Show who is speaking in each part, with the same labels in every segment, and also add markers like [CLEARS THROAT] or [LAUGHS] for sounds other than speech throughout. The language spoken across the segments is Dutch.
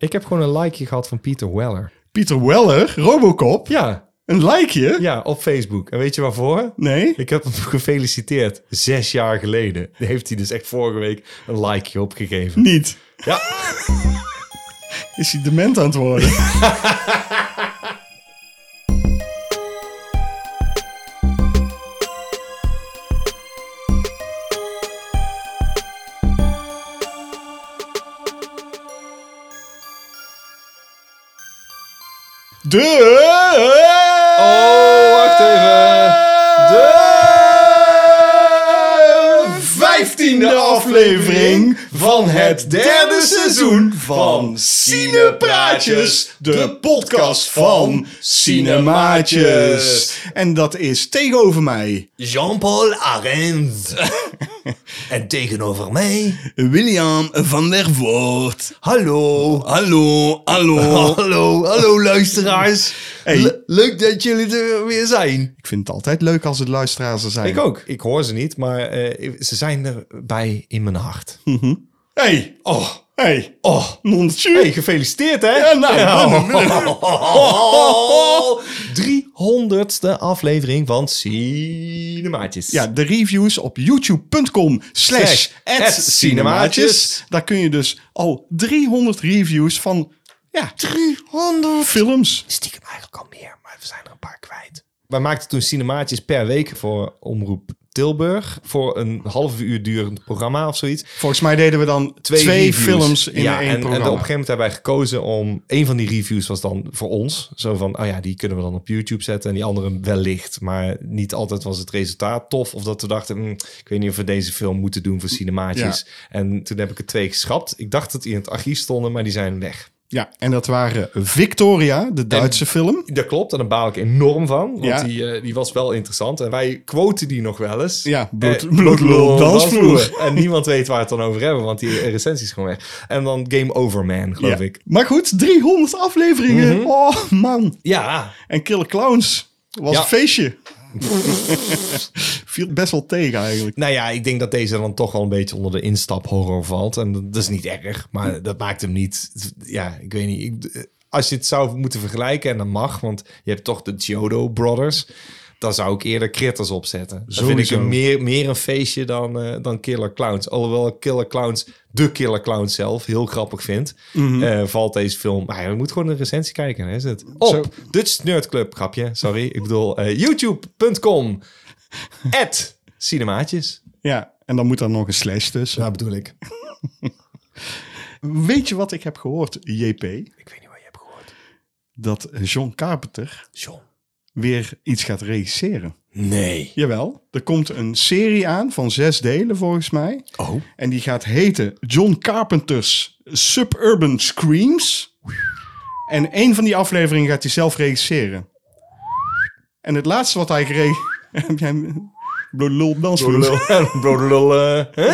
Speaker 1: Ik heb gewoon een likeje gehad van Pieter Weller.
Speaker 2: Pieter Weller, Robocop,
Speaker 1: Ja,
Speaker 2: een likeje?
Speaker 1: ja, op Facebook. En weet je waarvoor?
Speaker 2: Nee?
Speaker 1: Ik heb hem [LAUGHS] gefeliciteerd. Zes jaar geleden heeft hij dus echt vorige week een likeje opgegeven.
Speaker 2: Niet.
Speaker 1: Ja,
Speaker 2: Is hij dement aan het worden? De...
Speaker 1: Oh, wacht even.
Speaker 2: De...
Speaker 1: vijftiende aflevering van het derde seizoen van Cinepraatjes, de podcast van Cinemaatjes.
Speaker 2: En dat is tegenover mij
Speaker 1: Jean-Paul [LAUGHS] Arendt. en tegenover mij,
Speaker 2: William van der Voort.
Speaker 1: hallo.
Speaker 2: Hallo, hallo.
Speaker 1: [LAUGHS] Hallo, hallo luisteraars.
Speaker 2: Hey.
Speaker 1: Le- leuk dat jullie er weer zijn.
Speaker 2: Ik vind het altijd leuk als het luisteraars er zijn.
Speaker 1: Ik ook. Ik hoor ze niet, maar eh, ze zijn erbij in mijn hart.
Speaker 2: Hey,
Speaker 1: Oh,
Speaker 2: hey,
Speaker 1: oh.
Speaker 2: nonchu.
Speaker 1: Hey, gefeliciteerd hè?
Speaker 2: Ja, nou,
Speaker 1: [LAUGHS] Oh. 300ste aflevering van Cinemaatjes.
Speaker 2: Ja, de reviews op youtube.com slash cinemaatjes. Daar kun je dus al 300 reviews van ja,
Speaker 1: 300.
Speaker 2: films.
Speaker 1: Stiekem eigenlijk al meer, maar we zijn er een paar kwijt. Wij maakten toen Cinemaatjes per week voor Omroep Tilburg. Voor een half uur durend programma of zoiets.
Speaker 2: Volgens mij deden we dan twee,
Speaker 1: reviews.
Speaker 2: films in
Speaker 1: ja,
Speaker 2: één
Speaker 1: en,
Speaker 2: programma.
Speaker 1: En op een gegeven moment hebben wij gekozen om... Een van die reviews was dan voor ons. Zo van, oh ja, die kunnen we dan op YouTube zetten. En die andere wellicht. Maar niet altijd was het resultaat tof. Of dat we dachten, hm, ik weet niet of we deze film moeten doen voor cinemaatjes. En toen heb ik er twee geschrapt. Ik dacht dat die in het archief stonden, maar die zijn weg.
Speaker 2: Ja, en dat waren Victoria, de Duitse film.
Speaker 1: Dat klopt, en daar baal ik enorm van. Want
Speaker 2: Ja.
Speaker 1: die, eh, die was wel interessant. En wij quoten die nog wel eens.
Speaker 2: Ja, bloed-
Speaker 1: Eh,
Speaker 2: bloedlul dansvloer.
Speaker 1: En niemand weet waar we het dan over hebben, want die recensies gewoon weg. En dan Game Over Man, geloof
Speaker 2: Ja.
Speaker 1: ik. Mhm.
Speaker 2: Maar goed, 300 afleveringen. Oh man.
Speaker 1: Ja,
Speaker 2: En Killer Clowns was
Speaker 1: Ja.
Speaker 2: een feestje. [LAUGHS] Viel best wel tegen eigenlijk.
Speaker 1: nou ja, ik denk dat deze dan toch wel een beetje onder de instaphorror valt. En dat is niet erg, maar dat maakt hem niet... Ja, ik weet niet. Ik- als je het zou moeten vergelijken, en dat mag, want je hebt toch de Giotto Brothers... Dan zou ik eerder Critters opzetten. Dat vind ik
Speaker 2: Sowieso.
Speaker 1: een meer, meer een feestje dan, eh, dan Killer Clowns. Alhoewel ik Killer Clowns, de Killer Clowns zelf, heel grappig vind.
Speaker 2: Mhm.
Speaker 1: eh, valt deze film... Maar ja, je moet gewoon een recensie kijken, hè, is het? Op
Speaker 2: Zo.
Speaker 1: Dutch Nerd Club, grapje, sorry. ik bedoel eh, youtube.com at cinemaatjes.
Speaker 2: Ja, en dan moet er nog een slash tussen.
Speaker 1: Nou, bedoel ik.
Speaker 2: Weet je wat ik heb gehoord, JP?
Speaker 1: Ik weet niet wat je hebt gehoord.
Speaker 2: Dat John Carpenter
Speaker 1: John.
Speaker 2: weer iets gaat regisseren.
Speaker 1: Nee.
Speaker 2: Jawel, er komt een serie aan van zes delen volgens mij.
Speaker 1: Oh.
Speaker 2: En die gaat heten John Carpenter's Suburban Screams. En één van die afleveringen gaat hij zelf regisseren. En het laatste wat hij geregisseerd... [LAUGHS] Heb jij hem- Lul dansvloer.
Speaker 1: [LAUGHS] Brodelul. eh,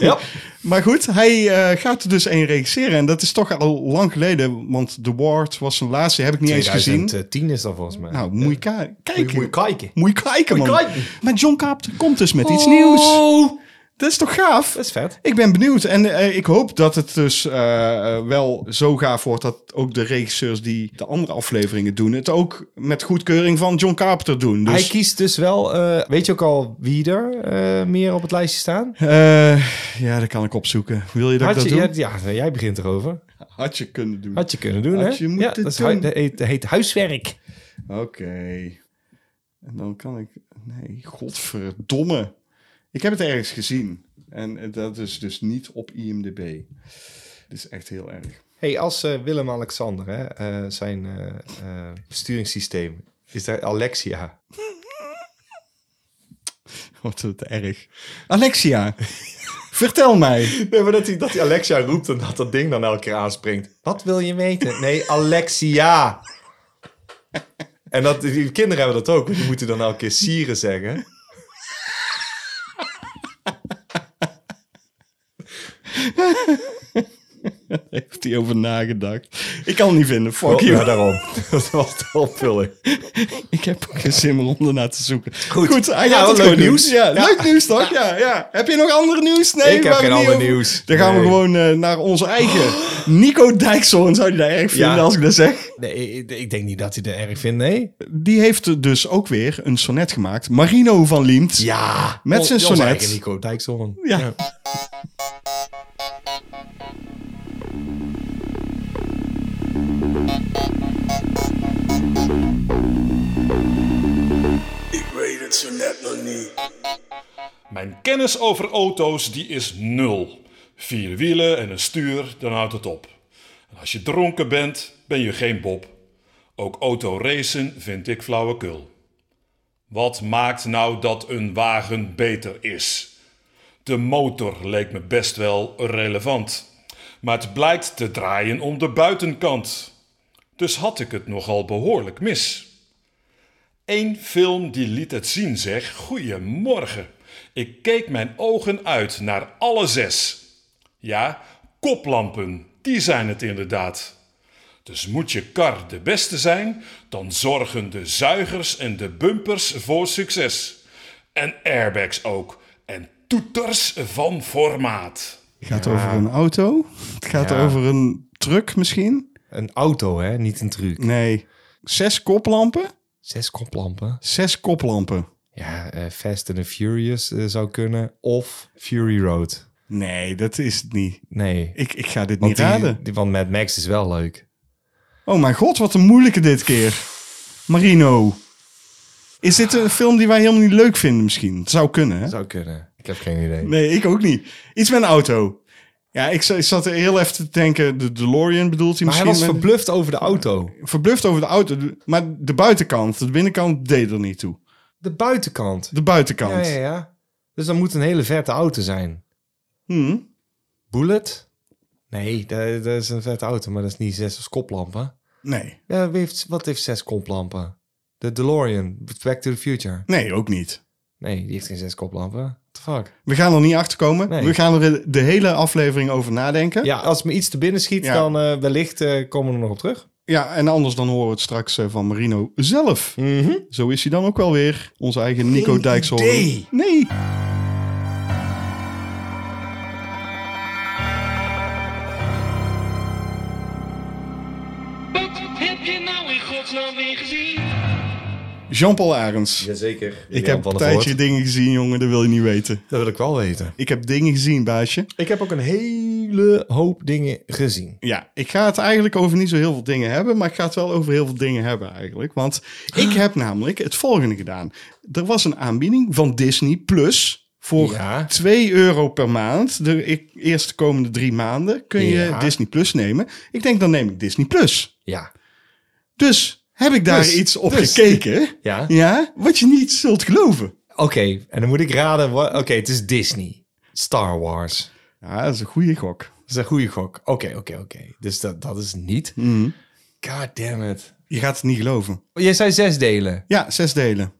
Speaker 1: Ja.
Speaker 2: [LAUGHS] Maar goed, hij eh, gaat er dus één regisseren. En dat is toch al lang geleden, want The Ward was zijn laatste. Heb ik niet eens gezien.
Speaker 1: 2010 is dat volgens mij.
Speaker 2: Nou, moet je ka- kijken.
Speaker 1: eh, Moet je kijken.
Speaker 2: Moet je kijken,
Speaker 1: Moet je
Speaker 2: man.
Speaker 1: kijken.
Speaker 2: Maar John Carpenter komt dus met iets nieuws.
Speaker 1: Oh.
Speaker 2: Dat is toch gaaf?
Speaker 1: Dat is vet.
Speaker 2: Ik ben benieuwd en eh, ik hoop dat het dus eh, eh, wel zo gaaf wordt dat ook de regisseurs die de andere afleveringen doen, het ook met goedkeuring van John Carpenter doen.
Speaker 1: Hij
Speaker 2: Dus
Speaker 1: kiest dus wel... eh, weet je ook al wie er eh, meer op het lijstje staan?
Speaker 2: eh, ja, dat kan ik opzoeken. Wil je dat ik
Speaker 1: Had
Speaker 2: dat
Speaker 1: je,
Speaker 2: doe?
Speaker 1: ja, ja, jij begint erover.
Speaker 2: Had je kunnen doen.
Speaker 1: Had je kunnen doen,
Speaker 2: Had
Speaker 1: hè?
Speaker 2: je moeten
Speaker 1: ja, dat is
Speaker 2: doen.
Speaker 1: hui- dat heet, dat heet huiswerk.
Speaker 2: Oké. En dan kan ik. Nee, godverdomme. Ik heb het ergens gezien. En eh, dat is dus niet op IMDb. Dat is echt heel erg.
Speaker 1: hey, als eh, Willem-Alexander, hè, eh, zijn eh, eh, besturingssysteem... Is daar Alexia?
Speaker 2: [LAUGHS] Wat het erg. Alexia, vertel mij.
Speaker 1: [LAUGHS] Nee, maar dat hij, dat hij Alexia roept en dat dat ding dan elke keer aanspringt. Wat wil je weten? Nee, Alexia. En dat, die kinderen hebben dat ook. want Die moeten dan elke keer Sire zeggen.
Speaker 2: Heeft hij over nagedacht. Ik kan het niet vinden. Fuck you.
Speaker 1: Oh, Ja, daarom. [LAUGHS] dat was de opvulling.
Speaker 2: [LAUGHS] Ik heb ook geen zin meer om ernaar te zoeken.
Speaker 1: Goed.
Speaker 2: Goed, hij
Speaker 1: Ja,
Speaker 2: gaat
Speaker 1: wat
Speaker 2: het
Speaker 1: leuk
Speaker 2: gewoon doen.
Speaker 1: nieuws.
Speaker 2: Ja,
Speaker 1: Ja.
Speaker 2: Leuk nieuws toch? Ja. Ja, Heb je nog andere nieuws? Nee,
Speaker 1: Ik
Speaker 2: we
Speaker 1: heb
Speaker 2: hebben
Speaker 1: geen
Speaker 2: niet
Speaker 1: ander
Speaker 2: over-
Speaker 1: nieuws.
Speaker 2: Dan gaan we
Speaker 1: Nee.
Speaker 2: gewoon eh, naar onze eigen Nico Dijkshoorn. Zou je dat erg vinden
Speaker 1: Ja.
Speaker 2: als ik dat zeg?
Speaker 1: Nee, ik- ik denk niet dat hij het erg vindt, nee.
Speaker 2: Die heeft dus ook weer een sonnet gemaakt. Marino van Liemt.
Speaker 1: Ja.
Speaker 2: Met zijn
Speaker 1: Ons- ons
Speaker 2: sonnet.
Speaker 1: eigen Nico Dijkshoorn.
Speaker 2: Ja.
Speaker 3: Ik weet het zo net nog niet.
Speaker 4: Mijn kennis over auto's die is nul. Vier wielen en een stuur, dan houdt het op. En als je dronken bent, ben je geen Bob. Ook autoracen vind ik flauwekul. Wat maakt nou dat een wagen beter is? De motor leek me best wel relevant. Maar het blijkt te draaien om de buitenkant. Dus had ik het nogal behoorlijk mis. Eén film die liet het zien, zeg. Goedemorgen. Ik keek mijn ogen uit naar alle zes. Ja, koplampen, die zijn het inderdaad. Dus moet je kar de beste zijn, dan zorgen de zuigers en de bumpers voor succes. En airbags ook. En toeters van formaat.
Speaker 2: Het gaat over een auto. Het gaat
Speaker 1: Ja.
Speaker 2: over een truck misschien.
Speaker 1: Een auto, hè? Niet een truc.
Speaker 2: Nee. Zes koplampen.
Speaker 1: Zes koplampen.
Speaker 2: Zes koplampen.
Speaker 1: Ja, eh, Fast and the Furious eh, zou kunnen. Of Fury Road.
Speaker 2: Nee, dat is het niet.
Speaker 1: Nee.
Speaker 2: Ik, ik ga dit
Speaker 1: want,
Speaker 2: niet
Speaker 1: die,
Speaker 2: raden.
Speaker 1: die, want Mad Max is wel leuk.
Speaker 2: Oh mijn god, wat een moeilijke dit keer. Marino. Is dit een film die wij helemaal niet leuk vinden misschien? Het zou kunnen, hè?
Speaker 1: Zou kunnen. Ik heb geen idee.
Speaker 2: Nee, ik ook niet. Iets met een auto. Ja, ik, za- ik zat er heel even te denken. De DeLorean bedoelt hij
Speaker 1: Maar hij
Speaker 2: misschien.
Speaker 1: was
Speaker 2: met-
Speaker 1: verbluft over de auto.
Speaker 2: verbluft over de auto. De- Maar de buitenkant, de binnenkant deed er niet toe.
Speaker 1: De buitenkant.
Speaker 2: De buitenkant.
Speaker 1: Ja, ja, ja. Dus dan moet een hele vette auto zijn.
Speaker 2: Hm.
Speaker 1: Bullet? Nee, dat, dat is een vette auto, maar dat is niet zes koplampen.
Speaker 2: Nee.
Speaker 1: Ja, wie heeft, wat heeft zes koplampen? De DeLorean, Back to the Future.
Speaker 2: Nee, ook niet.
Speaker 1: Nee, die heeft geen zes koplampen. What the fuck?
Speaker 2: We gaan er niet achter komen.
Speaker 1: Nee.
Speaker 2: We gaan er de hele aflevering over nadenken.
Speaker 1: Ja, als me iets te binnen schiet,
Speaker 2: Ja.
Speaker 1: dan eh, wellicht eh, komen we er nog op terug.
Speaker 2: Ja, en anders dan horen we het straks eh, van Marino zelf.
Speaker 1: Mhm.
Speaker 2: Zo is hij dan ook wel weer. Onze eigen Nico Dijkshoorn.
Speaker 1: idee.
Speaker 2: Nee.
Speaker 5: Wat heb je nou in godsnaam weer gezien?
Speaker 2: Jean-Paul Arends.
Speaker 1: Jazeker.
Speaker 2: Ik heb een tijdje dingen gezien, jongen. Dat wil je niet weten.
Speaker 1: Dat wil ik wel weten.
Speaker 2: Ik heb dingen gezien, baasje.
Speaker 1: Ik heb ook een hele hoop dingen gezien.
Speaker 2: Ja, ik ga het eigenlijk over niet zo heel veel dingen hebben, maar ik ga het wel over heel veel dingen hebben eigenlijk. Want ik heb namelijk het volgende gedaan. Er was een aanbieding van Disney Plus voor
Speaker 1: Ja.
Speaker 2: 2 euro per maand. De e- eerste komende drie maanden kun je
Speaker 1: Ja.
Speaker 2: Disney Plus nemen. Ik denk, dan neem ik Disney Plus.
Speaker 1: Ja.
Speaker 2: Dus heb ik daar
Speaker 1: Dus,
Speaker 2: iets op
Speaker 1: dus.
Speaker 2: gekeken?
Speaker 1: Ja?
Speaker 2: Ja, wat je niet zult geloven.
Speaker 1: Oké, en dan moet ik raden. wa- Oké, het is Disney. Star Wars.
Speaker 2: Ja, dat is een goede gok.
Speaker 1: Dat is een goede gok. Oké, oké, oké. Dus dat, dat is niet.
Speaker 2: Mhm.
Speaker 1: God damn it. Oh,
Speaker 2: Je gaat het niet geloven.
Speaker 1: Jij zei zes delen.
Speaker 2: Ja, zes delen.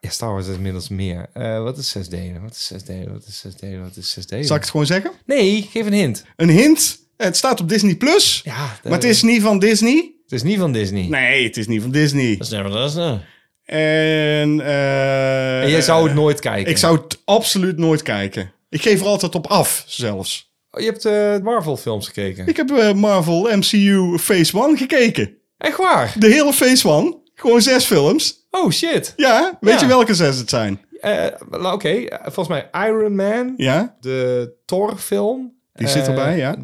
Speaker 1: Ja, Star Wars is inmiddels meer. Eh, wat is zes delen? Wat is zes delen? Wat is zes delen? Wat is zes delen?
Speaker 2: Zal ik het gewoon zeggen?
Speaker 1: Nee, geef een hint.
Speaker 2: Een hint. Het staat op Disney Plus.
Speaker 1: Ja, dat-
Speaker 2: maar het is niet van Disney.
Speaker 1: Het is niet van Disney.
Speaker 2: Nee, het is niet van Disney.
Speaker 1: Dat is never, eh. dat is never.
Speaker 2: En, eh,
Speaker 1: En jij zou het nooit kijken.
Speaker 2: Ik zou het absoluut nooit kijken. Ik geef er altijd op af, zelfs.
Speaker 1: Oh, je hebt eh Marvel films gekeken.
Speaker 2: Ik heb eh, Marvel MCU Phase 1 gekeken.
Speaker 1: Echt waar?
Speaker 2: De hele Phase 1. Gewoon zes films.
Speaker 1: Oh shit.
Speaker 2: Ja, weet
Speaker 1: Ja.
Speaker 2: je welke zes het zijn?
Speaker 1: Eh, nou, Oké, eh, volgens mij Iron Man,
Speaker 2: Ja,
Speaker 1: de Thor film. Eh,
Speaker 2: die zit erbij, ja.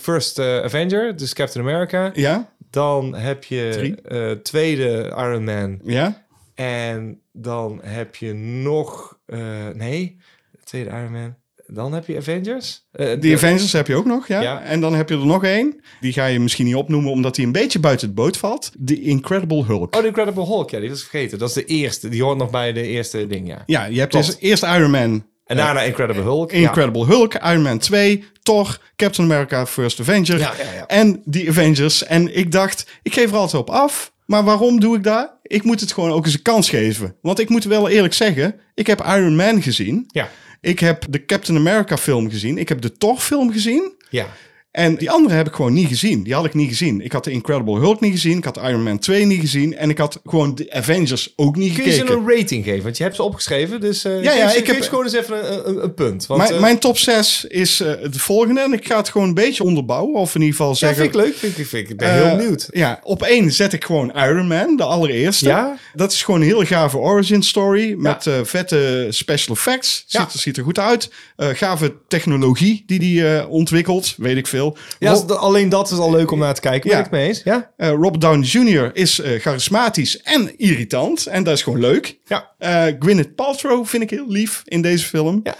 Speaker 1: First eh, Avenger, dus Captain America.
Speaker 2: Ja,
Speaker 1: Dan heb je
Speaker 2: Drie.
Speaker 1: eh tweede Iron Man.
Speaker 2: ja.
Speaker 1: En dan heb je nog... eh, nee, tweede Iron Man. Dan heb je Avengers. Eh,
Speaker 2: Die
Speaker 1: de-
Speaker 2: Avengers heb je ook nog, ja.
Speaker 1: Ja.
Speaker 2: En dan heb je er nog één. Die ga je misschien niet opnoemen, omdat die een beetje buiten het boot valt. The Incredible Hulk.
Speaker 1: Oh, de Incredible Hulk, ja, die was ik vergeten. Dat is de eerste. Die hoort nog bij de eerste ding, ja.
Speaker 2: Ja, je hebt
Speaker 1: Klopt.
Speaker 2: dus eerst Iron Man,
Speaker 1: En daarna Incredible Hulk. ja.
Speaker 2: Incredible Hulk, Iron Man 2, Thor, Captain America, First Avenger
Speaker 1: Ja, ja, ja.
Speaker 2: en die Avengers. En ik dacht, ik geef er altijd op af. Maar waarom doe ik dat? Ik moet het gewoon ook eens een kans geven. Want ik moet wel eerlijk zeggen, ik heb Iron Man gezien.
Speaker 1: Ja.
Speaker 2: Ik heb de Captain America film gezien. Ik heb de Thor film gezien.
Speaker 1: Ja.
Speaker 2: En die andere heb ik gewoon niet gezien. Die had ik niet gezien. Ik had de Incredible Hulk niet gezien. Ik had Iron Man 2 niet gezien. En ik had gewoon de Avengers ook niet
Speaker 1: Kun je ze
Speaker 2: gekeken.
Speaker 1: een rating geven? Want je hebt ze opgeschreven, dus eh,
Speaker 2: ja,
Speaker 1: geef ze-
Speaker 2: ik
Speaker 1: geef
Speaker 2: heb-
Speaker 1: ze gewoon eens even een, een, een punt. Want,
Speaker 2: Mijn,
Speaker 1: eh,
Speaker 2: mijn top 6 is eh, de volgende. En ik ga het gewoon een beetje onderbouwen. Of in ieder geval
Speaker 1: ja,
Speaker 2: zeggen...
Speaker 1: vind ik leuk. Vind ik, vind ik, ik ben heel
Speaker 2: Eh,
Speaker 1: benieuwd.
Speaker 2: Ja, op één zet ik gewoon Iron Man, de allereerste.
Speaker 1: Ja?
Speaker 2: Dat is gewoon een heel gave origin story met eh, vette special effects. Ziet,
Speaker 1: Ja.
Speaker 2: er, ziet er goed uit. Eh, gave technologie die die eh, ontwikkelt, weet ik veel.
Speaker 1: Ja,
Speaker 2: Rob,
Speaker 1: als- alleen dat is al leuk om naar te kijken. Ben
Speaker 2: Ja.
Speaker 1: ik het mee eens? Ja?
Speaker 2: eh, Robert Downey Jr. is eh, charismatisch en irritant. En dat is gewoon leuk.
Speaker 1: Ja.
Speaker 2: Eh, Gwyneth Paltrow vind ik heel lief in deze film.
Speaker 1: Ja.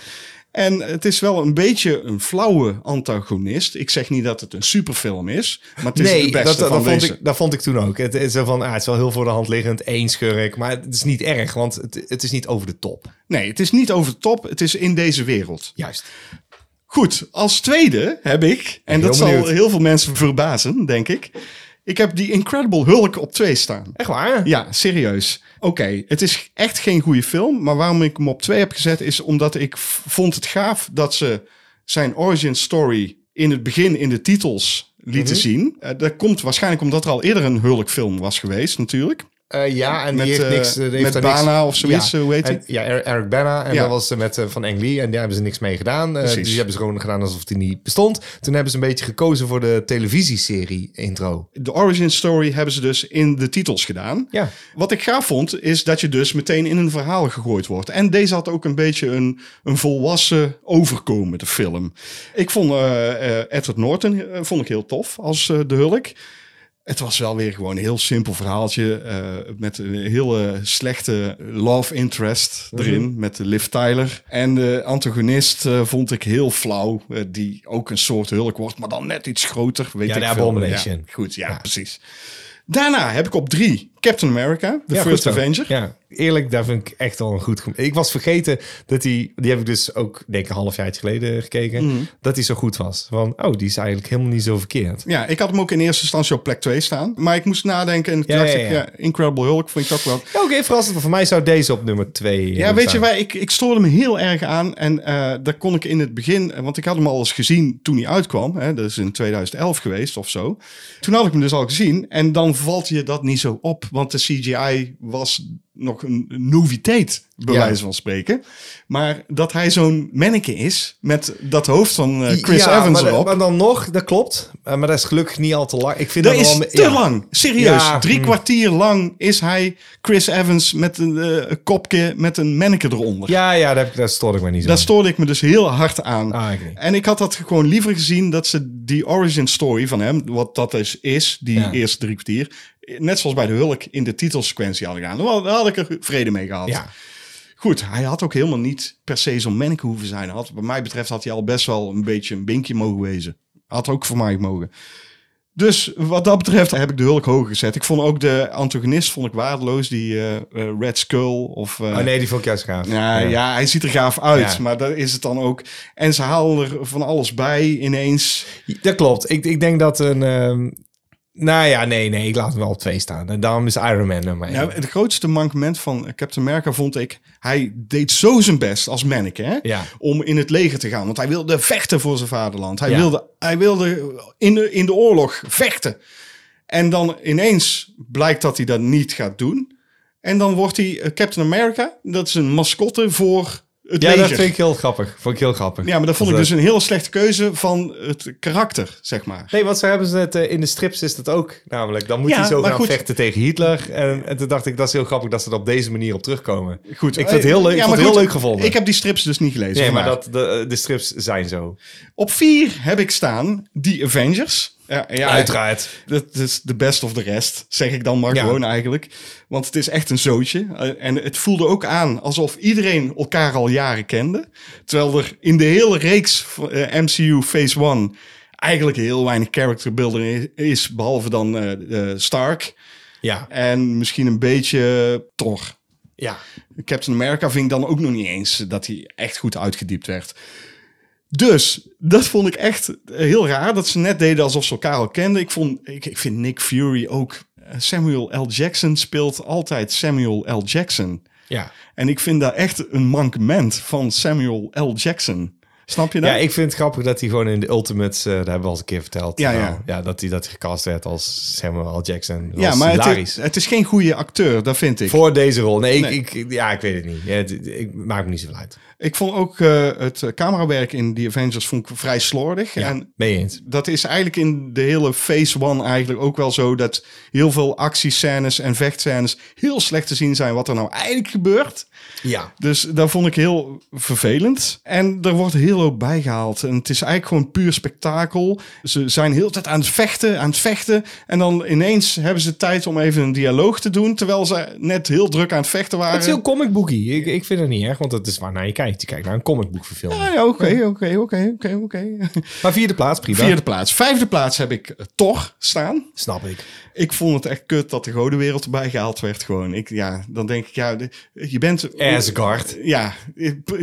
Speaker 2: En het is wel een beetje een flauwe antagonist. Ik zeg niet dat het een superfilm is, maar het is
Speaker 1: Nee,
Speaker 2: het
Speaker 1: dat,
Speaker 2: beste
Speaker 1: dat,
Speaker 2: van
Speaker 1: vond
Speaker 2: deze.
Speaker 1: ik, dat vond ik toen ook. Het is zo van, ah, het is wel heel voor de hand liggend, één schurk. Maar het is niet erg, want het, het is niet over de top.
Speaker 2: Nee, het is niet over de top. Het is in deze wereld.
Speaker 1: Juist.
Speaker 2: Goed, als tweede heb ik, en
Speaker 1: heel
Speaker 2: dat
Speaker 1: benieuwd.
Speaker 2: zal heel veel mensen verbazen, denk ik. Ik heb die Incredible Hulk op twee staan.
Speaker 1: Echt waar?
Speaker 2: Ja, serieus. Oké, het is echt geen goede film. Maar waarom ik hem op twee heb gezet is omdat ik v- vond het gaaf dat ze zijn origin story in het begin in de titels lieten zien. Eh, dat komt waarschijnlijk omdat er al eerder een Hulk-film was geweest, natuurlijk.
Speaker 1: Eh, ja, en
Speaker 2: Met,
Speaker 1: die heeft
Speaker 2: eh,
Speaker 1: niks... eh, die heeft
Speaker 2: met
Speaker 1: daar niks-
Speaker 2: Bana of zoiets, eh, hoe heet
Speaker 1: en- Ja, Er- Eric Bana. En
Speaker 2: Ja.
Speaker 1: dat was eh, met eh, Van Eng Lee. En daar hebben ze niks mee gedaan. Eh,
Speaker 2: Precies.
Speaker 1: dus die hebben ze gewoon gedaan alsof die niet bestond. Toen hebben ze een beetje gekozen voor de televisieserie intro.
Speaker 2: De origin story hebben ze dus in de titels gedaan.
Speaker 1: Ja.
Speaker 2: Wat ik gaaf vond, is dat je dus meteen in een verhaal gegooid wordt. En deze had ook een beetje een, een volwassen overkomen, de film. Ik vond eh, eh, Edward Norton eh, vond ik heel tof als eh, de Hulk. Het was wel weer gewoon een heel simpel verhaaltje eh, met een hele slechte love interest
Speaker 1: Mhm.
Speaker 2: erin met Liv Tyler. En de antagonist eh, vond ik heel flauw, eh, die ook een soort hulk wordt, maar dan net iets groter. Weet
Speaker 1: Ja,
Speaker 2: ik
Speaker 1: de
Speaker 2: veel.
Speaker 1: Abomination.
Speaker 2: Ja, goed, ja, precies. Daarna heb ik op drie Captain America, The
Speaker 1: Ja,
Speaker 2: First
Speaker 1: goed zo.
Speaker 2: Avenger.
Speaker 1: Ja, eerlijk, daar vind ik echt al een goed... gem- Ik was vergeten dat die... Die heb ik dus ook, denk ik, een half jaar geleden gekeken.
Speaker 2: Mhm.
Speaker 1: Dat die zo goed was. Van, oh, die is eigenlijk helemaal niet zo verkeerd.
Speaker 2: Ja, ik had hem ook in eerste instantie op plek 2 staan. Maar ik moest nadenken en toen
Speaker 1: Ja,
Speaker 2: dacht
Speaker 1: ja,
Speaker 2: ik,
Speaker 1: ja.
Speaker 2: ja, Incredible Hulk vond ik ook wel.
Speaker 1: Ja, Oké, verrassend. maar Voor mij zou deze op nummer twee eh,
Speaker 2: Ja, weet je
Speaker 1: staan.
Speaker 2: waar, ik, ik stoorde me heel erg aan. En eh, daar kon ik in het begin, want ik had hem al eens gezien toen hij uitkwam. Hè, dat is in 2011 geweest of zo. Toen had ik hem dus al gezien. En dan valt je dat niet zo op, want de CGI was nog een noviteit, bij
Speaker 1: Ja.
Speaker 2: wijze van spreken. Maar dat hij zo'n manneke is, met dat hoofd van eh, Chris
Speaker 1: Ja,
Speaker 2: Evans
Speaker 1: maar, da-
Speaker 2: erop.
Speaker 1: maar dan nog, dat klopt. Eh, maar dat is gelukkig niet al te lang. Ik vind
Speaker 2: Dat
Speaker 1: dat,
Speaker 2: is
Speaker 1: wel-
Speaker 2: te
Speaker 1: ja.
Speaker 2: lang. Serieus.
Speaker 1: Ja,
Speaker 2: Drie
Speaker 1: mm.
Speaker 2: kwartier lang is hij Chris Evans met een eh, kopje met een manneke eronder.
Speaker 1: Ja, ja, daar, heb ik- daar stoor ik me niet zo
Speaker 2: Daar
Speaker 1: aan.
Speaker 2: stoorde ik me dus heel hard aan.
Speaker 1: Ah, ik niet.
Speaker 2: en ik had dat gewoon liever gezien dat ze die origin story van hem, wat dat dus is, die
Speaker 1: Ja.
Speaker 2: eerste drie kwartier, net zoals bij de Hulk in de titelsequentie hadden gedaan. Dan had ik er vrede mee gehad.
Speaker 1: Ja.
Speaker 2: Goed, hij had ook helemaal niet per se zo'n manneke hoeven zijn. Hij Had, wat mij betreft had hij al best wel een beetje een binkje mogen wezen. Had ook voor mij mogen. Dus wat dat betreft heb ik de Hulk hoger gezet. Ik vond ook de antagonist vond ik waardeloos. Die eh, eh, Red Skull of... eh,
Speaker 1: Oh nee, die vond ik juist gaaf.
Speaker 2: ja, ja. hij ziet er gaaf uit,
Speaker 1: Ja.
Speaker 2: maar dat is het dan ook. En ze halen er van alles bij ineens.
Speaker 1: Dat klopt. Ik, ik denk dat een... ehm, nou ja, nee, nee. Ik laat hem wel op twee staan. En daarom is Iron Man nummer één.
Speaker 2: Nou, het grootste mankement van Captain America vond ik... hij deed zo zijn best als manneke hè,
Speaker 1: Ja.
Speaker 2: om in het leger te gaan. Want hij wilde vechten voor zijn vaderland. Hij
Speaker 1: Ja.
Speaker 2: wilde, hij wilde in, de, in de oorlog vechten. En dan ineens blijkt dat hij dat niet gaat doen. En dan wordt hij eh, Captain America. Dat is een mascotte voor het
Speaker 1: ja,
Speaker 2: leger.
Speaker 1: dat vind ik heel grappig. Vond ik heel grappig.
Speaker 2: Ja, maar dat vond ik
Speaker 1: Want,
Speaker 2: dus een heel slechte keuze van het karakter, zeg maar.
Speaker 1: Nee, want zo hebben ze het eh, in de strips is dat ook. Namelijk, dan moet
Speaker 2: Ja,
Speaker 1: hij zo
Speaker 2: maar
Speaker 1: gaan
Speaker 2: goed.
Speaker 1: vechten tegen Hitler. En, en toen dacht ik, dat is heel grappig dat ze er op deze manier op terugkomen.
Speaker 2: Goed,
Speaker 1: Ik vind het heel leuk,
Speaker 2: Eh, Ja,
Speaker 1: ik vond
Speaker 2: maar
Speaker 1: het heel
Speaker 2: goed,
Speaker 1: leuk gevonden.
Speaker 2: Ik heb die strips dus niet gelezen.
Speaker 1: nee, maar
Speaker 2: vandaag.
Speaker 1: dat, de, de strips zijn zo.
Speaker 2: Op vier heb ik staan die Avengers. Ja, ja,
Speaker 1: Uiteraard.
Speaker 2: Dat is de best of the rest, zeg ik dan maar
Speaker 1: Ja.
Speaker 2: gewoon eigenlijk. Want het is echt een zootje. Eh, En het voelde ook aan alsof iedereen elkaar al jaren kende. Terwijl er in de hele reeks van, eh, MCU Phase 1 eigenlijk heel weinig character building i- is. Behalve dan eh, eh, Stark
Speaker 1: Ja.
Speaker 2: en misschien een beetje eh, Thor.
Speaker 1: ja.
Speaker 2: Captain America vind ik dan ook nog niet eens dat hij echt goed uitgediept werd. Dus dat vond ik echt heel raar dat ze net deden alsof ze elkaar al kenden. Ik, vond, ik, ik vind Nick Fury ook. eh, Samuel L. Jackson speelt altijd Samuel L. Jackson.
Speaker 1: Ja.
Speaker 2: En ik vind daar echt een mankement van Samuel L. Jackson. Snap je dat?
Speaker 1: Ja, ik vind het grappig dat hij gewoon in de Ultimates, eh daar hebben we al eens een keer verteld.
Speaker 2: Ja,
Speaker 1: nou,
Speaker 2: ja.
Speaker 1: dat hij dat gecast werd als Samuel L. Jackson. Dat
Speaker 2: Ja,
Speaker 1: was
Speaker 2: maar het
Speaker 1: hilarisch.
Speaker 2: is, het is geen goede acteur, dat vind ik.
Speaker 1: Voor deze rol. Nee,
Speaker 2: Nee.
Speaker 1: Ik, ik, ja, ik weet het niet. Ja, het, ik maak me niet zoveel uit.
Speaker 2: Ik vond ook eh, het eh, camerawerk in The Avengers vond ik vrij slordig.
Speaker 1: Ja,
Speaker 2: En
Speaker 1: mee eens.
Speaker 2: dat is eigenlijk in de hele Phase One eigenlijk ook wel zo... dat heel veel actiescènes en vechtscènes heel slecht te zien zijn... wat er nou eigenlijk gebeurt.
Speaker 1: Ja.
Speaker 2: Dus dat vond ik heel vervelend. En er wordt heel hoop bijgehaald. En het is eigenlijk gewoon puur spektakel. Ze zijn heel de tijd aan het vechten, aan het vechten. En dan ineens hebben ze tijd om even een dialoog te doen... terwijl ze net heel druk aan het vechten waren.
Speaker 1: Het is heel comic bookie. Ik, ik vind het niet erg, want dat is waar naar je kijkt. Je kijkt naar een comic book verfilming.
Speaker 2: Ah, ja, oké, oké, oké, oké, oké.
Speaker 1: Maar vierde plaats, prima.
Speaker 2: Vierde plaats. Vijfde plaats heb ik eh, Thor staan.
Speaker 1: Snap ik.
Speaker 2: Ik vond het echt kut dat de godenwereld erbij gehaald werd. Gewoon. Ik, ja, dan denk ik, ja, de- je bent...
Speaker 1: Asgard.
Speaker 2: Ja,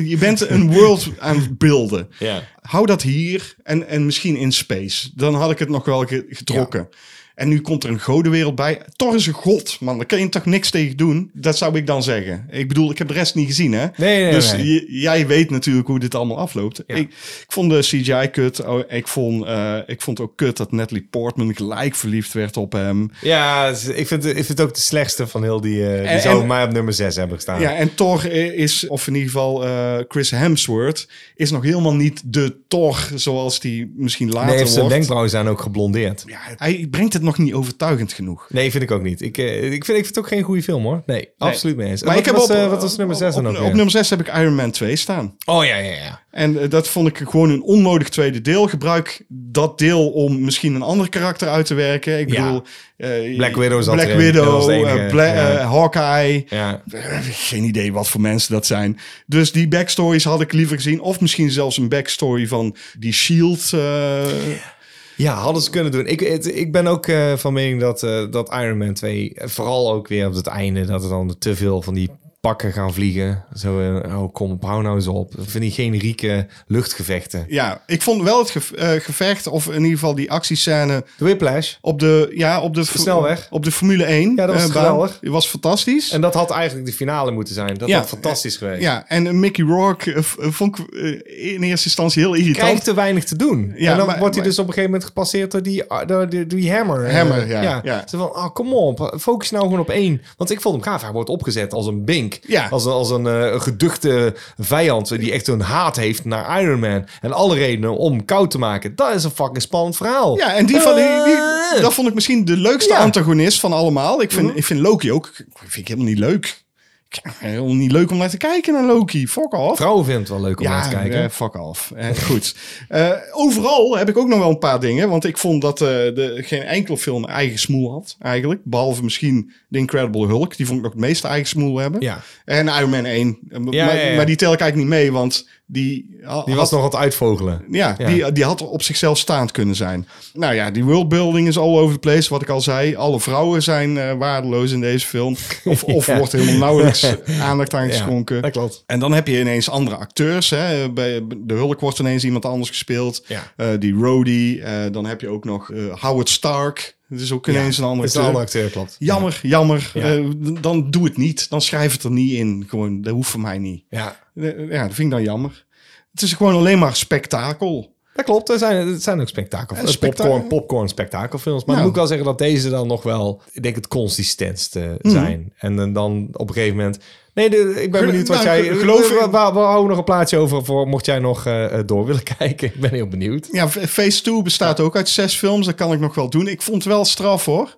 Speaker 2: je bent een world aan het beelden.
Speaker 1: Ja.
Speaker 2: Hou dat hier en, en misschien in space. Dan had ik het nog wel ge- getrokken. En nu komt er een godenwereld bij. Thor is een god, man. Daar kun je toch niks tegen doen? Dat zou ik dan zeggen. Ik bedoel, ik heb de rest niet gezien, hè?
Speaker 1: Nee, nee,
Speaker 2: dus
Speaker 1: nee.
Speaker 2: j- jij weet natuurlijk hoe dit allemaal afloopt. Ik, ik vond de CGI kut. Oh, Ik vond, eh, ik vond ook kut dat Natalie Portman gelijk verliefd werd op hem.
Speaker 1: Ja, het is- ik vind, ik vind het ook de slechtste van heel die... eh, die
Speaker 2: En-
Speaker 1: zou
Speaker 2: en-
Speaker 1: maar op nummer 6 hebben gestaan.
Speaker 2: Ja, en Thor is, of in ieder geval eh, Chris Hemsworth, is nog helemaal niet de Thor zoals die misschien later
Speaker 1: nee, heeft zijn
Speaker 2: wordt.
Speaker 1: wenkbrauwen zijn ook geblondeerd.
Speaker 2: Ja, hij brengt het nog niet overtuigend genoeg.
Speaker 1: Nee, vind ik ook niet. Ik, eh, ik, vind, ik vind het ook geen goede film, hoor. Nee, absoluut mee eens.
Speaker 2: Maar
Speaker 1: wat,
Speaker 2: ik heb
Speaker 1: was,
Speaker 2: op,
Speaker 1: eh, wat was nummer 6
Speaker 2: op,
Speaker 1: dan ook
Speaker 2: op
Speaker 1: weer?
Speaker 2: nummer 6 heb ik Iron Man 2 staan.
Speaker 1: Oh, ja, ja, ja.
Speaker 2: En eh, dat vond ik gewoon een onnodig tweede deel. Gebruik dat deel om misschien een ander karakter uit te werken. Ik
Speaker 1: Ja.
Speaker 2: bedoel... eh,
Speaker 1: Black Widow zat
Speaker 2: Black
Speaker 1: erin. Dat was
Speaker 2: Widow,
Speaker 1: de
Speaker 2: eh,
Speaker 1: enige,
Speaker 2: Bla-
Speaker 1: ja.
Speaker 2: eh, Hawkeye.
Speaker 1: Ja,
Speaker 2: Eh, Geen idee wat voor mensen dat zijn. Dus die backstories had ik liever gezien. Of misschien zelfs een backstory van die Shield. eh,
Speaker 1: ja hadden ze kunnen doen. Ik, het- ik ben ook eh, van mening dat, eh, dat Iron Man 2... eh, Vooral ook weer op het einde dat er dan te veel van die pakken gaan vliegen. Zo, eh, oh, kom op, hou nou eens op. Van die generieke luchtgevechten.
Speaker 2: ja, ik vond wel het ge- eh, gevecht, of in ieder geval die actiescène
Speaker 1: De Whiplash.
Speaker 2: op de, ja, op de vo-
Speaker 1: snelweg.
Speaker 2: Op de Formule 1.
Speaker 1: Ja, dat was
Speaker 2: eh, baan.
Speaker 1: geweldig.
Speaker 2: Die was fantastisch.
Speaker 1: En dat had eigenlijk de finale moeten zijn. Dat
Speaker 2: Ja.
Speaker 1: had fantastisch geweest.
Speaker 2: ja, en eh, Mickey Rourke eh, v- eh, vond ik eh, in eerste instantie heel irritant.
Speaker 1: krijgt te weinig te doen.
Speaker 2: Ja,
Speaker 1: en dan
Speaker 2: maar-
Speaker 1: wordt hij
Speaker 2: maar-
Speaker 1: dus op een gegeven moment gepasseerd door die, ah, door die, door die hammer.
Speaker 2: Hammer,
Speaker 1: Eh,
Speaker 2: ja, ja.
Speaker 1: Zo van, ah, kom op, focus nou gewoon op één. Want ik vond hem gaaf. Hij wordt opgezet als een bink.
Speaker 2: Ja.
Speaker 1: Als, een- als een eh, geduchte vijand die echt een haat heeft naar Iron Man. En alle redenen om koud te maken. Dat is een fucking spannend verhaal.
Speaker 2: Ja, en die van die, die-
Speaker 1: Eh.
Speaker 2: dat vond ik misschien de leukste
Speaker 1: Ja. Mhm.
Speaker 2: antagonist van allemaal. Ik vind, ik vind Loki ook, ik vind ik helemaal niet leuk. Ik vind het helemaal niet leuk om naar te kijken naar Loki. Fuck off.
Speaker 1: Vrouwen vinden het wel leuk om naar te
Speaker 2: Ja,
Speaker 1: kijken.
Speaker 2: eh, fuck off. Eh, goed. Eh, overal heb ik ook nog wel een paar dingen. Want ik vond dat eh, de, geen enkele film eigen smoel had, eigenlijk. Behalve misschien The Incredible Hulk. Die vond ik nog het meeste eigen smoel hebben.
Speaker 1: Ja.
Speaker 2: En Iron Man 1. Eh, maar,
Speaker 1: Ja, ja, ja.
Speaker 2: maar die tel ik eigenlijk niet mee, want die...
Speaker 1: Die was nog aan het uitvogelen.
Speaker 2: Ja,
Speaker 1: Ja.
Speaker 2: Die, die had op zichzelf staand kunnen zijn. Nou ja, die worldbuilding is all over the place, wat ik al zei. Alle vrouwen zijn eh, waardeloos in deze
Speaker 1: [LAUGHS]
Speaker 2: film. Of, of
Speaker 1: Ja.
Speaker 2: wordt er helemaal
Speaker 1: [LAUGHS]
Speaker 2: nauwelijks eh, aandacht aan
Speaker 1: Ja,
Speaker 2: geschonken.
Speaker 1: dat klopt.
Speaker 2: En dan heb je ineens andere acteurs. Hè. Bij de Hulk wordt ineens iemand anders gespeeld.
Speaker 1: Ja.
Speaker 2: Eh, die Rhodey. eh, dan heb je ook nog eh, Howard Stark. Dat is ook ineens een andere
Speaker 1: Dat is een andere
Speaker 2: acteur.
Speaker 1: acteur, klopt.
Speaker 2: Jammer, jammer.
Speaker 1: Ja.
Speaker 2: Eh, d- dan doe het niet. Dan schrijf het er niet in. Gewoon, dat hoeft voor mij niet.
Speaker 1: Ja.
Speaker 2: Eh, Ja, dat vind ik dan jammer. Het is gewoon alleen maar spektakel.
Speaker 1: Dat klopt, er zijn, er zijn ook spektakelfilms.
Speaker 2: Eh, spekta-
Speaker 1: popcorn, popcorn spektakelfilms. Maar dan
Speaker 2: Ja.
Speaker 1: moet ik wel zeggen dat deze dan nog wel, ik denk het consistentste zijn. En dan- dan op een gegeven moment... Nee, de- ik ben
Speaker 2: Gel-
Speaker 1: benieuwd wat
Speaker 2: nou,
Speaker 1: jij...
Speaker 2: Mhm. ge- geloof
Speaker 1: we,
Speaker 2: ik-
Speaker 1: we, we- we houden nog een plaatsje over voor mocht jij nog eh, eh, door willen [LAUGHS] kijken. Ik ben heel benieuwd.
Speaker 2: Ja, F- Phase 2 bestaat ook uit zes films. Dat kan ik nog wel doen. Ik vond het wel straf hoor.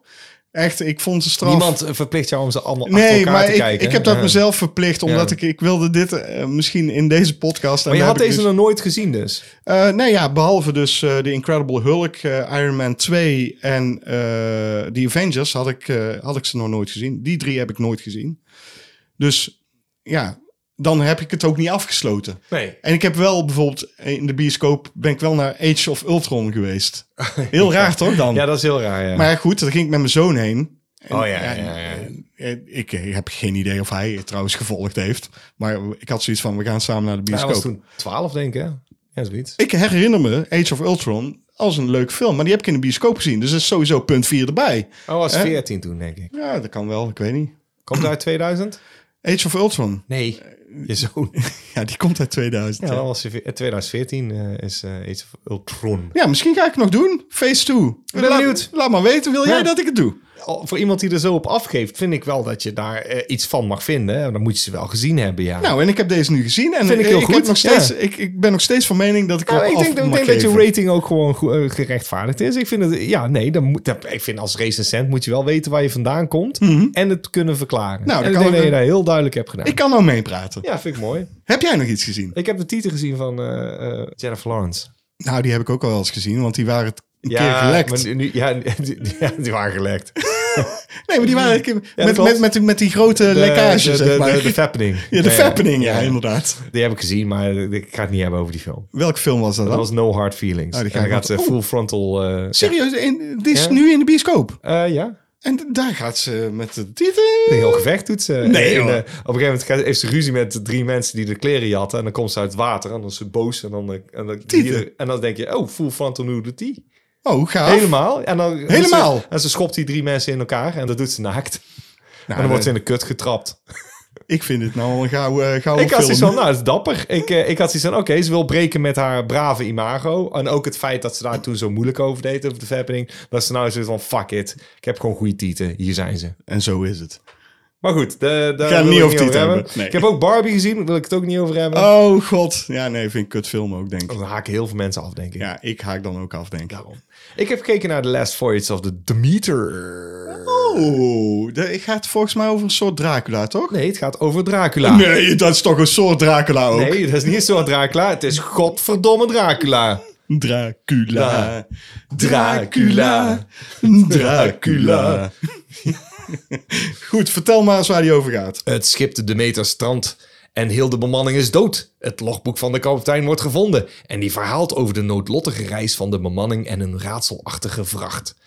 Speaker 2: Echt, ik vond ze straf.
Speaker 1: Niemand verplicht jou om ze allemaal achter
Speaker 2: Nee,
Speaker 1: elkaar
Speaker 2: maar
Speaker 1: te
Speaker 2: ik,
Speaker 1: kijken.
Speaker 2: ik heb dat
Speaker 1: Ja.
Speaker 2: mezelf verplicht. Omdat
Speaker 1: Ja.
Speaker 2: ik, ik wilde dit eh, misschien in deze podcast. en
Speaker 1: Maar je
Speaker 2: daar
Speaker 1: had
Speaker 2: heb ik
Speaker 1: deze
Speaker 2: dus-
Speaker 1: nog nooit gezien dus.
Speaker 2: Eh, nee, ja, behalve dus eh The Incredible Hulk, eh, Iron Man 2 en eh The Avengers had ik, eh, had ik ze nog nooit gezien. Die drie heb ik nooit gezien. Dus ja, dan heb ik het ook niet afgesloten.
Speaker 1: Nee.
Speaker 2: En ik heb wel bijvoorbeeld eh, in de bioscoop ben ik wel naar Age of Ultron geweest. Heel raar toch dan?
Speaker 1: [LAUGHS] Ja, dat is heel raar, ja.
Speaker 2: Maar ja, goed, daar ging ik met mijn zoon heen. En,
Speaker 1: Oh ja, ja, ja.
Speaker 2: eh, Ik eh, heb geen idee of hij het trouwens gevolgd heeft. Maar ik had zoiets van, we gaan samen naar de
Speaker 1: Hij was
Speaker 2: bioscoop.
Speaker 1: toen 12, denk ik, hè? Ja, zoiets.
Speaker 2: Ik herinner me Age of Ultron als een leuk film. Maar die heb ik in de bioscoop gezien. Dus dat is sowieso punt 4 erbij.
Speaker 1: Oh, was
Speaker 2: Eh?
Speaker 1: 14 toen, denk ik.
Speaker 2: Ja, dat kan wel. Ik weet niet.
Speaker 1: Komt hij uit 2000?
Speaker 2: Age of Ultron.
Speaker 1: Nee. Je zoon.
Speaker 2: Ja, die komt uit 2000.
Speaker 1: Ja,
Speaker 2: Ja,
Speaker 1: dat was in 2014 eh, is eh Age of Ultron.
Speaker 2: misschien ga ik het nog doen. Phase 2.
Speaker 1: ben
Speaker 2: laat,
Speaker 1: benieuwd.
Speaker 2: Laat maar weten, wil jij
Speaker 1: Ja.
Speaker 2: dat ik het doe?
Speaker 1: Al- voor iemand die er zo op afgeeft, vind ik wel dat je daar eh, iets van mag vinden. hè. Dan moet je ze wel gezien hebben, ja.
Speaker 2: Nou, en ik heb deze nu gezien. En
Speaker 1: Vind ik heel
Speaker 2: heb
Speaker 1: goed,
Speaker 2: nog steeds,
Speaker 1: ja.
Speaker 2: ik, ik ben nog steeds van mening dat ik
Speaker 1: Ja,
Speaker 2: wel
Speaker 1: ik
Speaker 2: af
Speaker 1: denk, ik
Speaker 2: mag
Speaker 1: denk dat je
Speaker 2: geven.
Speaker 1: rating ook gewoon go- eh, gerechtvaardigd is. Ik vind het, ja, nee, dan moet, dat- ik vind als recensent moet je wel weten waar je vandaan komt en het kunnen verklaren.
Speaker 2: Nou,
Speaker 1: Mhm. Nou, en
Speaker 2: dat
Speaker 1: ik
Speaker 2: kan
Speaker 1: denk
Speaker 2: ik-
Speaker 1: dat je dat heel duidelijk hebt gedaan.
Speaker 2: Ik kan nou meepraten.
Speaker 1: Ja, vind ik mooi.
Speaker 2: Heb jij nog iets gezien?
Speaker 1: Ik heb de titel gezien van eh, eh, Jennifer Lawrence.
Speaker 2: Nou, die heb ik ook al wel eens gezien, want die waren het een keer gelekt.
Speaker 1: maar nu- nu, ja, [LAUGHS] die, ja, die waren gelekt. De-
Speaker 2: Nee, maar die waren een keer
Speaker 1: dat
Speaker 2: met,
Speaker 1: klopt.
Speaker 2: met, met, die- met die grote lekkages,
Speaker 1: de, de,
Speaker 2: zeg maar.
Speaker 1: de- de Fappening.
Speaker 2: ja, de
Speaker 1: Ja, ja.
Speaker 2: fappening, ja, inderdaad.
Speaker 1: Die heb ik gezien, maar ik ga het niet hebben over die film.
Speaker 2: Welke film was dat
Speaker 1: Dat
Speaker 2: dan?
Speaker 1: was No Hard Feelings.
Speaker 2: Oh, die
Speaker 1: die
Speaker 2: ga ik
Speaker 1: gaat
Speaker 2: wel-
Speaker 1: eh, full frontal... eh,
Speaker 2: Serieus, in, die is
Speaker 1: Ja.
Speaker 2: nu in de bioscoop.
Speaker 1: ja. Eh, ja.
Speaker 2: En d- daar gaat ze met de titel.
Speaker 1: Een heel gevecht doet ze.
Speaker 2: Nee,
Speaker 1: En,
Speaker 2: joh.
Speaker 1: eh, op een gegeven moment gaat- heeft ze ruzie met drie mensen die de kleren jatten. En dan komt ze uit het water. En dan is ze boos. En dan, eh, en dan,
Speaker 2: Tieten.
Speaker 1: en dan denk je, oh, full frontal nudity.
Speaker 2: Oh, gaaf.
Speaker 1: Helemaal. En dan,
Speaker 2: Helemaal. Nou,
Speaker 1: En ze, en ze schopt die drie mensen in elkaar. En dat doet ze naakt. en dan
Speaker 2: dat-
Speaker 1: wordt ze in de kut getrapt.
Speaker 2: eh, Ik vind dit nou al een gauw, eh, gouden
Speaker 1: ik had zoiets
Speaker 2: film.
Speaker 1: van, nou, dat is dapper. Ik, eh, ik had zoiets van, oké, ze wil breken met haar brave imago. En ook het feit dat ze daar toen zo moeilijk over deed, over de verpening. Dat ze nou zoiets van, fuck it. Ik heb gewoon goede tieten. Hier zijn ze.
Speaker 2: En zo is het.
Speaker 1: Maar goed, de, daar
Speaker 2: ga het
Speaker 1: wil
Speaker 2: niet
Speaker 1: ik
Speaker 2: over Tiet hebben. Nee.
Speaker 1: Ik heb ook Barbie gezien, daar wil ik het ook niet over hebben.
Speaker 2: Oh, god. Ja, nee, vind ik kutfilm ook, denk ik.
Speaker 1: Dan haken heel veel mensen af, denk ik.
Speaker 2: Ja, ik haak dan ook af, denk ik.
Speaker 1: Ik heb gekeken naar The Last Voyage of the Demeter.
Speaker 2: Oh, de- ik ga het volgens mij over een soort Dracula, toch?
Speaker 1: Nee, het gaat over Dracula.
Speaker 2: Nee, dat is toch een soort Dracula ook?
Speaker 1: Nee, dat is niet zo'n Dracula. Het is godverdomme Dracula.
Speaker 2: Dracula.
Speaker 1: Dracula.
Speaker 2: Dracula. [LAUGHS] Goed, vertel maar eens waar die over gaat.
Speaker 1: Het schip de Demeter strandt en heel de bemanning is dood. Het logboek van de kapitein wordt gevonden en die verhaalt over de noodlottige reis van de bemanning en een raadselachtige vracht.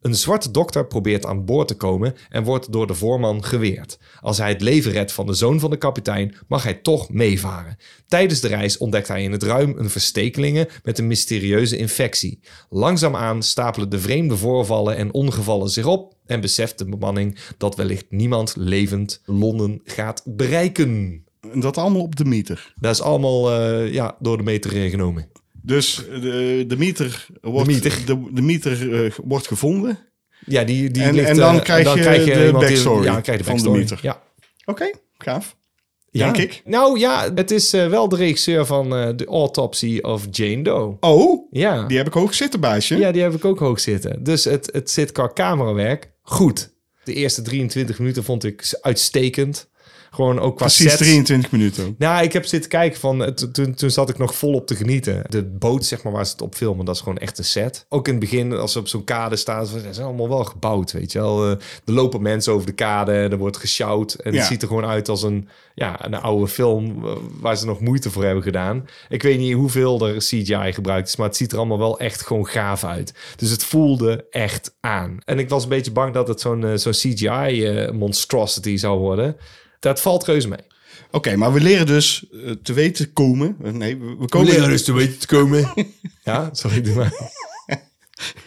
Speaker 1: Een zwarte dokter probeert aan boord te komen en wordt door de voorman geweerd. Als hij het leven redt van de zoon van de kapitein, mag hij toch meevaren. Tijdens de reis ontdekt hij in het ruim een verstekelingen met een mysterieuze infectie. Langzaamaan stapelen de vreemde voorvallen en ongevallen zich op en beseft de bemanning dat wellicht niemand levend Londen gaat bereiken.
Speaker 2: Dat allemaal op de meter.
Speaker 1: Dat is allemaal eh, ja, door de meter eh, genomen.
Speaker 2: Dus de, de meter wordt,
Speaker 1: De meter.
Speaker 2: de- de meter, eh, wordt gevonden. Oké,
Speaker 1: Ja, die, die
Speaker 2: En-
Speaker 1: ligt,
Speaker 2: en dan
Speaker 1: eh,
Speaker 2: krijg je de
Speaker 1: iemand die-
Speaker 2: backstory
Speaker 1: ja, dan krijg je de
Speaker 2: van de
Speaker 1: backstory.
Speaker 2: meter.
Speaker 1: Ja.
Speaker 2: gaaf.
Speaker 1: Ja.
Speaker 2: Denk ik.
Speaker 1: Nou ja, het is eh, wel de regisseur van eh The Autopsy of Jane Doe.
Speaker 2: Oh,
Speaker 1: Ja.
Speaker 2: die heb ik hoog zitten, baasje.
Speaker 1: ja, die heb ik ook hoog zitten. Dus het, het zit qua camerawerk goed. De eerste 23 minuten vond ik s- uitstekend. Gewoon ook qua
Speaker 2: Precies
Speaker 1: sets.
Speaker 2: 23 minuten ook.
Speaker 1: Nou, ik heb zitten kijken van... eh, to- Toen, toen zat ik nog volop te genieten. De boot, zeg maar, waar ze het op filmen, dat is gewoon echt een set. Ook in het begin, als ze op zo'n kade staan... ze zijn allemaal wel gebouwd, weet je wel. Eh, Er lopen mensen over de kade, er wordt gesjouwd. En
Speaker 2: Ja.
Speaker 1: het ziet er gewoon uit als een, ja, een oude film... eh, waar ze nog moeite voor hebben gedaan. Ik weet niet hoeveel er CGI gebruikt is... maar het ziet er allemaal wel echt gewoon gaaf uit. Dus het voelde echt aan. En ik was een beetje bang dat het zo'n eh, zo'n CGI-monstrosity eh, zou worden... Dat valt reuze mee.
Speaker 2: Oké, maar we leren dus eh, te weten komen. Eh, Nee, we, we komen...
Speaker 1: Leren dus te weten te komen. ja, [LAUGHS] sorry, doe maar.
Speaker 2: [LAUGHS]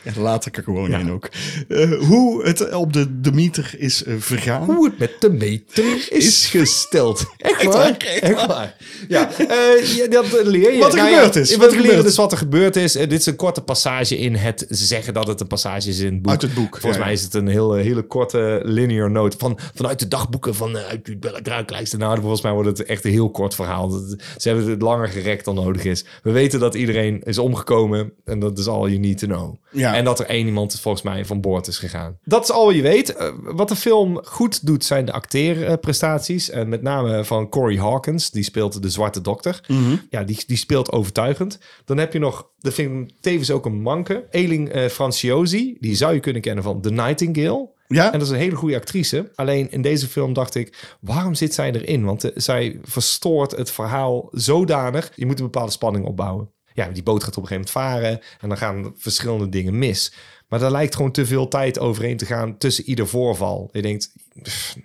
Speaker 2: Ja, laat ik er gewoon in ook. Eh, hoe het op de, de meter is eh, vergaan.
Speaker 1: Hoe het met de meter is gesteld. Echt
Speaker 2: waar?
Speaker 1: Echt waar. Ja, eh, ja, dat leer je. Nou
Speaker 2: Wat er
Speaker 1: ja,
Speaker 2: gebeurd is,
Speaker 1: Wat
Speaker 2: wat er
Speaker 1: we leren
Speaker 2: gebeurd
Speaker 1: dus wat er gebeurd is. Eh, dit is een korte passage in het zeggen dat het een passage is in het boek.
Speaker 2: Uit het boek,
Speaker 1: Volgens
Speaker 2: ja,
Speaker 1: mij
Speaker 2: ja.
Speaker 1: is het een hele, hele korte eh, linear note. Van, vanuit de dagboeken van eh, uit die draaklijst. Nou, volgens mij wordt het echt een heel kort verhaal. Dat- Ze hebben het langer gerekt dan nodig is. We weten dat iedereen is omgekomen. En dat is all you need to know.
Speaker 2: Ja.
Speaker 1: En dat er één iemand volgens mij van boord is gegaan. Dat is al wat je weet. Eh, wat de film goed doet zijn de acteerprestaties. En met name van Corey Hawkins. Die speelt de zwarte dokter. Ja, die, die speelt overtuigend. Dan heb je nog, dat vind ik tevens ook een manke. Eling eh, Franciosi. Die zou je kunnen kennen van The Nightingale.
Speaker 2: Ja?
Speaker 1: En dat is een hele goede actrice. Alleen in deze film dacht ik, waarom zit zij erin? Want eh, zij verstoort het verhaal zodanig. Je moet een bepaalde spanning opbouwen. Ja, die boot gaat op een gegeven moment varen en dan gaan verschillende dingen mis. Maar daar lijkt gewoon te veel tijd overheen te gaan tussen ieder voorval. Je denkt, pff,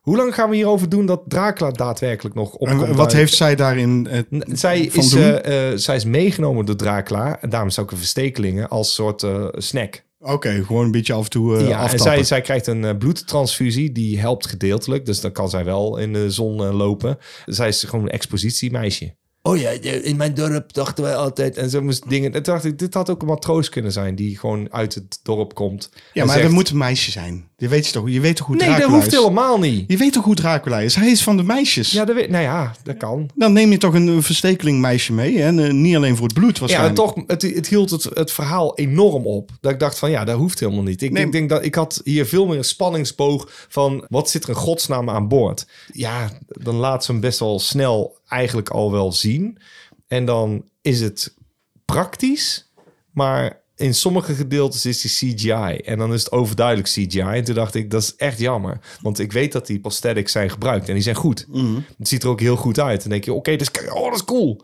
Speaker 1: hoe lang gaan we hierover doen dat Dracula daadwerkelijk nog opkomt?
Speaker 2: En wat
Speaker 1: uit-
Speaker 2: heeft zij daarin eh,
Speaker 1: zij
Speaker 2: van
Speaker 1: is,
Speaker 2: doen?
Speaker 1: eh, eh, zij is meegenomen door Dracula. En daarom is ook een verstekelingen als soort eh, snack.
Speaker 2: Oké, gewoon een beetje af en toe eh
Speaker 1: ja, en
Speaker 2: aftappen.
Speaker 1: zij, zij krijgt een eh, bloedtransfusie, die helpt gedeeltelijk. Dus dan kan zij wel in de zon eh, lopen. Zij is gewoon een expositiemeisje. Oh ja, in mijn dorp dachten wij altijd. En ze moest dingen. En toen dacht ik, dit had ook een matroos kunnen zijn die gewoon uit het dorp komt.
Speaker 2: ja,
Speaker 1: en
Speaker 2: maar
Speaker 1: zegt,
Speaker 2: dat moet een meisje zijn. Je weet toch, je weet toch hoe
Speaker 1: Nee,
Speaker 2: Dracula
Speaker 1: dat hoeft
Speaker 2: is?
Speaker 1: helemaal niet.
Speaker 2: Je weet toch hoe Dracula is? Hij is van de meisjes.
Speaker 1: Ja, dat weet, nou ja, dat kan.
Speaker 2: Dan neem je toch een eh, verstekeling meisje mee. En eh, niet alleen voor het bloed
Speaker 1: Ja, en
Speaker 2: waarschijnlijk.
Speaker 1: toch, het, het hield het, het verhaal enorm op. Dat ik dacht van, ja, dat hoeft helemaal niet. Ik,
Speaker 2: Nee.
Speaker 1: ik denk dat ik had hier veel meer een spanningsboog van... wat zit er in godsnaam aan boord? Ja, dan laat ze hem best wel snel eigenlijk al wel zien. En dan is het praktisch, maar... In sommige gedeeltes is die CGI en dan is het overduidelijk CGI. En toen dacht ik, dat is echt jammer. Want ik weet dat die prosthetics zijn gebruikt en die zijn goed.
Speaker 2: Mhm.
Speaker 1: Het ziet er ook heel goed uit. Dan denk je, oké, dat, is, oh, dat is cool.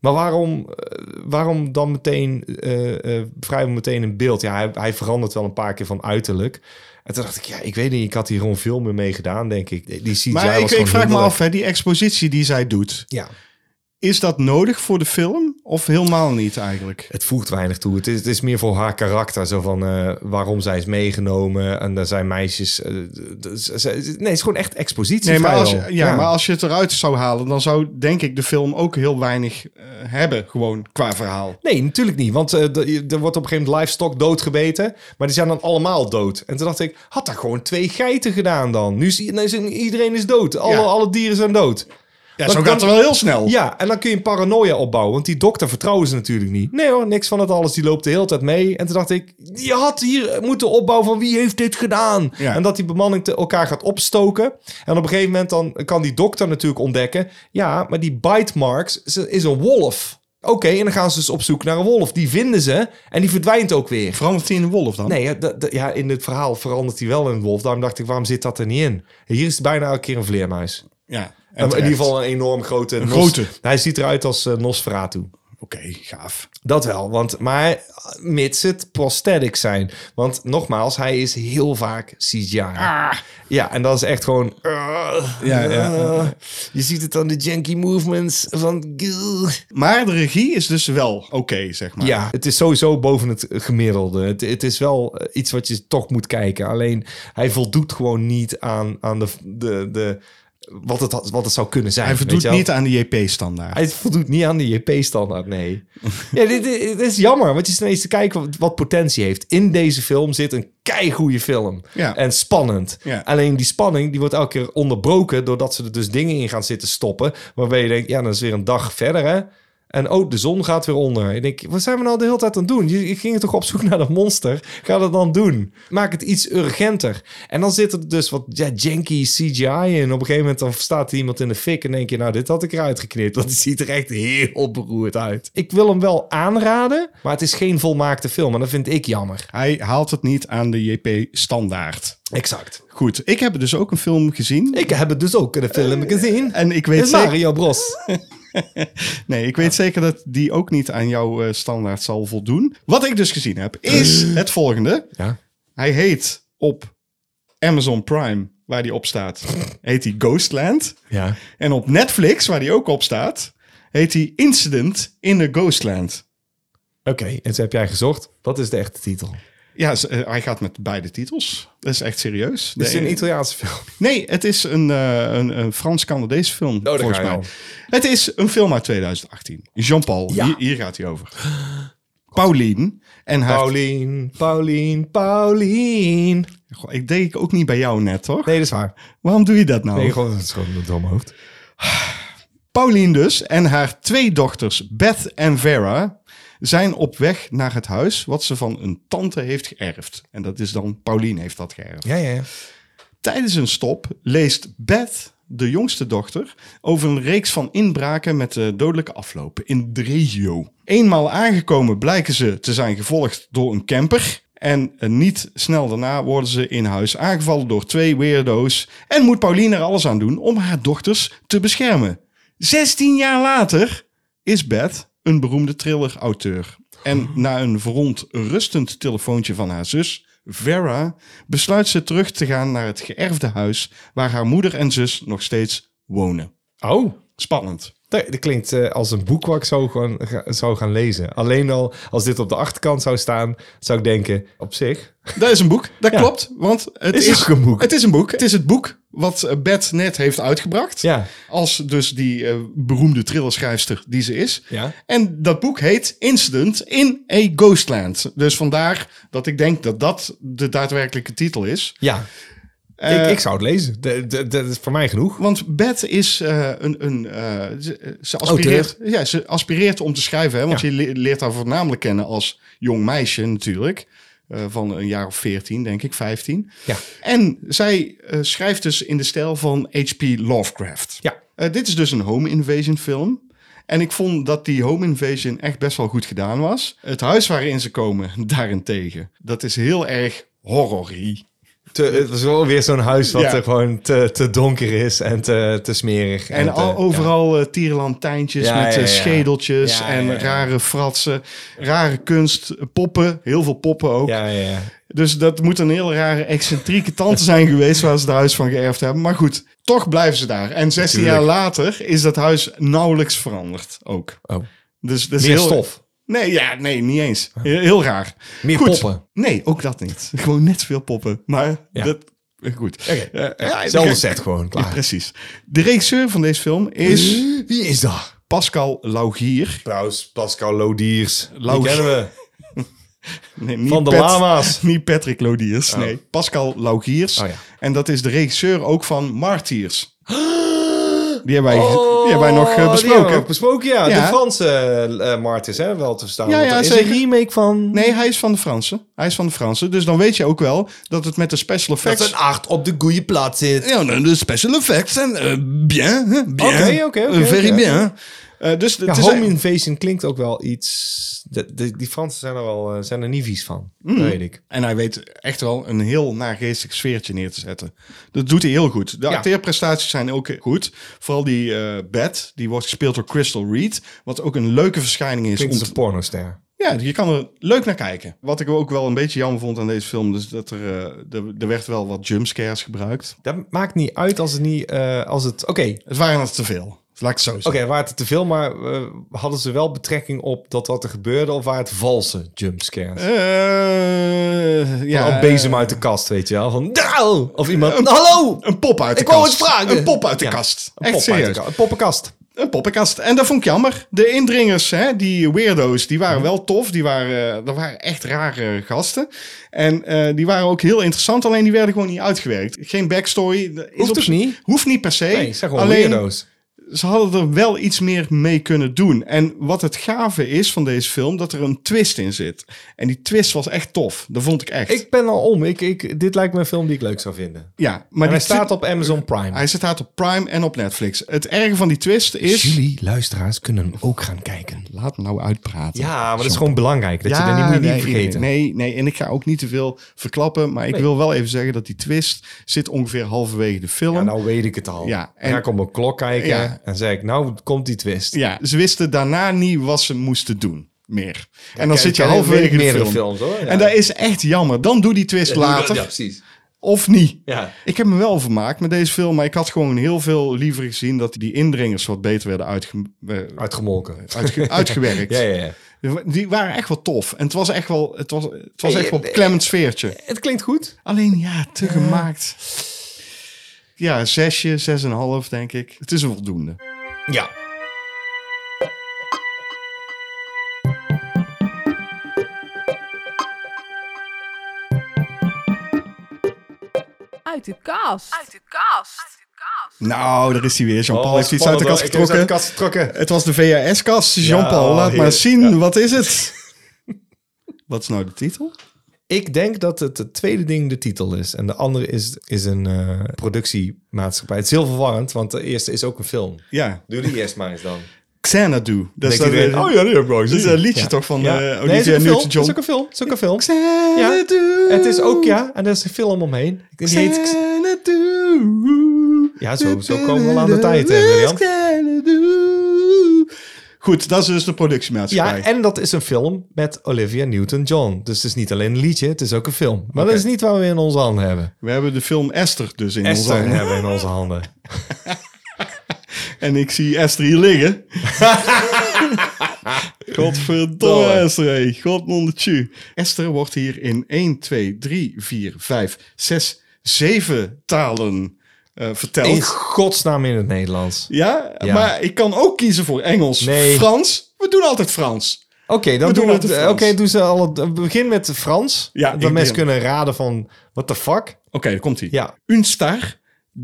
Speaker 1: Maar waarom, eh, waarom dan meteen eh, eh, vrijwel meteen een beeld? Ja, hij, hij verandert wel een paar keer van uiterlijk. En toen dacht ik, ja, ik weet niet, ik had hier gewoon veel meer mee gedaan, denk ik. Die CGI was
Speaker 2: maar
Speaker 1: gewoon
Speaker 2: ik, ik vraag me
Speaker 1: hinderlijk.
Speaker 2: af, hè, die expositie die zij doet.
Speaker 1: Ja,
Speaker 2: Is dat nodig voor de film? Of helemaal niet eigenlijk?
Speaker 1: het voegt weinig toe. Het is, het is meer voor haar karakter, zo van eh, waarom zij is meegenomen. En daar zijn meisjes... eh, d- d- ze- ze- nee, het is gewoon echt expositie
Speaker 2: Nee, maar als, je-
Speaker 1: vrijwel.
Speaker 2: ja, maar als je het eruit zou halen, dan zou denk ik de film ook heel weinig eh, hebben, gewoon qua verhaal.
Speaker 1: Nee, natuurlijk niet. Want eh, d- je- er wordt op een gegeven moment livestock doodgebeten. Maar die zijn dan allemaal dood. En toen dacht ik, had daar gewoon twee geiten gedaan dan. Nu is, i- nu is iedereen is dood. Alle,
Speaker 2: Ja.
Speaker 1: alle dieren zijn dood.
Speaker 2: Ja,
Speaker 1: Dan
Speaker 2: zo
Speaker 1: kan-
Speaker 2: gaat het wel heel snel.
Speaker 1: Ja, en dan kun je een paranoia opbouwen. Want die dokter vertrouwen ze natuurlijk niet. Nee hoor, niks van het alles. Die loopt de hele tijd mee. En toen dacht ik, je had hier moeten opbouwen van wie heeft dit gedaan?
Speaker 2: Ja.
Speaker 1: En dat die bemanning te elkaar gaat opstoken. En op een gegeven moment dan kan die dokter natuurlijk ontdekken... ja, maar die bite marks ze- is een wolf. Oké, en dan gaan ze dus op zoek naar een wolf. Die vinden ze en die verdwijnt ook weer.
Speaker 2: Verandert hij in een wolf dan?
Speaker 1: Nee, ja, dat- dat- ja, in het verhaal verandert hij wel in een wolf. Daarom dacht ik, waarom zit dat er niet in? Hier is het bijna elke keer een vleermuis.
Speaker 2: Ja, en
Speaker 1: in
Speaker 2: terecht.
Speaker 1: ieder geval een enorm grote... Nos-
Speaker 2: grote.
Speaker 1: Hij ziet eruit als eh, Nosferatu.
Speaker 2: Oké, gaaf.
Speaker 1: Dat wel, want, maar mits het prosthetics zijn. Want nogmaals, hij is heel vaak CGI. Ja, en dat is echt gewoon... ah,
Speaker 2: Ja, ja.
Speaker 1: ah. je ziet het aan de janky movements van... gil.
Speaker 2: Maar de regie is dus wel oké, zeg maar.
Speaker 1: Ja, het is sowieso boven het gemiddelde. Het, het is wel eh, iets wat je toch moet kijken. Alleen, hij voldoet gewoon niet aan, aan de, de, de, wat, het, had- wat het zou kunnen zijn.
Speaker 2: Hij
Speaker 1: weet
Speaker 2: voldoet
Speaker 1: je wel?
Speaker 2: niet aan de JP-standaard.
Speaker 1: Hij voldoet niet aan de JP-standaard, nee. ja, dit, dit- dit is jammer, want je zit ineens te kijken wat, wat potentie heeft. In deze film zit een keigoede film. Eh,
Speaker 2: Ja.
Speaker 1: En spannend.
Speaker 2: Ja.
Speaker 1: Alleen die spanning die wordt elke keer onderbroken... doordat ze er dus dingen in gaan zitten stoppen... waarbij je denkt, ja, dan is weer een dag verder, hè. En oh, de zon gaat weer onder. Ik denk, wat zijn we nou de hele tijd aan het doen? Je, je ging toch op zoek naar dat monster? Ga dat dan doen. Maak het iets urgenter. En dan zit er dus wat ja, janky CGI in. Op een gegeven moment dan staat er iemand in de fik en denk je, nou, dit had ik eruit geknipt. Want het ziet er echt heel beroerd uit. Ik wil hem wel aanraden, maar het is geen volmaakte film. En dat vind ik jammer.
Speaker 2: Hij haalt het niet aan de JP-standaard.
Speaker 1: Exact.
Speaker 2: Goed, ik heb dus ook een film gezien.
Speaker 1: Ik heb het dus ook in de film gezien.
Speaker 2: En ik
Speaker 1: Het
Speaker 2: weet,
Speaker 1: is
Speaker 2: zeker,
Speaker 1: Mario Bros.
Speaker 2: nee, ik weet zeker dat die ook niet aan jouw eh, standaard zal voldoen. Wat ik dus gezien heb, is
Speaker 1: Eh.
Speaker 2: het volgende.
Speaker 1: Ja.
Speaker 2: Hij heet op Amazon Prime, waar die op staat, heet hij Ghostland.
Speaker 1: Ja.
Speaker 2: En op Netflix, waar die ook op staat, heet hij Incident in the Ghostland.
Speaker 1: Oké, en toen heb jij gezocht. Wat is de echte titel?
Speaker 2: Ja, ze- eh, hij gaat met beide titels. Dat is echt serieus.
Speaker 1: Het is
Speaker 2: De-
Speaker 1: een Italiaanse film.
Speaker 2: Nee, het is een, eh, een, een Frans-Canadese film,
Speaker 1: Oh, daar
Speaker 2: volgens
Speaker 1: ga je
Speaker 2: mij. Het is een film uit 2018. Jean-Paul,
Speaker 1: Ja.
Speaker 2: hier, hier gaat hij over. Pauline en haar...
Speaker 1: Paulien, Paulien, Paulien.
Speaker 2: Goh, ik deed ook niet bij jou net, hoor.
Speaker 1: Nee, dat is waar.
Speaker 2: Waarom doe je dat nou?
Speaker 1: Nee, gewoon, het is gewoon een domme hoofd.
Speaker 2: Pauline dus en haar twee dochters Beth en Vera zijn op weg naar het huis wat ze van een tante heeft geërfd. En dat is dan Pauline heeft dat geërfd.
Speaker 1: Ja, ja, ja.
Speaker 2: Tijdens een stop leest Beth, de jongste dochter, over een reeks van inbraken met eh, dodelijke aflopen in de regio. Eenmaal aangekomen blijken ze te zijn gevolgd door een camper. En eh, niet snel daarna worden ze in huis aangevallen door twee weirdo's. En moet Pauline er alles aan doen om haar dochters te beschermen. 16 jaar later is Beth een beroemde thriller-auteur. En na een verrond rustend telefoontje van haar zus, Vera, besluit ze terug te gaan naar het geërfde huis waar haar moeder en zus nog steeds wonen.
Speaker 1: Oh,
Speaker 2: Spannend.
Speaker 1: Nee, dat klinkt eh, als een boek wat ik zou, gewoon, ga- zou gaan lezen. Alleen al als dit op de achterkant zou staan, zou ik denken, op zich.
Speaker 2: Dat is een boek, dat
Speaker 1: Ja.
Speaker 2: klopt. Want het
Speaker 1: Is
Speaker 2: is,
Speaker 1: ook een boek.
Speaker 2: Het is een boek. Het is het boek wat eh, Beth net heeft uitgebracht.
Speaker 1: Ja.
Speaker 2: Als dus die eh, beroemde thrillerschrijfster die ze is.
Speaker 1: Ja.
Speaker 2: En dat boek heet Incident in a Ghostland. Dus vandaar dat ik denk dat dat de daadwerkelijke titel is.
Speaker 1: Ja,
Speaker 2: Eh,
Speaker 1: ik, ik zou het lezen. De- de- Dat is voor mij genoeg.
Speaker 2: Want Beth is eh, een... een eh, ze, ze aspireert, ja, ze aspireert om te schrijven. Hè, want
Speaker 1: Ja.
Speaker 2: je le- leert haar voornamelijk kennen als jong meisje natuurlijk. Eh, van een jaar of 14, denk ik, 15.
Speaker 1: Ja.
Speaker 2: En zij eh, schrijft dus in de stijl van H.P. Lovecraft.
Speaker 1: Ja.
Speaker 2: Eh, dit is dus een home invasion film. En ik vond dat die home invasion echt best wel goed gedaan was. Het huis waarin ze komen, [LAUGHS] daarentegen, dat is heel erg horrorie.
Speaker 1: Te, het was wel weer zo'n huis wat
Speaker 2: Ja.
Speaker 1: er gewoon te, te donker is en te, te smerig.
Speaker 2: En
Speaker 1: te-
Speaker 2: al, overal eh tierenlantijntjes
Speaker 1: Ja,
Speaker 2: met
Speaker 1: ja,
Speaker 2: eh,
Speaker 1: ja.
Speaker 2: schedeltjes
Speaker 1: Ja,
Speaker 2: en
Speaker 1: ja, ja.
Speaker 2: rare fratsen, rare kunst, eh, poppen, heel veel poppen ook.
Speaker 1: Ja, ja, ja.
Speaker 2: Dus dat moet een hele rare excentrieke tante [LAUGHS] zijn geweest waar ze het huis van geërfd hebben. Maar goed, toch blijven ze daar. En 16 jaar later is dat huis nauwelijks veranderd ook.
Speaker 1: Oh.
Speaker 2: Dus dat is
Speaker 1: Meer
Speaker 2: heel...
Speaker 1: stof.
Speaker 2: Nee, ja, nee, niet eens. Heel, heel raar.
Speaker 1: Meer
Speaker 2: Goed.
Speaker 1: poppen.
Speaker 2: Nee, ook dat niet. [LAUGHS] Gewoon net veel poppen. Maar
Speaker 1: Ja.
Speaker 2: dat... Goed. Eh, ja,
Speaker 1: Zelfde
Speaker 2: de-
Speaker 1: set gewoon,
Speaker 2: Ja,
Speaker 1: klaar.
Speaker 2: precies. De regisseur van deze film is...
Speaker 1: Wie is dat?
Speaker 2: Pascal Laugier.
Speaker 1: Trouwens, Pascal Lodiers. Die
Speaker 2: Laugier.
Speaker 1: kennen we.
Speaker 2: Nee, niet
Speaker 1: Van de
Speaker 2: Pat-
Speaker 1: lama's.
Speaker 2: [LAUGHS] Niet Patrick Lodiers. Nee, Pascal Laugiers.
Speaker 1: Oh ja.
Speaker 2: En dat is de regisseur ook van [GASPS] Martyrs. Die hebben wij, die hebben wij nog eh,
Speaker 1: Oh, die
Speaker 2: besproken.
Speaker 1: hebben we besproken, ja.
Speaker 2: Ja.
Speaker 1: De Franse eh Martens, hè, wel te verstaan.
Speaker 2: Ja,
Speaker 1: Want
Speaker 2: ja,
Speaker 1: er is
Speaker 2: zeker.
Speaker 1: een remake van...
Speaker 2: Nee, hij is van de Fransen. Hij is van de Fransen. Dus dan weet je ook wel dat het met de special
Speaker 1: Dat
Speaker 2: effects...
Speaker 1: een acht op de goede plaats zit.
Speaker 2: Ja, nou, de special effects zijn eh, bien, hè, bien.
Speaker 1: Oké, oké, oké,
Speaker 2: Eh, Very
Speaker 1: oké.
Speaker 2: bien. Eh, dus
Speaker 1: Ja,
Speaker 2: het is
Speaker 1: home invasion klinkt ook wel iets... De, de- die Fransen zijn er, wel, eh, zijn er niet vies van,
Speaker 2: Mm.
Speaker 1: dat weet ik.
Speaker 2: En hij weet echt wel een heel nageestig sfeertje neer te zetten. Dat doet hij heel goed. De acteerprestaties zijn ook goed. Vooral die eh Beth, die wordt gespeeld door Crystal Reed. Wat ook een leuke verschijning is.
Speaker 1: Klinkt
Speaker 2: Om
Speaker 1: als
Speaker 2: te...
Speaker 1: een pornoster.
Speaker 2: Ja, je kan er leuk naar kijken. Wat ik ook wel een beetje jammer vond aan deze film... is dat er, eh, er, er werd wel wat jumpscares gebruikt.
Speaker 1: Dat maakt niet uit als het niet... eh, als het... Oké,
Speaker 2: Het waren er te veel. Laat ik het zo zeggen.
Speaker 1: Oké, waren het te veel, maar eh, hadden ze wel betrekking op dat wat er gebeurde of waren het valse jumpscares?
Speaker 2: Eh, ja,
Speaker 1: Gewoon een bezem uit de kast, weet je wel? Van, "Dau!" of iemand, hallo!
Speaker 2: Een pop uit de
Speaker 1: Ik
Speaker 2: kast.
Speaker 1: wou het vragen.
Speaker 2: Een pop uit de
Speaker 1: Ja,
Speaker 2: kast.
Speaker 1: Een
Speaker 2: Echt
Speaker 1: pop uit de
Speaker 2: serieus.
Speaker 1: ka- Een poppenkast.
Speaker 2: Een poppenkast. En dat vond ik jammer. De indringers, hè, die weirdo's, die
Speaker 1: Mhm.
Speaker 2: waren wel tof. Die waren, eh, dat waren echt rare gasten. En eh, die waren ook heel interessant, alleen die werden gewoon niet uitgewerkt. Geen backstory. Dat Is
Speaker 1: Hoeft ook
Speaker 2: zich-
Speaker 1: niet?
Speaker 2: Hoeft niet per se.
Speaker 1: Nee, zeg gewoon
Speaker 2: alleen,
Speaker 1: weirdo's.
Speaker 2: ze hadden er wel iets meer mee kunnen doen. En wat het gave is van deze film, dat er een twist in zit. En die twist was echt tof. Dat vond ik echt.
Speaker 1: Ik ben al om. Ik, ik, dit lijkt me een film die ik leuk zou vinden.
Speaker 2: ja, maar
Speaker 1: En hij
Speaker 2: die
Speaker 1: staat
Speaker 2: twi-
Speaker 1: op Amazon Prime.
Speaker 2: Hij staat op Prime en op Netflix. Het erge van die twist is...
Speaker 1: Jullie luisteraars kunnen hem ook gaan kijken.
Speaker 2: Laat me nou uitpraten.
Speaker 1: Ja, maar dat is gewoon belangrijk. Dat je dat niet, moet je niet
Speaker 2: nee,
Speaker 1: vergeten.
Speaker 2: Nee, nee, en ik ga ook niet te veel verklappen. Maar ik wil wel even zeggen dat die twist zit ongeveer halverwege de film.
Speaker 1: Ja,
Speaker 2: Ja,
Speaker 1: nou weet ik het al.
Speaker 2: Ja,
Speaker 1: en, dan ga
Speaker 2: en-
Speaker 1: ik op mijn klok kijken
Speaker 2: Ja.
Speaker 1: en zeg ik, nou komt die twist.
Speaker 2: ze wisten daarna niet wat ze moesten doen. Meer. en dan
Speaker 1: ik
Speaker 2: zit je
Speaker 1: ken- weet
Speaker 2: halverwege
Speaker 1: ik
Speaker 2: de
Speaker 1: meerdere
Speaker 2: film.
Speaker 1: films, hoor, ja.
Speaker 2: En dat is echt jammer. Dan doe die twist later.
Speaker 1: precies.
Speaker 2: Of niet.
Speaker 1: Ja.
Speaker 2: Ik heb me wel vermaakt met deze film. Maar ik had gewoon heel veel liever gezien dat die indringers wat beter werden uitge- eh,
Speaker 1: Uitgemolken. [LAUGHS]
Speaker 2: uitge- uitgewerkt.
Speaker 1: Ja, ja, ja.
Speaker 2: Die waren echt wel tof. En het was echt wel, het was, het was
Speaker 1: Nee,
Speaker 2: echt wel
Speaker 1: nee.
Speaker 2: een klemmend sfeertje.
Speaker 1: Het klinkt goed.
Speaker 2: Alleen ja, te gemaakt. Ja, een zesje, zes en een half denk ik. Het is een voldoende.
Speaker 1: Ja.
Speaker 2: Oh,
Speaker 6: Uit de kast.
Speaker 2: Nou, daar is hij weer. Jean-Paul
Speaker 1: Oh,
Speaker 2: heeft iets uit de kast
Speaker 1: Uit de
Speaker 2: getrokken.
Speaker 1: kast getrokken.
Speaker 2: Het was de VHS-kast. Jean-Paul,
Speaker 1: oh,
Speaker 2: laat maar
Speaker 1: heerlijk.
Speaker 2: zien. Wat is het? Wat is nou de titel?
Speaker 1: Ik denk dat het het tweede ding de titel is. En de andere is, is een eh, productiemaatschappij. Het is heel verwarrend, want de eerste is ook een film.
Speaker 2: Ja,
Speaker 1: Doe die eerst maar eens
Speaker 2: [LAUGHS]
Speaker 1: dan.
Speaker 2: Xanadu. Dat is
Speaker 1: Denkt iedereen,
Speaker 2: dat- eh,
Speaker 1: oh ja, die heb ik wel
Speaker 2: Dat is
Speaker 1: gezien.
Speaker 2: een liedje
Speaker 1: Ja.
Speaker 2: toch van
Speaker 1: Ja.
Speaker 2: eh,
Speaker 1: Nee, het is
Speaker 2: Olivia
Speaker 1: ook een film. Het
Speaker 2: Newton-John?
Speaker 1: is ook een film. Het is ook een film.
Speaker 2: Xanadu.
Speaker 1: Het is ook, ja. En er is een film omheen. Ik denk, die heet-
Speaker 2: Xanadu.
Speaker 1: Ja, zo- zo komen we al aan de tijd, hè, William?
Speaker 2: Xanadu. Goed, dat is dus de productiemaatschappij.
Speaker 1: ja, eh- en dat is een film met Olivia Newton-John. Dus het is niet alleen een liedje, het is ook een film. Maar dat is niet wat we in onze handen hebben.
Speaker 2: We hebben de film Esther dus in
Speaker 1: Esther
Speaker 2: [LAUGHS] onze handen.
Speaker 1: hebben we in onze handen.
Speaker 2: En ik zie Esther hier
Speaker 1: [LAUGHS]
Speaker 2: liggen. Godverdomme
Speaker 7: Dolle.
Speaker 2: Esther, hey. Godnondetje. Esther wordt hier in 1, 2, 3, 4, 5, 6, 7 talen eh, verteld.
Speaker 7: In godsnaam in het Nederlands.
Speaker 2: Ja?
Speaker 7: Ja.
Speaker 2: maar ik kan ook kiezen voor Engels,
Speaker 7: Nee.
Speaker 2: Frans. We doen altijd Frans.
Speaker 7: Oké, dan
Speaker 2: We doen
Speaker 7: doen
Speaker 2: het in
Speaker 7: we. eh,
Speaker 2: Frans.
Speaker 7: Oké, doe ze al. het- Begin met Frans.
Speaker 2: Ja, ik
Speaker 7: dat mensen
Speaker 2: begin.
Speaker 7: kunnen raden van what the fuck.
Speaker 2: Oké, daar komt hij.
Speaker 7: Ja.
Speaker 2: Une star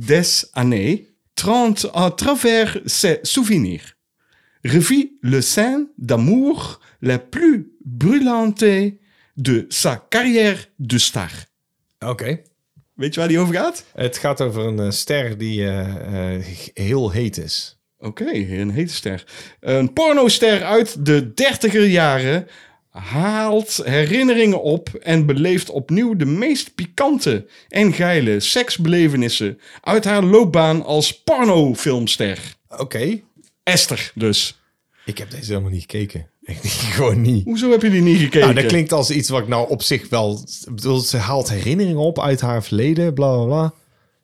Speaker 2: des années 30 à travers ses souvenirs revit le scène d'amour la plus brûlante de sa carrière de star.
Speaker 7: Oké.
Speaker 2: Weet je waar die over gaat?
Speaker 7: Het gaat over een eh, ster die eh, eh, heel heet is.
Speaker 2: Oké, een hete ster. Een pornoster uit de dertiger jaren haalt herinneringen op en beleeft opnieuw de meest pikante en geile seksbelevenissen uit haar loopbaan als pornofilmster.
Speaker 7: Oké.
Speaker 2: Esther dus.
Speaker 7: Ik heb deze helemaal niet gekeken. Echt niet, [LAUGHS] gewoon niet.
Speaker 2: Hoezo heb je die niet gekeken?
Speaker 7: Nou, dat klinkt als iets wat ik nou op zich wel... Ik bedoel, ze haalt herinneringen op uit haar verleden, bla bla bla.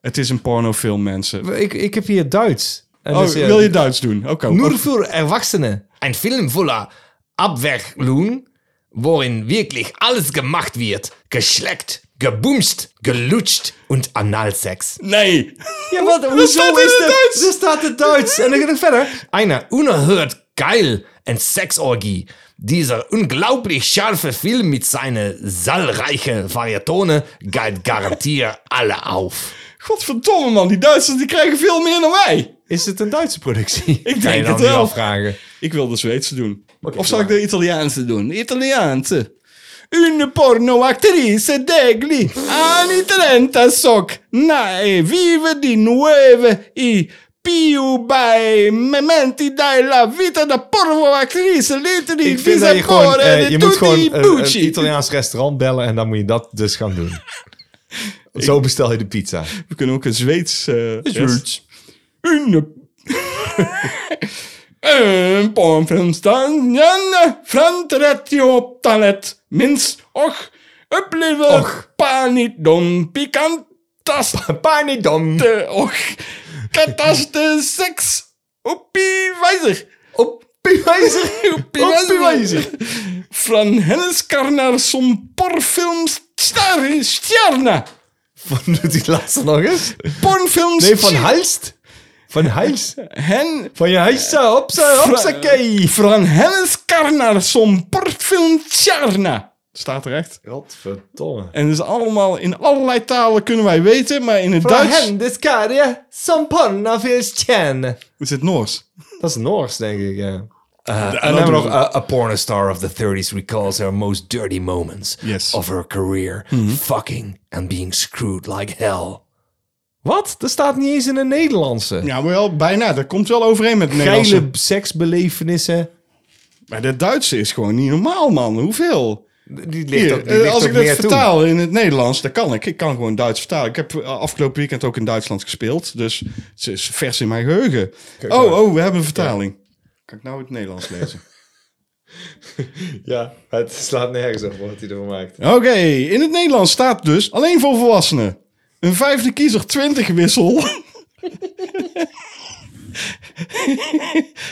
Speaker 2: Het is een pornofilm, mensen.
Speaker 7: Ik, ik heb hier Duits. En
Speaker 2: Oh,
Speaker 7: dus, eh,
Speaker 2: wil je Duits doen? Oké.
Speaker 7: Nur für Erwachsene. Ein Film voller Abwehrlohn, worin wirklich alles gemacht wird. Geschleckt, gebumst, gelutscht und Analsex.
Speaker 2: Nee. [LAUGHS]
Speaker 7: Ja, wat?
Speaker 2: hoezo is dat-
Speaker 7: Er staat het Duits. En dan gaat het verder. Eine unerhört geil en Sexorgie. Dieser unglaublich scharfe Film mit seinen zahlreichen Variatonen geilt garantiert alle auf.
Speaker 2: Godverdomme, man. Die Duitsers die krijgen veel meer dan wij.
Speaker 7: Is het een Duitse productie? Ik
Speaker 2: denk het wel.
Speaker 7: afvragen.
Speaker 2: Ik wil de Zweedse doen.
Speaker 7: Oké,
Speaker 2: of zal ik
Speaker 7: klaar.
Speaker 2: de Italiaanse doen? Italiaanse. Une pornoactrice degli anni 30 soc nae vive di nuove i più bei momenti della vita da pornoactrice lente di
Speaker 7: Ik vind dat je gewoon,
Speaker 2: disapore
Speaker 7: eh,
Speaker 2: di
Speaker 7: je moet
Speaker 2: tutti
Speaker 7: gewoon
Speaker 2: i
Speaker 7: een,
Speaker 2: bucci.
Speaker 7: een Italiaans restaurant bellen en dan moet je dat dus gaan [LAUGHS] doen. Zo bestel je de pizza.
Speaker 2: We kunnen ook een Zweeds... eh,
Speaker 7: Zweeds.
Speaker 2: Een... [LAUGHS] Een pornfilmster, Janne van 38 talet, minst och, upplever
Speaker 7: Och.
Speaker 2: panidon pikantaste
Speaker 7: Panidom.
Speaker 2: och, kataste seks, uppie wijzer.
Speaker 7: [LAUGHS]
Speaker 2: Uppie wijzer. Van hennes karnar som pornfilmster, stjärna.
Speaker 7: Van doet die laatste nog eens?
Speaker 2: Pornfilms...
Speaker 7: Nee, van Halst. Van Hals.
Speaker 2: Hen
Speaker 7: Van je Halsa, hopsa, hopsakee.
Speaker 2: Fran Hennis Karnar som portfilm Tjarna. Staat er echt.
Speaker 7: Godverdomme.
Speaker 2: En dus allemaal in allerlei talen kunnen wij weten, maar in het
Speaker 7: Van
Speaker 2: Duits
Speaker 7: hen, dus karje, sampanna tjene.
Speaker 2: is het Noors.
Speaker 7: Dat is Noors, denk ik, ja. en dan nog, a, a pornostar of the 30s recalls her most dirty moments
Speaker 2: Yes. Mhm.
Speaker 7: of her career. Fucking and being screwed like hell. Wat? Dat staat niet eens in het Nederlandse.
Speaker 2: Ja, maar wel bijna. Dat komt wel overeen met het
Speaker 7: Geile
Speaker 2: Nederlandse.
Speaker 7: seksbelevenissen.
Speaker 2: Maar dat Duitse is gewoon niet normaal, man. Hoeveel?
Speaker 7: Die ligt
Speaker 2: Hier,
Speaker 7: ook, die
Speaker 2: eh,
Speaker 7: ligt
Speaker 2: als
Speaker 7: ook
Speaker 2: ik dat
Speaker 7: meer toe.
Speaker 2: vertaal in het Nederlands, dat kan ik. Ik kan gewoon Duits vertalen. Ik heb eh, afgelopen weekend ook in Duitsland gespeeld. Dus het is vers in mijn geheugen. oh, oh, we hebben een vertaling. Kan ik nou het Nederlands lezen?
Speaker 7: Ja, het slaat nergens op wat hij ervan maakt.
Speaker 2: Oké, in het Nederlands staat dus alleen voor volwassenen. Een vijfde kiezer 20 wissel. [LAUGHS]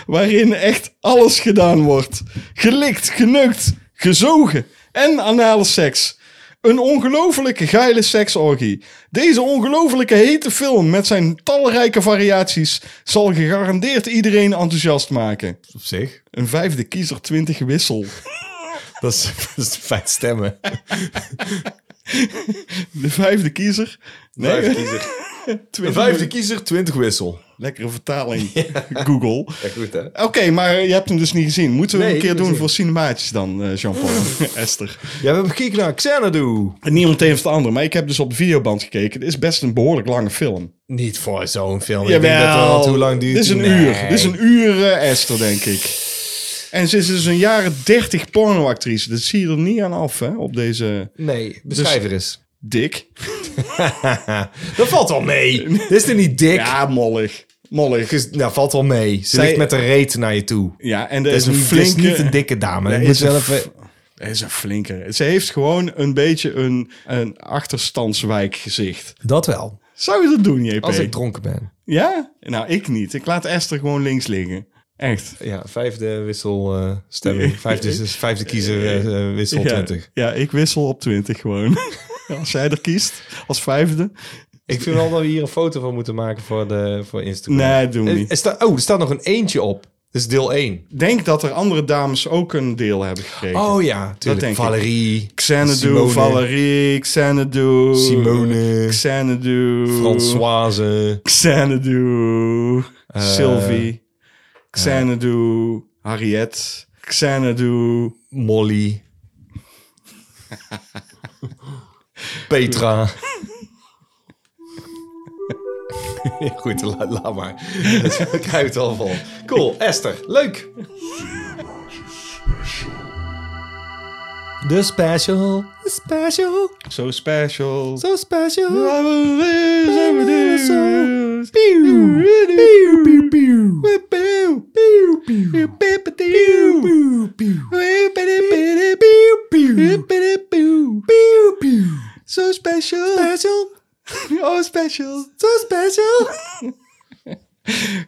Speaker 2: Waarin echt alles gedaan wordt. Gelikt, genukt, gezogen en anale seks. Een ongelofelijke geile seksorgie. Deze ongelofelijke hete film met zijn talrijke variaties zal gegarandeerd iedereen enthousiast maken.
Speaker 7: Op zich.
Speaker 2: Een vijfde kiezer 20 wissel.
Speaker 7: Dat is, dat is [LAUGHS] fijn stemmen.
Speaker 2: De vijfde kiezer. Nee,
Speaker 7: Vijfde kiezer.
Speaker 2: 20
Speaker 7: kiezer, 20 wissel.
Speaker 2: Lekkere vertaling, Google.
Speaker 7: [LAUGHS] Ja, goed hè.
Speaker 2: Oké, maar je hebt hem dus niet gezien. Moeten we
Speaker 7: Nee,
Speaker 2: een
Speaker 7: ik
Speaker 2: keer
Speaker 7: heb
Speaker 2: doen
Speaker 7: hem
Speaker 2: voor cinemaatjes dan, eh,
Speaker 7: [LAUGHS]
Speaker 2: Jean-Paul? [LAUGHS] Esther.
Speaker 7: Ja, we hebben gekeken naar Xanadu.
Speaker 2: Niet meteen of het andere, maar ik heb dus op de videoband gekeken. Het is best een behoorlijk lange film.
Speaker 7: Niet voor zo'n film.
Speaker 2: Ja,
Speaker 7: Ik denk dat, want hoe lang duurt
Speaker 2: Dit is een
Speaker 7: die?
Speaker 2: uur.
Speaker 7: Nee.
Speaker 2: Dit is een uur, eh, Esther, denk ik. En ze is dus een jaren 30 pornoactrice. Dat zie je er niet aan af, hè, op deze
Speaker 7: Nee,
Speaker 2: Dus-
Speaker 7: beschrijf er eens.
Speaker 2: dik.
Speaker 7: Dat valt wel
Speaker 2: [LAUGHS]
Speaker 7: mee. Dit is er niet dik.
Speaker 2: Ja, mollig. Mollig.
Speaker 7: Ges- Nou, valt wel mee. Ze
Speaker 2: Zij-
Speaker 7: ligt met een reet naar je toe.
Speaker 2: Ja, en er
Speaker 7: Dat
Speaker 2: is,
Speaker 7: is, een
Speaker 2: een
Speaker 7: niet,
Speaker 2: flinke...
Speaker 7: dit is niet een dikke dame.
Speaker 2: Nee,
Speaker 7: Ik moet
Speaker 2: is
Speaker 7: eh,
Speaker 2: een
Speaker 7: wel
Speaker 2: f-
Speaker 7: even...
Speaker 2: Dat is een flinke. Ze heeft gewoon een beetje een, een achterstandswijkgezicht.
Speaker 7: Dat wel.
Speaker 2: Zou je dat doen, JP?
Speaker 7: Als ik dronken ben.
Speaker 2: Ja? Nou, ik niet. Ik laat Esther gewoon links liggen. Echt.
Speaker 7: Ja, vijfde wissel eh, stemming. Vijfde, vijfde kiezer eh, eh, wissel
Speaker 2: Ja,
Speaker 7: 20.
Speaker 2: ja, ik wissel op 20 gewoon. [LAUGHS] als zij er kiest, als vijfde.
Speaker 7: Ik vind wel dat we hier een foto van moeten maken voor, de, voor Instagram.
Speaker 2: Nee, doen we
Speaker 7: Er-
Speaker 2: niet.
Speaker 7: Er sta, oh, er staat nog een eentje op. Dat is deel 1.
Speaker 2: Denk dat er andere dames ook een deel hebben gekregen.
Speaker 7: Oh ja,
Speaker 2: denk
Speaker 7: tuurlijk.
Speaker 2: ik.
Speaker 7: Valerie,
Speaker 2: Xanadu,
Speaker 7: Simone,
Speaker 2: Valerie, Xanadu.
Speaker 7: Simone.
Speaker 2: Xanadu.
Speaker 7: Françoise,
Speaker 2: Xanadu. Sylvie. eh. Xanadu. Harriet. Xanadu.
Speaker 7: Molly, Petra. [LAUGHS] Ja, Goed, la- laat maar. Dat krijg het al vol. Cool, Esther, leuk. The special, the special,
Speaker 2: So special.
Speaker 7: so special.
Speaker 2: So special. Special. [LAUGHS] Oh, special. So special. [LAUGHS]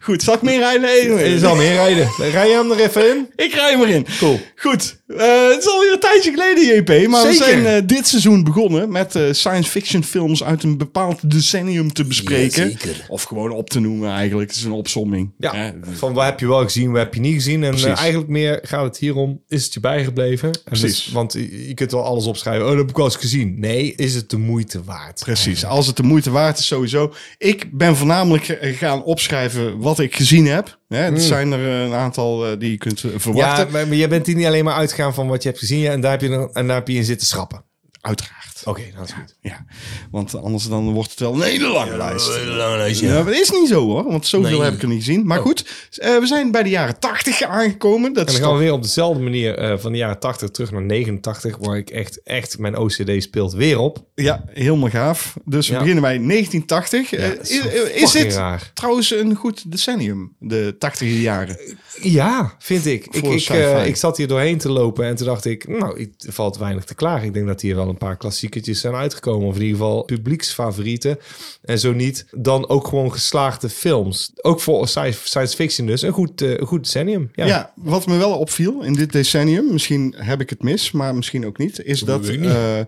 Speaker 2: Goed, zal ik meer rijden?
Speaker 7: Je zal meer rijden. Rij je hem er even in?
Speaker 2: Ik rij hem erin.
Speaker 7: Cool.
Speaker 2: Goed. Eh, het is alweer een tijdje geleden, JP. Maar we
Speaker 7: Zeker.
Speaker 2: zijn eh, dit seizoen begonnen met eh, science fiction films uit een bepaald decennium te bespreken. Of gewoon op te noemen eigenlijk. Het is een opsomming.
Speaker 7: Ja,
Speaker 2: Eh,
Speaker 7: van wat heb je wel gezien, wat heb je niet gezien. En
Speaker 2: Precies.
Speaker 7: eh, eigenlijk meer gaat het hier om, is het je bijgebleven? En
Speaker 2: Precies.
Speaker 7: dus- want je je kunt wel alles opschrijven. Oh, dat heb ik wel eens gezien. Nee, is het de moeite waard?
Speaker 2: Precies, als het de moeite waard is sowieso. Ik ben voornamelijk eh, gaan opschrijven wat ik gezien heb. Hè, er zijn er eh, een aantal eh, die je kunt eh,
Speaker 7: Ja,
Speaker 2: verwachten.
Speaker 7: maar, maar jij bent hier niet alleen maar uitgegaan van wat je hebt gezien. Ja, en, daar heb je, dan- en daar heb je in zitten schrappen.
Speaker 2: Uiteraard.
Speaker 7: Oké, nou, dat is goed.
Speaker 2: Ja, want anders dan wordt het wel een hele lange lijst.
Speaker 7: nou
Speaker 2: ja. maar dat is niet zo hoor, want zoveel heb ik er niet gezien.
Speaker 7: Oh.
Speaker 2: Maar goed, eh, we zijn bij de jaren 80 aangekomen. Dat
Speaker 7: En
Speaker 2: is
Speaker 7: dan gaan we
Speaker 2: toch-
Speaker 7: weer op dezelfde manier eh, van de jaren 80 terug naar 89. Waar ik echt, echt, mijn OCD speelt weer op.
Speaker 2: ja, helemaal gaaf. Dus we
Speaker 7: Ja.
Speaker 2: beginnen bij 1980. Eh,
Speaker 7: dat is
Speaker 2: is
Speaker 7: wel
Speaker 2: is
Speaker 7: fucking
Speaker 2: dit
Speaker 7: raar.
Speaker 2: trouwens een goed decennium, de 80 jaren?
Speaker 7: Ja, vind ik. Ik,
Speaker 2: Voor
Speaker 7: ik,
Speaker 2: sci-fi.
Speaker 7: eh, ik zat hier doorheen te lopen en toen dacht ik, nou, het valt weinig te klagen. Ik denk dat hier wel een paar klassieketjes zijn uitgekomen. Of in ieder geval publieksfavorieten. En zo niet, dan ook gewoon geslaagde films. Ook voor sci- science fiction dus. Een goed, eh, een goed decennium. Ja.
Speaker 2: Ja. wat me wel opviel in dit decennium, misschien heb ik het mis, maar misschien ook niet, is dat eh,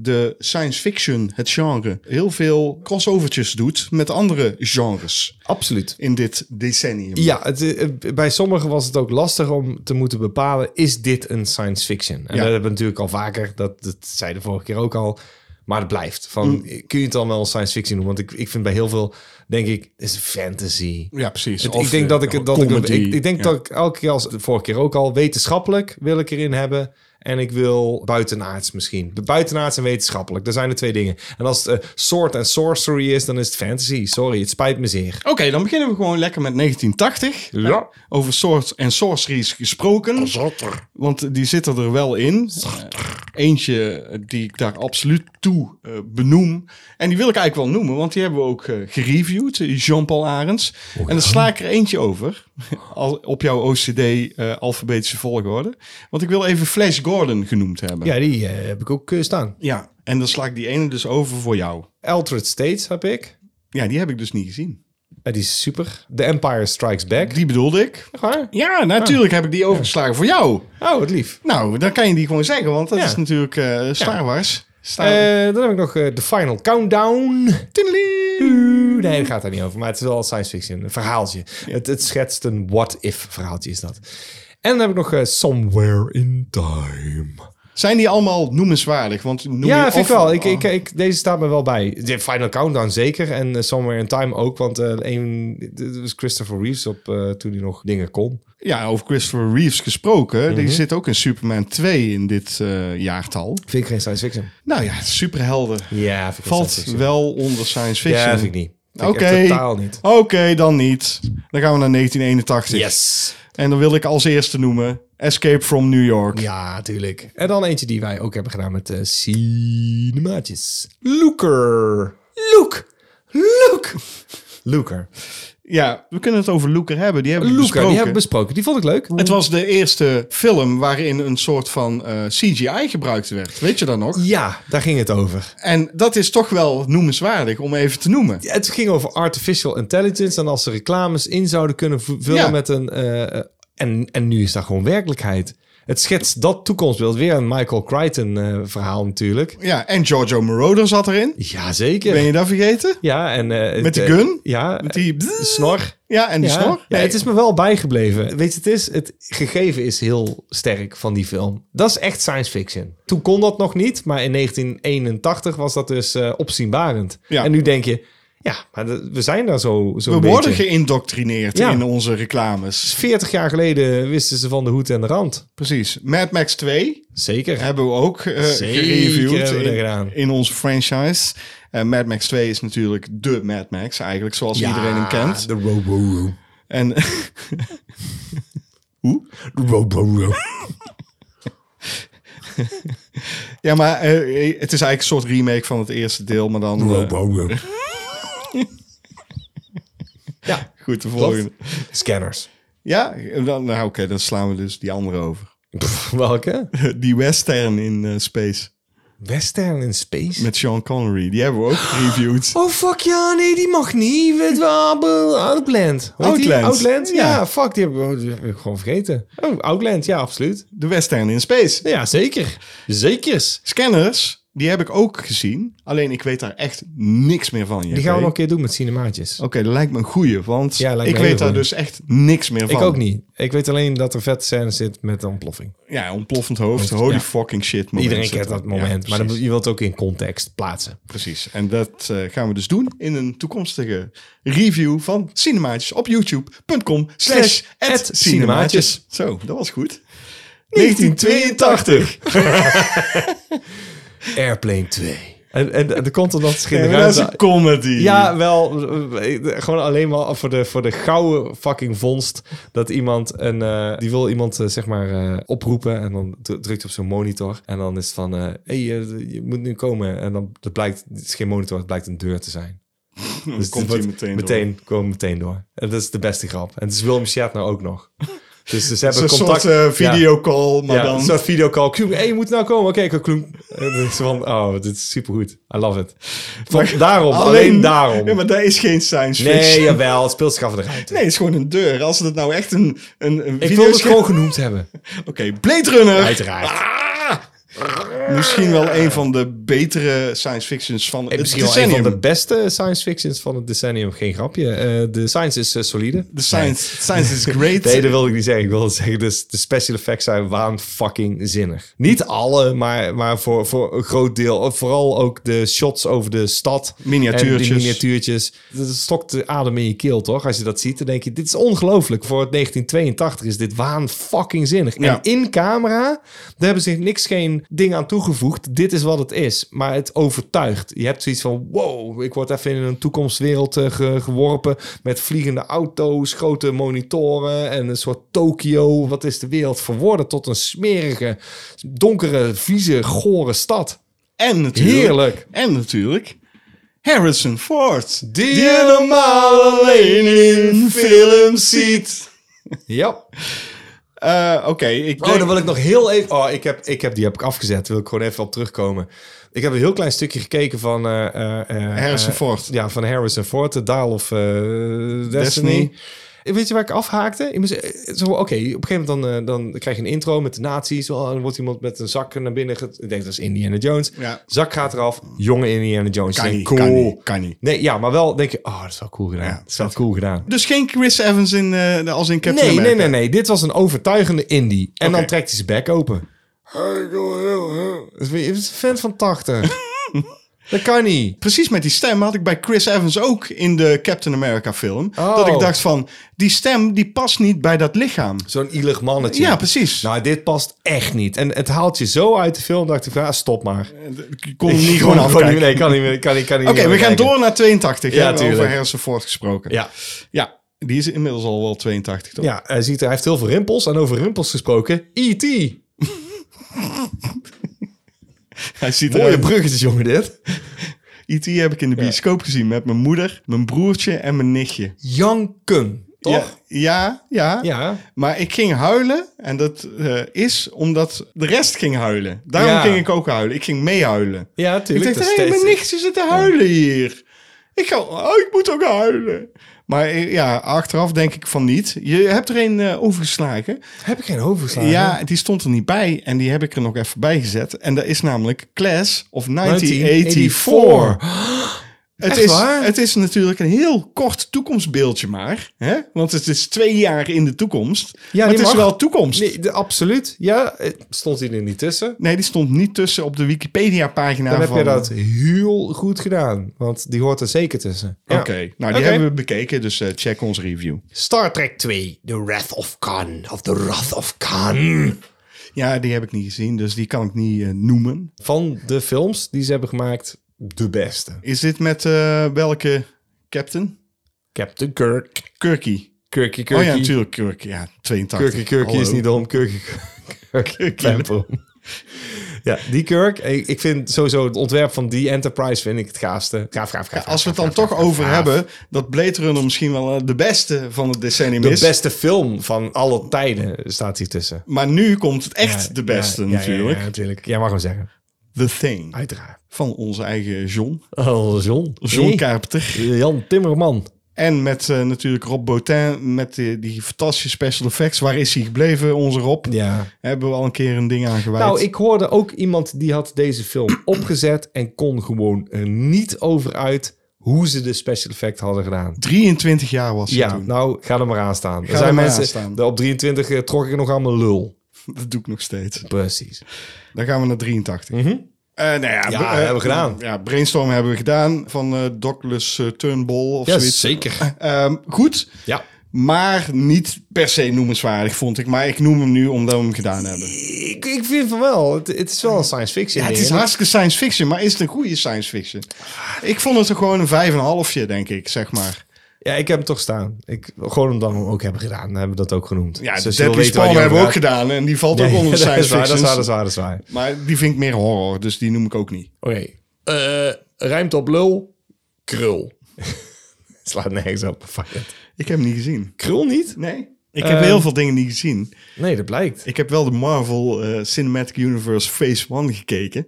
Speaker 2: de science fiction, het genre, heel veel crossovertjes doet met andere genres
Speaker 7: absoluut.
Speaker 2: in dit decennium.
Speaker 7: Ja, het, eh, bij sommigen was het ook lastig om te moeten bepalen... is dit een science fiction? En
Speaker 2: Ja.
Speaker 7: dat hebben we natuurlijk al vaker. Dat, dat zei de vorige keer ook al. Maar het blijft. Van,
Speaker 2: Mm.
Speaker 7: Kun je het dan wel science fiction noemen? Want ik, ik vind bij heel veel, denk ik, is fantasy.
Speaker 2: Ja, precies.
Speaker 7: Het-
Speaker 2: Of,
Speaker 7: ik denk
Speaker 2: eh,
Speaker 7: dat ik het- dat ik,
Speaker 2: comedy.
Speaker 7: ik, ik denk
Speaker 2: Ja.
Speaker 7: dat ik elke keer als de vorige keer ook al wetenschappelijk wil ik erin hebben en ik wil buitenaards misschien. De buitenaards en wetenschappelijk, dat zijn de twee dingen. En als het eh, sword en sorcery is, dan is het fantasy. Sorry, het spijt me zeer.
Speaker 2: Oké, dan beginnen we gewoon lekker met 1980.
Speaker 7: Ja.
Speaker 2: Over swords en sorceries gesproken. Want die zitten er wel in. Eh, Eentje die ik daar absoluut toe eh, benoem. En die wil ik eigenlijk wel noemen, want die hebben we ook eh, gereviewd. eh, Jean-Paul Arends. En dan sla ik er eentje over. [LAUGHS] Al, op jouw OCD-alfabetische eh, volgorde. Want ik wil even Flash Gordon genoemd hebben.
Speaker 7: Ja, die eh, heb ik ook eh, staan.
Speaker 2: ja. En dan sla ik die ene dus over voor jou.
Speaker 7: Altered States heb ik.
Speaker 2: Ja, die heb ik dus niet gezien.
Speaker 7: Eh, die is super. The Empire Strikes Back.
Speaker 2: Die bedoelde ik. Ah.
Speaker 7: Echt waar?
Speaker 2: Ja, natuurlijk heb ik die overgeslagen voor jou.
Speaker 7: Oh, wat lief.
Speaker 2: Nou, dan kan je die gewoon zeggen, want dat
Speaker 7: Ja.
Speaker 2: is natuurlijk eh Star Wars. Star
Speaker 7: Eh, dan heb ik nog eh, The Final Countdown. Nee, daar gaat daar niet over. Maar het is wel science fiction. Een verhaaltje. Het, het schetst een what-if verhaaltje is dat. En dan heb ik nog eh, Somewhere in Time.
Speaker 2: Zijn die allemaal noemenswaardig? Want noem
Speaker 7: ja,
Speaker 2: je
Speaker 7: vind ik
Speaker 2: of- Ah.
Speaker 7: wel. Ik, ik, ik, deze staat me wel bij. De Final Countdown zeker. En eh, Somewhere in Time ook. Want eh een, dit was Christopher Reeves op eh, toen hij nog dingen kon.
Speaker 2: Ja, over Christopher Reeves gesproken.
Speaker 7: Mhm.
Speaker 2: Die zit ook in Superman 2 in dit eh, jaartal.
Speaker 7: Vind ik geen science fiction.
Speaker 2: Nou ja, superhelden
Speaker 7: Ja, vind ik geen
Speaker 2: valt
Speaker 7: science fiction.
Speaker 2: wel onder science fiction.
Speaker 7: Ja, vind ik niet. Vind ik
Speaker 2: Oké.
Speaker 7: echt totaal niet.
Speaker 2: Oké, dan niet. Dan gaan we naar 1981.
Speaker 7: Yes.
Speaker 2: En dan wil ik als eerste noemen Escape from New York.
Speaker 7: Ja, tuurlijk. En dan eentje die wij ook hebben gedaan met eh cinemaatjes. Looker. Look. Look. Looker.
Speaker 2: Ja, we kunnen het over Looker hebben. Die hebben we
Speaker 7: Luca, die
Speaker 2: besproken.
Speaker 7: hebben we besproken. Die vond ik leuk.
Speaker 2: Het was de eerste film waarin een soort van eh, CGI gebruikt werd. Weet je dat nog?
Speaker 7: Ja, daar ging het over.
Speaker 2: En dat is toch wel noemenswaardig om even te noemen.
Speaker 7: Het ging over artificial intelligence. En als ze reclames in zouden kunnen v- vullen
Speaker 2: Ja.
Speaker 7: met een... eh, en, en nu is dat gewoon werkelijkheid. Het schetst dat toekomstbeeld. Weer een Michael Crichton eh, verhaal natuurlijk.
Speaker 2: Ja, en Giorgio Moroder zat erin.
Speaker 7: Jazeker.
Speaker 2: Ben je dat vergeten?
Speaker 7: Ja, en... eh,
Speaker 2: Met de
Speaker 7: het, eh,
Speaker 2: gun?
Speaker 7: Ja,
Speaker 2: Met die...
Speaker 7: eh, snor.
Speaker 2: Ja, en die
Speaker 7: ja.
Speaker 2: snor.
Speaker 7: Ja,
Speaker 2: Nee.
Speaker 7: het is me wel bijgebleven. Weet je, het is, het gegeven is heel sterk van die film. Dat is echt science fiction. Toen kon dat nog niet, maar in 1981 was dat dus eh, opzienbarend.
Speaker 2: Ja.
Speaker 7: En nu denk je, ja, maar dat- we zijn daar zo, zo
Speaker 2: We worden
Speaker 7: beetje.
Speaker 2: geïndoctrineerd
Speaker 7: Ja.
Speaker 2: in onze reclames.
Speaker 7: 40 jaar geleden wisten ze van de hoed en de rand.
Speaker 2: Precies. Mad Max 2
Speaker 7: Zeker.
Speaker 2: hebben we ook eh,
Speaker 7: Zeker
Speaker 2: gereviewd
Speaker 7: hebben we dat gedaan.
Speaker 2: in, in onze franchise. En Mad Max 2 is natuurlijk de Mad Max eigenlijk, zoals iedereen hem kent.
Speaker 7: De Robo.
Speaker 2: En
Speaker 7: De Robo.
Speaker 2: ja, maar eh, het is eigenlijk een soort remake van het eerste deel, maar dan eh,
Speaker 7: ja,
Speaker 2: goed de
Speaker 7: klopt.
Speaker 2: volgende.
Speaker 7: Scanners.
Speaker 2: Ja, dan, nou, oké, dan slaan we dus die andere over. [LAUGHS]
Speaker 7: Pff, welke?
Speaker 2: die western in eh, space
Speaker 7: Western in Space.
Speaker 2: met Sean Connery, die hebben we ook gereviewd.
Speaker 7: Oh fuck ja, nee, die mag niet. Weet wel, eh, Outland. Hoe heet die?
Speaker 2: Outland.
Speaker 7: Outland? Ja.
Speaker 2: Ja.
Speaker 7: fuck, die hebben we- die heb ik gewoon vergeten. Oh, Outland, ja, absoluut.
Speaker 2: De western in space.
Speaker 7: Ja, zeker. Zekers.
Speaker 2: Scanners, die heb ik ook gezien. Alleen ik weet daar echt niks meer van.
Speaker 7: Die gaan we nog een keer doen met cinemaatjes.
Speaker 2: Oké, dat lijkt me een goeie, want
Speaker 7: Ja, lijkt me
Speaker 2: ik
Speaker 7: een hele
Speaker 2: weet daar
Speaker 7: goeie.
Speaker 2: dus echt niks meer van.
Speaker 7: Ik ook niet. Ik weet alleen dat er vet scène zit met een ontploffing.
Speaker 2: Ja, ontploffend hoofd, holy
Speaker 7: ja.
Speaker 2: fucking shit. moment
Speaker 7: Iedereen
Speaker 2: zit
Speaker 7: kent
Speaker 2: er.
Speaker 7: dat
Speaker 2: Ja,
Speaker 7: moment, maar dan,
Speaker 2: precies,
Speaker 7: moet- je wilt het ook in context plaatsen.
Speaker 2: precies. En dat eh, gaan we dus doen in een toekomstige review van Cinemaatjes op youtube.com slash
Speaker 7: at
Speaker 2: cinemaatjes. Zo, dat was goed. 1982.
Speaker 7: Airplane 2. En, en, en er komt omdat
Speaker 2: [LAUGHS]
Speaker 7: ze in de
Speaker 2: En dat is een
Speaker 7: ruimte...
Speaker 2: comedy.
Speaker 7: Ja, wel. eh, Gewoon alleen maar voor de, voor de gouden fucking vondst. Dat iemand een. eh, die wil iemand eh, zeg maar eh, oproepen. En dan dru- drukt hij op zo'n monitor. En dan is het van. Hé, hey, eh, je moet nu komen. En dan dat blijkt. Het is geen monitor, het blijkt een deur te
Speaker 2: [LAUGHS]
Speaker 7: zijn. Dus
Speaker 2: komt
Speaker 7: het
Speaker 2: hij
Speaker 7: wordt-
Speaker 2: meteen
Speaker 7: meteen komen meteen door. En dat is de beste grap. En het is Willem Shatner ook nog. Dus
Speaker 2: [LAUGHS]
Speaker 7: ze hebben
Speaker 2: Zo'n
Speaker 7: contact.
Speaker 2: soort eh,
Speaker 7: Ja.
Speaker 2: videocall, maar
Speaker 7: Ja,
Speaker 2: dan...
Speaker 7: zo'n videocall. Kloem, hey, je moet nou komen. Oké, ik [LAUGHS] kloem. En dan is ze van, oh, dit is supergoed. I love it. Van, daarom, alleen, daarom.
Speaker 2: Ja, maar dat is geen science fiction.
Speaker 7: Nee, jawel. Het speelt zich af in de ruimte.
Speaker 2: Nee, het is gewoon een deur. Als het nou echt een, een, een
Speaker 7: ik wil het
Speaker 2: videoscherm-
Speaker 7: gewoon genoemd hebben. Ah,
Speaker 2: Oké, Blade Runner.
Speaker 7: [LAUGHS] Uiteraard.
Speaker 2: Misschien wel een van de betere science fictions van
Speaker 7: En
Speaker 2: het
Speaker 7: misschien wel een
Speaker 2: decennium.
Speaker 7: van de beste science fictions van het decennium. Geen grapje. Eh, de science is eh, solide.
Speaker 2: De science, science
Speaker 7: [LAUGHS]
Speaker 2: is great.
Speaker 7: Nee, dat wilde ik niet zeggen. Ik wilde zeggen, dus de special effects zijn waanfucking zinnig. Niet alle, maar, maar voor, voor een groot deel. Eh, Vooral ook de shots over de stad.
Speaker 2: Miniatuurtjes.
Speaker 7: En die miniatuurtjes. Dat stokt de adem in je keel, toch? Als je dat ziet, dan denk je, dit is ongelooflijk. Voor het 1982 is dit waanfucking zinnig.
Speaker 2: Ja.
Speaker 7: En in camera, daar hebben ze niks geen ding aan toegevoegd. Dit is wat het is. Maar het overtuigt. Je hebt zoiets van, wow, ik word even in een toekomstwereld eh, ge- geworpen. Met vliegende auto's, grote monitoren en een soort Tokio. Wat is de wereld verworden tot een smerige, donkere, vieze, gore stad.
Speaker 2: en natuurlijk,
Speaker 7: Heerlijk.
Speaker 2: En natuurlijk Harrison Ford.
Speaker 7: Die je normaal alleen in films ziet. Ja.
Speaker 2: Eh, Oké, ik
Speaker 7: Oh,
Speaker 2: denk...
Speaker 7: dan wil ik nog heel even... Oh, ik heb, ik heb, die heb ik afgezet. Daar wil ik gewoon even op terugkomen. Ik heb een heel klein stukje gekeken van... eh, eh, eh,
Speaker 2: Harrison
Speaker 7: eh,
Speaker 2: Ford.
Speaker 7: ja, van Harrison Ford. The Dial of eh, Destiny.
Speaker 2: Destiny.
Speaker 7: Weet je waar ik afhaakte? Ik moest, eh, zo, Oké, op een gegeven moment dan, eh, dan krijg je een intro met de nazi's. Oh, dan wordt iemand met een zak naar binnen... ge- Ik denk, dat is Indiana Jones.
Speaker 2: Ja.
Speaker 7: Zak gaat eraf. Jonge Indiana Jones.
Speaker 2: Kan
Speaker 7: Ik
Speaker 2: niet,
Speaker 7: denk,
Speaker 2: kan
Speaker 7: cool.
Speaker 2: niet, kan niet.
Speaker 7: Nee, ja, maar wel denk je... Oh, dat is wel cool gedaan.
Speaker 2: Ja,
Speaker 7: dat is wel cool gedaan.
Speaker 2: Dus geen Chris Evans in, eh, als in Captain
Speaker 7: Nee, nee,
Speaker 2: America.
Speaker 7: nee, nee. Dit was een overtuigende indie. En
Speaker 2: Oké.
Speaker 7: dan trekt hij zijn bek open. Dat is weer- dat is een fan
Speaker 2: [LAUGHS]
Speaker 7: van 80. dat kan niet.
Speaker 2: Precies met die stem had ik bij Chris Evans ook in de Captain America film.
Speaker 7: Oh.
Speaker 2: Dat ik dacht van, die stem die past niet bij dat lichaam.
Speaker 7: Zo'n ielig mannetje.
Speaker 2: Ja, precies.
Speaker 7: Nou, dit past echt niet. En het haalt je zo uit de film. dacht ik, ja, stop maar.
Speaker 2: Eh, Ik
Speaker 7: [LAUGHS]
Speaker 2: kon hem niet gewoon
Speaker 7: Kan
Speaker 2: afkijken.
Speaker 7: niet- Nee, kan niet meer. Kan, niet- kan niet
Speaker 2: Oké,
Speaker 7: meer
Speaker 2: we gaan
Speaker 7: kijken.
Speaker 2: door naar 82.
Speaker 7: Ja,
Speaker 2: Ja, hebben we over
Speaker 7: tuurlijk.
Speaker 2: Harrison Ford gesproken.
Speaker 7: Ja.
Speaker 2: ja, die is inmiddels al wel 82, toch?
Speaker 7: Ja, hij, ziet, er- hij heeft heel veel rimpels. En over rimpels gesproken, E E.T.
Speaker 2: Hij ziet
Speaker 7: Mooie
Speaker 2: eruit.
Speaker 7: bruggetjes, jongen, dit.
Speaker 2: E.T. E heb ik in de bioscoop gezien met mijn moeder, mijn broertje en mijn nichtje.
Speaker 7: Janken, toch?
Speaker 2: Ja, ja, ja.
Speaker 7: Ja.
Speaker 2: Maar ik ging huilen en dat eh, is omdat de rest ging huilen. Daarom
Speaker 7: Ja.
Speaker 2: ging ik ook huilen. Ik ging meehuilen.
Speaker 7: Ja,
Speaker 2: Ik
Speaker 7: tuurlijk.
Speaker 2: dacht, hé,
Speaker 7: dat is
Speaker 2: mijn
Speaker 7: steeds-
Speaker 2: nichtje zit te huilen hier. Ik ga, oh, ik moet ook huilen. Maar eh, ja, achteraf denk ik van niet. Je hebt er een eh, overgeslagen.
Speaker 7: Heb ik geen overgeslagen?
Speaker 2: Ja, die stond er niet bij en die heb ik er nog even bij gezet. En dat is namelijk Class of 1984.
Speaker 7: 1984.
Speaker 2: Het
Speaker 7: Echt
Speaker 2: is,
Speaker 7: waar?
Speaker 2: het is natuurlijk een heel kort toekomstbeeldje maar. Hè? Want het is twee jaar in de toekomst.
Speaker 7: die
Speaker 2: Ja, maar het
Speaker 7: mag.
Speaker 2: is wel toekomst. Nee.
Speaker 7: Nee, de- absoluut. Ja, het stond hij er niet tussen.
Speaker 2: die stond niet tussen op de Wikipedia-pagina
Speaker 7: Dan heb
Speaker 2: van...
Speaker 7: je dat heel goed gedaan. Want die hoort er zeker tussen. Ja.
Speaker 2: Oké, nou die
Speaker 7: Oké.
Speaker 2: hebben we bekeken, dus eh, check onze review.
Speaker 7: Star Trek 2. The Wrath of Khan. Of The Wrath of Khan.
Speaker 2: Ja, die heb ik niet gezien, dus die kan ik niet eh, noemen.
Speaker 7: Van de films die ze hebben gemaakt, de beste.
Speaker 2: Is dit met eh, welke captain?
Speaker 7: Captain Kirk.
Speaker 2: Kirky.
Speaker 7: Kirky Kirky.
Speaker 2: Oh ja, natuurlijk Kirk. Ja, 82.
Speaker 7: Kirky Kirky is
Speaker 2: Hallo.
Speaker 7: niet om. Kirky [LAUGHS] Kirky. Pamper. Ja, die Kirk. Ik ik vind sowieso het ontwerp van die Enterprise vind ik het gaafste. Gaaf, gaaf, gaaf.
Speaker 2: Als we
Speaker 7: gaaf,
Speaker 2: het dan toch
Speaker 7: gaaf, gaaf, gaaf,
Speaker 2: over
Speaker 7: gaaf.
Speaker 2: hebben, dat Blade Runner misschien wel eh, de beste van het decennium
Speaker 7: De
Speaker 2: is.
Speaker 7: beste film van alle tijden staat hier tussen.
Speaker 2: Maar nu komt het echt de beste
Speaker 7: Ja, ja, ja,
Speaker 2: natuurlijk.
Speaker 7: Ja, natuurlijk. Jij mag hem zeggen.
Speaker 2: The Thing.
Speaker 7: Uiteraard.
Speaker 2: Van onze eigen John.
Speaker 7: Oh, John.
Speaker 2: John
Speaker 7: Nee.
Speaker 2: Carpenter.
Speaker 7: Jan Timmerman.
Speaker 2: En met eh, natuurlijk Rob Bottin met die, die fantastische special effects. Waar is hij gebleven, onze Rob?
Speaker 7: Ja.
Speaker 2: Hebben we al een keer een ding aangeweid.
Speaker 7: Nou, ik hoorde ook iemand die had deze
Speaker 2: [CLEARS THROAT]
Speaker 7: film opgezet en kon gewoon er niet over uit hoe ze de special effect hadden gedaan.
Speaker 2: 23 jaar was hij
Speaker 7: Ja,
Speaker 2: toen. [LAUGHS]
Speaker 7: nou, ga er maar aan staan. Er
Speaker 2: Ga
Speaker 7: zijn
Speaker 2: er maar
Speaker 7: mensen,
Speaker 2: aan staan.
Speaker 7: de- op 23 eh, trok ik nog allemaal lul.
Speaker 2: Dat doe ik nog steeds.
Speaker 7: Precies.
Speaker 2: Dan gaan we naar 83. Eh, nou ja,
Speaker 7: Mhm. Ja,
Speaker 2: eh,
Speaker 7: hebben we gedaan.
Speaker 2: Ja, brainstorm hebben we gedaan van eh Douglas eh, Turnbull of zoiets.
Speaker 7: zeker.
Speaker 2: Ehm, goed,
Speaker 7: Ja.
Speaker 2: maar niet per se noemenswaardig, vond ik. Maar ik noem hem nu omdat we hem gedaan hebben.
Speaker 7: Ik, ik vind van wel, het, het is wel een science fiction.
Speaker 2: Ja, het
Speaker 7: ding,
Speaker 2: is
Speaker 7: hè?
Speaker 2: hartstikke science fiction, maar is het een goede science fiction? Ik vond het er gewoon een 5,5, denk ik, zeg maar.
Speaker 7: Ja, ik heb hem toch staan. Ik, gewoon omdat we hem ook hebben gedaan, hebben we dat ook genoemd.
Speaker 2: Ja,
Speaker 7: Dus
Speaker 2: de
Speaker 7: als je wil
Speaker 2: Deadly
Speaker 7: weten waar
Speaker 2: Spawn hebben
Speaker 7: die
Speaker 2: we ook
Speaker 7: over
Speaker 2: gedaan en die valt
Speaker 7: gaat-
Speaker 2: ook
Speaker 7: Nee, [LAUGHS]
Speaker 2: onder
Speaker 7: dat
Speaker 2: science
Speaker 7: is waar, dat
Speaker 2: fiction.
Speaker 7: is waar, dat is waar, dat is waar. [LAUGHS]
Speaker 2: Maar die vind ik meer horror, dus die noem ik ook niet.
Speaker 7: Oké. Eh, ruimte op lul. Krul. Slaat nergens op. Fuck it.
Speaker 2: Ik heb hem niet gezien.
Speaker 7: Krul niet?
Speaker 2: Nee? Ik heb
Speaker 7: Ehm,
Speaker 2: heel veel dingen niet gezien.
Speaker 7: Nee, dat blijkt.
Speaker 2: Ik heb wel de Marvel eh, Cinematic Universe Phase 1 gekeken.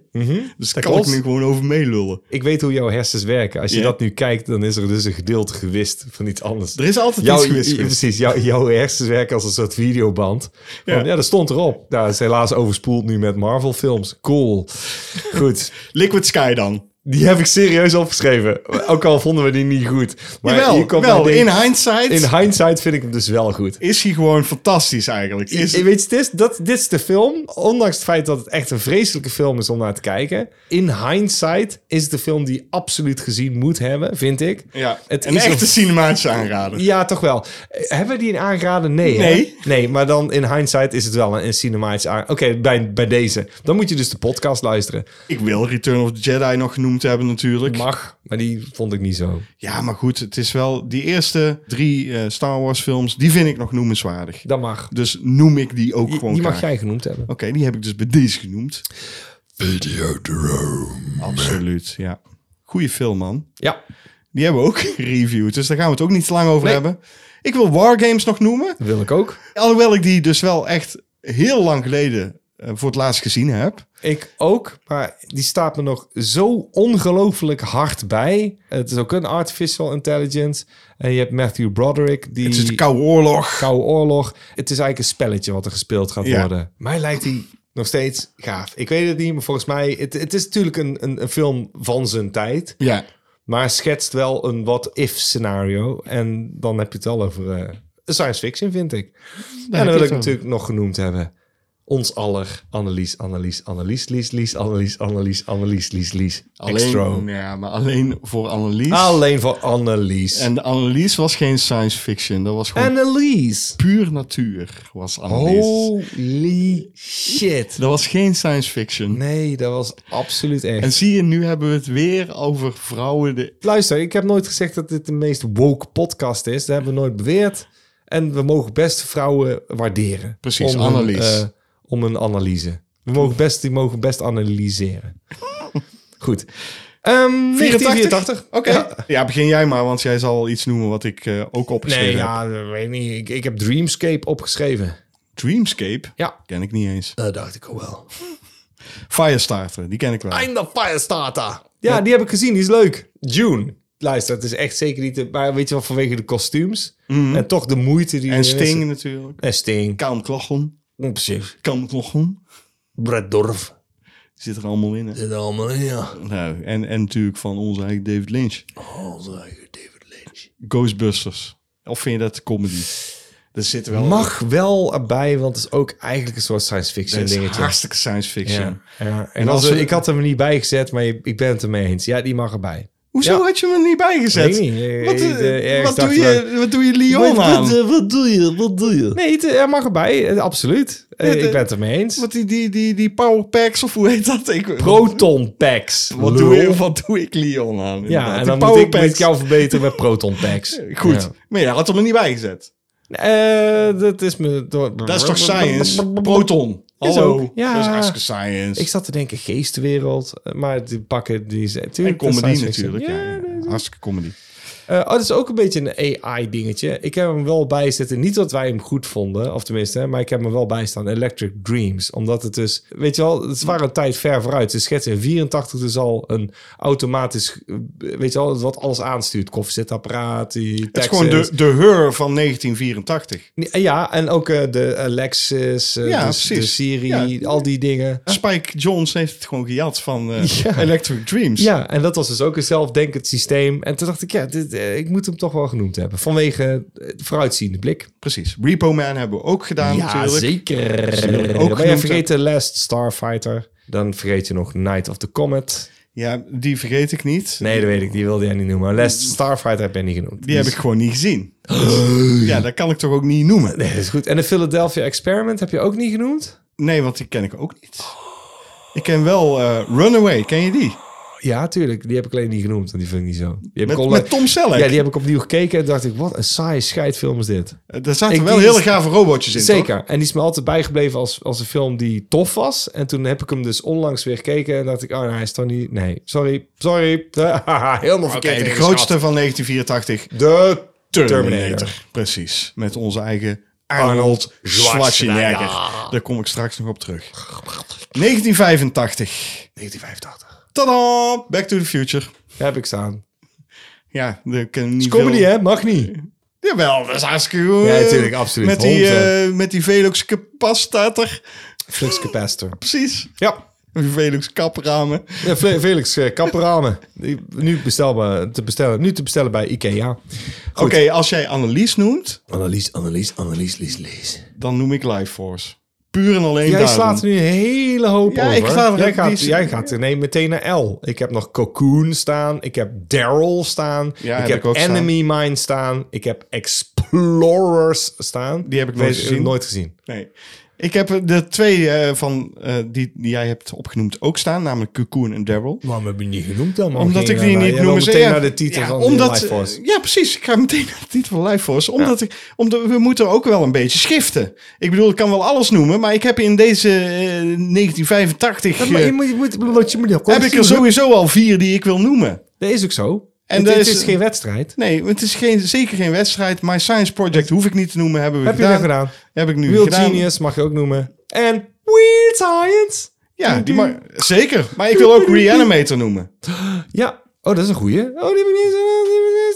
Speaker 2: Dus daar kan
Speaker 7: Mhm. klopt.
Speaker 2: ik nu gewoon over meelullen.
Speaker 7: Ik weet hoe jouw hersens werken. Als je
Speaker 2: Ja.
Speaker 7: dat nu kijkt, dan is er dus een gedeelte gewist van iets anders.
Speaker 2: Er is altijd
Speaker 7: Jouw,
Speaker 2: iets gewist. geweest.
Speaker 7: Precies, jouw, jouw hersens werken als een soort videoband. Ja,
Speaker 2: Ja.
Speaker 7: ja dat stond erop. Nou, dat is helaas overspoeld nu met Marvel films. Cool. Goed.
Speaker 2: Liquid Sky dan.
Speaker 7: Die heb ik serieus opgeschreven. Ook al vonden we die niet goed. Maar hier
Speaker 2: Jawel,
Speaker 7: komt
Speaker 2: wel.
Speaker 7: mijn
Speaker 2: In
Speaker 7: ding.
Speaker 2: hindsight
Speaker 7: in hindsight vind ik hem dus wel goed.
Speaker 2: is hij gewoon fantastisch eigenlijk. Is,
Speaker 7: Ik- weet je, dit is, dat, dit is de film. Ondanks het feit dat het echt een vreselijke film is om naar te kijken. In hindsight is het de film die je absoluut gezien moet hebben, vind ik.
Speaker 2: ja,
Speaker 7: het
Speaker 2: een
Speaker 7: is
Speaker 2: echte
Speaker 7: een-
Speaker 2: cinematische aanrader.
Speaker 7: Ja, toch wel. Eh, Hebben we die in aangeraden? Nee. hè?
Speaker 2: Nee.
Speaker 7: Nee, maar dan in hindsight is het wel een, een cinematisch aan. Oké, bij, bij deze. Dan moet je dus de podcast luisteren.
Speaker 2: Ik wil Return of the Jedi nog genoemd hebben natuurlijk.
Speaker 7: Mag, maar die vond ik niet zo.
Speaker 2: Ja, maar goed, het is wel... Die eerste drie eh, Star Wars films, die vind ik nog noemenswaardig.
Speaker 7: Dat mag.
Speaker 2: Dus noem ik die ook gewoon
Speaker 7: Die mag
Speaker 2: graag.
Speaker 7: jij genoemd hebben.
Speaker 2: Oké, die heb ik dus bij deze genoemd. Videodrome. Absoluut, ja. Goeie film, man.
Speaker 7: Ja,
Speaker 2: Die hebben we ook [LAUGHS] reviewed, dus daar gaan we het ook niet te lang over
Speaker 7: Nee.
Speaker 2: hebben. Ik wil Wargames nog noemen.
Speaker 7: dat wil ik ook.
Speaker 2: Alhoewel ik die dus wel echt heel lang geleden eh, voor het laatst gezien heb.
Speaker 7: Ik ook, maar die staat me nog zo ongelooflijk hard bij. Het is ook een artificial intelligence. En je hebt Matthew Broderick, die
Speaker 2: Het is Dus de Koude Oorlog.
Speaker 7: Koude Oorlog. Het is eigenlijk een spelletje wat er gespeeld gaat
Speaker 2: Ja.
Speaker 7: worden. Mij lijkt die nog steeds gaaf. Ik weet het niet, maar volgens mij... Het, het is natuurlijk een, een, een film van zijn tijd.
Speaker 2: Ja.
Speaker 7: Maar schetst wel een what-if scenario. En dan heb je het al over eh, science fiction, vind ik. en
Speaker 2: heb
Speaker 7: dan
Speaker 2: je
Speaker 7: wil ik
Speaker 2: het
Speaker 7: natuurlijk nog genoemd hebben. Ons aller Annelies, Annelies, Annelies, Lies, Lies, Annelies, Annelies, Annelies, Lies, Lies. Extra. Nou,
Speaker 2: Alleen, ja, maar alleen voor Annelies.
Speaker 7: Alleen voor Annelies. En
Speaker 2: En de Annelies was geen science fiction. Dat was gewoon
Speaker 7: Annelies.
Speaker 2: puur natuur, was Annelies.
Speaker 7: Oh. Holy shit.
Speaker 2: Dat was geen science fiction.
Speaker 7: Nee, dat was absoluut echt.
Speaker 2: En zie je, nu hebben we het weer over vrouwen. De...
Speaker 7: Luister, ik heb nooit gezegd dat dit de meest woke podcast is. Dat hebben we nooit beweerd. En we mogen best vrouwen waarderen.
Speaker 2: Precies,
Speaker 7: hun,
Speaker 2: analyse.
Speaker 7: eh, om een analyse. We mogen best, die mogen best analyseren. Goed. Ehm
Speaker 2: 84?
Speaker 7: 1984.
Speaker 2: Oké. Ja. begin jij maar, want jij zal iets noemen wat ik eh, ook opgeschreven
Speaker 7: Nee,
Speaker 2: heb.
Speaker 7: ja, dat weet ik niet. Ik, ik heb Dreamscape opgeschreven.
Speaker 2: Dreamscape?
Speaker 7: Ja.
Speaker 2: Ken ik niet eens.
Speaker 7: Dat dacht ik al wel.
Speaker 2: Firestarter, die ken ik wel.
Speaker 7: I'm the Firestarter. Ja, die heb ik gezien. Die is leuk. June. Luister, het is echt zeker niet... de- maar weet je wel, vanwege de kostuums. En toch de moeite die...
Speaker 2: Mhm. En
Speaker 7: erin is.
Speaker 2: Sting natuurlijk.
Speaker 7: En Sting.
Speaker 2: Kaan Klochon.
Speaker 7: Ja, Precies.
Speaker 2: Kaan Klochon.
Speaker 7: Brad Dorf.
Speaker 2: Die zit er allemaal in. hè.
Speaker 7: Dit allemaal in, ja.
Speaker 2: Nou, en, en natuurlijk van onze eigen David Lynch.
Speaker 7: Onze eigen David Lynch.
Speaker 2: Ghostbusters. Of vind je dat comedy? Dat zit er wel
Speaker 7: Mag wel erbij, want het is ook eigenlijk een soort science fiction
Speaker 2: Dat is
Speaker 7: dingetje.
Speaker 2: hartstikke science fiction.
Speaker 7: Ja, ja. En,
Speaker 2: En
Speaker 7: als
Speaker 2: als we-
Speaker 7: ik had hem er niet bij gezet, maar je- ik ben het ermee eens. Ja, die mag erbij.
Speaker 2: Hoezo
Speaker 7: Ja.
Speaker 2: had je hem er niet bijgezet?
Speaker 7: Weet ik niet. Eh,
Speaker 2: Wat, eh,
Speaker 7: eh, ergens
Speaker 2: wat, doe
Speaker 7: dacht ik
Speaker 2: je, wat doe je Lyon aan?
Speaker 7: doe je? Wat doe je? eh, Nee, het, hij mag erbij. eh, Absoluut. Eh,
Speaker 2: Ja, de-
Speaker 7: ik ben het ermee eens.
Speaker 2: Wat die, die, die, die power packs of hoe heet dat? Ik,
Speaker 7: proton packs.
Speaker 2: wat, doe je, wat doe ik Lyon aan?
Speaker 7: Ja, en
Speaker 2: die
Speaker 7: dan moet ik,
Speaker 2: powerpacks.
Speaker 7: moet ik jou verbeteren met proton packs. [LAUGHS]
Speaker 2: Goed,
Speaker 7: Ja.
Speaker 2: maar je had hem er niet bijgezet.
Speaker 7: Eh, dat is me...
Speaker 2: Dat is toch science? Proton.
Speaker 7: Is
Speaker 2: Hallo.
Speaker 7: ook, ja.
Speaker 2: Dat is hartstikke science.
Speaker 7: Ik zat te denken, geestenwereld. eh, Maar die pakken die... is-
Speaker 2: en
Speaker 7: tuurlijk, dat is
Speaker 2: comedy
Speaker 7: science fiction.
Speaker 2: natuurlijk. Ja,
Speaker 7: Ja,
Speaker 2: ja. Hartstikke comedy.
Speaker 7: Eh, oh, dat is ook een beetje een AI-dingetje. Ik heb hem wel bij zitten. Niet dat wij hem goed vonden, of tenminste, maar ik heb hem wel bij staan. Electric Dreams. Omdat het dus, weet je wel, het waren een tijd ver vooruit. Ze schetsen in 84 dus al een automatisch, eh, weet je wel, wat alles aanstuurt. Koffiezetapparaat, die
Speaker 2: Het is
Speaker 7: Texas.
Speaker 2: gewoon de, de heur van 1984.
Speaker 7: Ja, en ook eh, de Alexis, eh,
Speaker 2: Ja,
Speaker 7: de, de
Speaker 2: precies.
Speaker 7: Siri, al die dingen.
Speaker 2: Spike Jones heeft het gewoon gejat van eh,
Speaker 7: Ja.
Speaker 2: Electric Dreams.
Speaker 7: Ja, en dat was dus ook een zelfdenkend systeem. En toen dacht ik, ja, dit, eh, ik moet hem toch wel genoemd hebben. Vanwege eh, vooruitziende blik.
Speaker 2: Precies. Repo Man hebben we ook gedaan natuurlijk.
Speaker 7: zeker.
Speaker 2: Ook
Speaker 7: Ook ben je
Speaker 2: genoemd,
Speaker 7: vergeten Last Starfighter? Dan vergeet je nog Night of the Comet.
Speaker 2: Ja, die vergeet ik niet.
Speaker 7: Nee, dat weet ik. Die wilde jij niet noemen. Maar Last Starfighter heb je niet genoemd.
Speaker 2: Die heb ik gewoon niet gezien. Dus, ja, dat kan ik toch ook niet noemen.
Speaker 7: Oh. Nee, dat is goed. En de Philadelphia Experiment heb je ook niet genoemd?
Speaker 2: Nee, want die ken ik ook niet. Ik ken wel eh, Runaway, ken je die?
Speaker 7: Ja, tuurlijk. Die heb ik alleen niet genoemd, want die vind ik niet zo. Die heb
Speaker 2: Met,
Speaker 7: ik online-
Speaker 2: met Tom Selleck.
Speaker 7: Ja, die heb ik opnieuw gekeken en dacht ik, wat een saaie scheidfilm is dit.
Speaker 2: Eh, Daar zaten
Speaker 7: Ik-
Speaker 2: wel
Speaker 7: die
Speaker 2: hele
Speaker 7: is-
Speaker 2: gave robotjes in,
Speaker 7: Zeker. En die is me altijd bijgebleven als, als een film die tof was. En toen heb ik hem dus onlangs weer gekeken en dacht ik, oh, nee, hij is toch niet... Nee, sorry, sorry. [LAUGHS] Helemaal
Speaker 2: toch? Oké,
Speaker 7: verkeerd.
Speaker 2: de
Speaker 7: ingeschat.
Speaker 2: grootste van 1984.
Speaker 7: De
Speaker 2: Terminator.
Speaker 7: Terminator.
Speaker 2: Precies. Met onze eigen Arnold
Speaker 7: Schwarzenegger.
Speaker 2: Schwarzenegger. Daar kom ik straks nog op terug. 1985.
Speaker 7: 1985.
Speaker 2: Tada! Back to the Future.
Speaker 7: Daar heb ik staan.
Speaker 2: Ja, dat kan niet
Speaker 7: Is comedy,
Speaker 2: veel...
Speaker 7: hè? Mag niet.
Speaker 2: Jawel, dat is hartstikke goed.
Speaker 7: Ja, natuurlijk, absoluut.
Speaker 2: Met die,
Speaker 7: Hond,
Speaker 2: eh met die Velux capacitator.
Speaker 7: Flux Capacitor.
Speaker 2: Precies.
Speaker 7: Ja.
Speaker 2: Die Velux kapramen.
Speaker 7: ja Fe- Felix eh, Kapperamen. Die- Nu, bestelbaar, te bestellen, nu te bestellen bij Ikea.
Speaker 2: Oké, als jij Annelies noemt,
Speaker 7: Annelies, Annelies, Annelies, Lies, Lies.
Speaker 2: dan noem ik Life Force. Puur en alleen
Speaker 7: Jij
Speaker 2: daarom.
Speaker 7: slaat er nu een hele hoop
Speaker 2: Ja,
Speaker 7: over.
Speaker 2: ik sla er-
Speaker 7: jij,
Speaker 2: die
Speaker 7: gaat,
Speaker 2: is-
Speaker 7: jij gaat er nee, meteen naar L. Ik heb nog Cocoon staan. Ik heb Daryl staan.
Speaker 2: Ja,
Speaker 7: ik
Speaker 2: heb
Speaker 7: heb
Speaker 2: ik ook staan.
Speaker 7: Enemy Mine staan. Ik heb Explorers staan.
Speaker 2: Die heb ik nooit
Speaker 7: Weet-
Speaker 2: gezien.
Speaker 7: Nooit gezien.
Speaker 2: Nee. Ik heb de twee eh, van, eh, die, die jij hebt opgenoemd ook staan, namelijk Cocoon en Daryl.
Speaker 7: Waarom heb je niet genoemd dan?
Speaker 2: Omdat ik die niet noem.
Speaker 7: noem.
Speaker 2: zei-
Speaker 7: meteen
Speaker 2: ja,
Speaker 7: naar de titel
Speaker 2: ja,
Speaker 7: van
Speaker 2: omdat,
Speaker 7: Life Force.
Speaker 2: Ja, precies. Ik ga meteen naar de titel van Life Force. Omdat, ik, omdat we moeten ook wel een beetje schiften. Ik bedoel, ik kan wel alles noemen, maar ik heb in deze eh, 1985...
Speaker 7: Ja, maar
Speaker 2: eh,
Speaker 7: je moet, je moet, je moet,
Speaker 2: heb ik er sowieso al vier die ik wil noemen.
Speaker 7: Dat is ook zo.
Speaker 2: En
Speaker 7: En
Speaker 2: dat
Speaker 7: dit is, dus
Speaker 2: is-
Speaker 7: geen wedstrijd.
Speaker 2: Nee, het is geen, zeker geen wedstrijd. My Science Project hoef ik niet te noemen, hebben we
Speaker 7: Heb je
Speaker 2: gedaan.
Speaker 7: dat gedaan?
Speaker 2: Heb ik nu
Speaker 7: Real
Speaker 2: gedaan.
Speaker 7: Genius mag je ook noemen. En Weird Science.
Speaker 2: Ja, die ma- zeker. Maar ik wil ook Reanimator noemen.
Speaker 7: Ja. Oh, dat is een goeie. Oh, die heb ik niet eens, die heb ik niet eens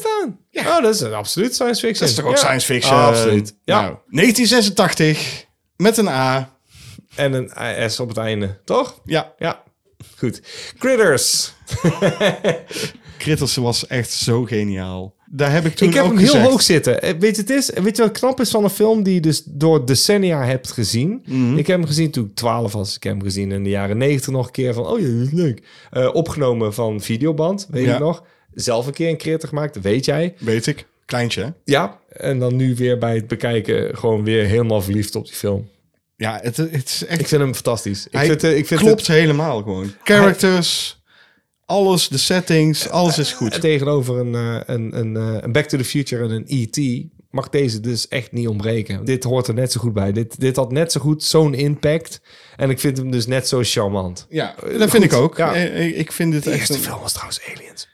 Speaker 7: staan. Oh, dat is een absoluut science fiction.
Speaker 2: Dat is toch ook
Speaker 7: Ja.
Speaker 2: science fiction?
Speaker 7: Ah, absoluut. Ja.
Speaker 2: Nou, 1986 met een A.
Speaker 7: En een S op het einde, toch?
Speaker 2: Ja,
Speaker 7: Ja. Goed. Critters.
Speaker 2: Critters was echt zo geniaal. Daar heb ik toen
Speaker 7: ik heb
Speaker 2: ook
Speaker 7: hem heel
Speaker 2: gezegd.
Speaker 7: hoog zitten. Eh, Weet je, het is, weet je wat knap is van een film die je dus door decennia hebt gezien?
Speaker 2: Mhm.
Speaker 7: Ik heb hem gezien toen ik 12 was. Ik heb hem gezien in de jaren 90 nog een keer van, oh ja, dat is leuk. Eh, opgenomen van videoband, weet
Speaker 2: Ja.
Speaker 7: ik nog. Zelf een keer een critter gemaakt, dat weet jij.
Speaker 2: Weet ik. Kleintje, hè?
Speaker 7: Ja. En dan nu weer bij het bekijken gewoon weer helemaal verliefd op die film.
Speaker 2: Ja, het, het is echt...
Speaker 7: eh, Ik vind hem fantastisch. Ik
Speaker 2: hij
Speaker 7: vind, eh, ik vind
Speaker 2: klopt helemaal gewoon. Characters, Alles, de settings, alles is goed.
Speaker 7: Tegenover een, eh, een, een, eh, een Back to the Future en een E.T. mag deze dus echt niet ontbreken. Dit hoort er net zo goed bij. Dit, dit had net zo goed zo'n impact. En ik vind hem dus net zo charmant.
Speaker 2: Ja, dat
Speaker 7: goed,
Speaker 2: vind ik ook.
Speaker 7: ja.
Speaker 2: Eh, Ik, ik vind dit
Speaker 7: De
Speaker 2: echt...
Speaker 7: eerste
Speaker 2: een-
Speaker 7: film was trouwens Aliens.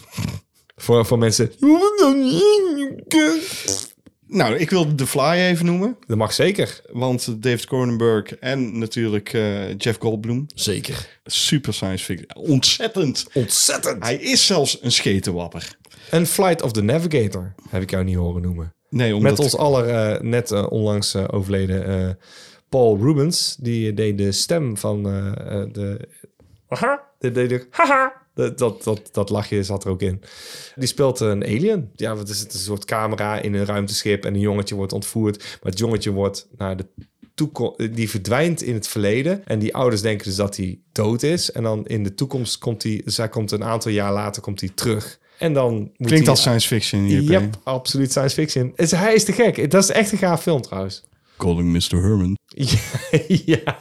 Speaker 7: [LAUGHS] voor, voor mensen...
Speaker 2: Nou, ik wil The Fly even noemen.
Speaker 7: Dat mag zeker.
Speaker 2: Want David Cronenberg en natuurlijk eh, Jeff Goldblum.
Speaker 7: Zeker.
Speaker 2: Super science fiction. Ontzettend.
Speaker 7: Ontzettend.
Speaker 2: Hij is zelfs een schetenwapper.
Speaker 7: En Flight of the Navigator heb ik jou niet horen noemen.
Speaker 2: Nee, omdat...
Speaker 7: Met ons aller eh, net eh, onlangs eh, overleden eh, Paul Rubens. Die deed de stem van eh, eh, de... Haha. Dit deed ik. Haha. Dat, dat, dat, dat lachje zat er ook in. Die speelt eh, een alien. Ja, wat is het? Een soort camera in een ruimteschip. En een jongetje wordt ontvoerd. Maar het jongetje wordt naar de toekomst... Die verdwijnt in het verleden. En die ouders denken dus dat hij dood is. En dan in de toekomst komt hij... Dus hij komt een aantal jaar later komt hij terug. En dan moet
Speaker 2: Klinkt
Speaker 7: hij-
Speaker 2: als science fiction. JP.
Speaker 7: Yep, absoluut science fiction. Is, hij is te gek. Dat is echt een gaaf film [LAUGHS] trouwens.
Speaker 2: Calling Mr. Herman.
Speaker 7: Ja, ja.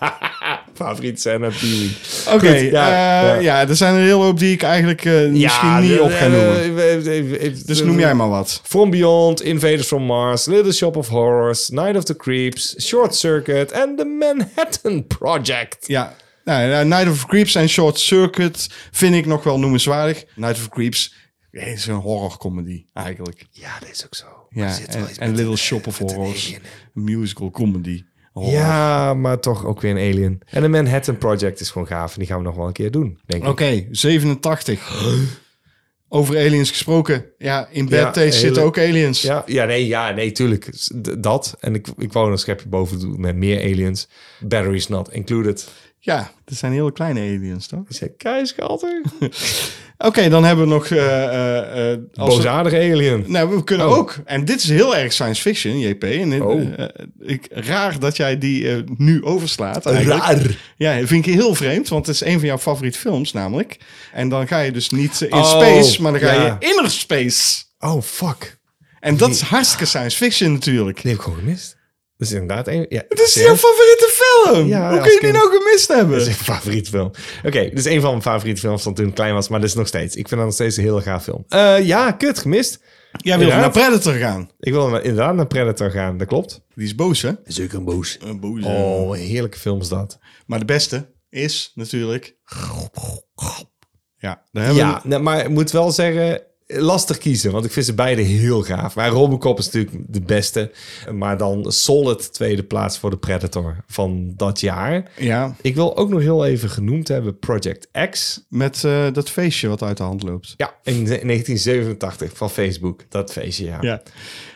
Speaker 7: favoriet zijn uit Pee-wee.
Speaker 2: Oké,
Speaker 7: Goed,
Speaker 2: ja,
Speaker 7: ja, eh, ja.
Speaker 2: ja, er zijn een hele hoop die ik eigenlijk eh, misschien niet op ga noemen. dus noem jij maar wat.
Speaker 7: From Beyond, Invaders from Mars, Little Shop of Horrors, Night of the Creeps, Short Circuit en The Manhattan Project.
Speaker 2: Ja. Nou, ja, Night of Creeps en Short Circuit vind ik nog wel noemenswaardig. Night of Creeps eh, is een horrorcomedy eigenlijk.
Speaker 7: Ja, dat is ook zo.
Speaker 2: Ja, en, en Little Shop of Horrors. Een musical comedy. Horror.
Speaker 7: Oh. Ja, maar toch ook weer een alien. En The Manhattan Project is gewoon gaaf en die gaan we nog wel een keer doen, denk ik.
Speaker 2: Oké, 87. Over aliens gesproken. Ja, in Bad
Speaker 7: Ja,
Speaker 2: Taste
Speaker 7: hele-
Speaker 2: zitten ook aliens.
Speaker 7: Ja, ja, nee, ja, nee, tuurlijk. S- d- Dat. En ik, ik wou een schepje boven doen met meer aliens. Batteries not included.
Speaker 2: Ja, dat zijn hele kleine aliens, toch?
Speaker 7: Ik zei, keischalter.
Speaker 2: Oké, dan hebben we nog... eh eh, eh, als we-
Speaker 7: Boosaardig alien.
Speaker 2: nou, we kunnen
Speaker 7: Oh.
Speaker 2: ook. En dit is heel erg science fiction, JP. En, eh,
Speaker 7: Oh.
Speaker 2: eh, ik, raar dat jij die eh, nu overslaat. eigenlijk. Ja, dat vind ik heel vreemd, want het is een van jouw favoriete films namelijk. En dan ga je dus niet eh, in
Speaker 7: Oh,
Speaker 2: space, maar dan ga
Speaker 7: ja.
Speaker 2: je inner space.
Speaker 7: Oh, fuck.
Speaker 2: En dat is hartstikke science fiction natuurlijk.
Speaker 7: Die heb ik gewoon gemist. Dat is inderdaad een... Ja,
Speaker 2: Het is
Speaker 7: serieus?
Speaker 2: jouw favoriete film.
Speaker 7: Ja,
Speaker 2: Hoe
Speaker 7: als
Speaker 2: kun je
Speaker 7: kind.
Speaker 2: die nou gemist
Speaker 7: Dat is
Speaker 2: hebben?
Speaker 7: een favoriet film. Oké, dit is een van mijn favoriete films van toen ik klein was, maar dat is nog steeds. Ik vind dat nog steeds een heel gaaf film. Eh, ja, kut, gemist.
Speaker 2: Jij wil
Speaker 7: Ja.
Speaker 2: naar Predator gaan.
Speaker 7: Ik wil naar- inderdaad naar Predator gaan, dat klopt.
Speaker 2: Die is boos, hè?
Speaker 7: Zeker een boos.
Speaker 2: Een boos.
Speaker 7: Oh, heerlijke film is dat.
Speaker 2: Maar de beste is natuurlijk... Ja, daar hebben
Speaker 7: Ja, nee, maar ik moet wel zeggen, lastig kiezen. Want ik vind ze beide heel gaaf. Maar Robocop is natuurlijk de beste. Maar dan solid tweede plaats voor de Predator van dat jaar.
Speaker 2: we... Ja,
Speaker 7: Ik wil ook nog heel even genoemd hebben Project X.
Speaker 2: met eh, dat feestje wat uit de hand loopt.
Speaker 7: Ja, in 1987 van Facebook. Dat feestje, ja.
Speaker 2: Ja.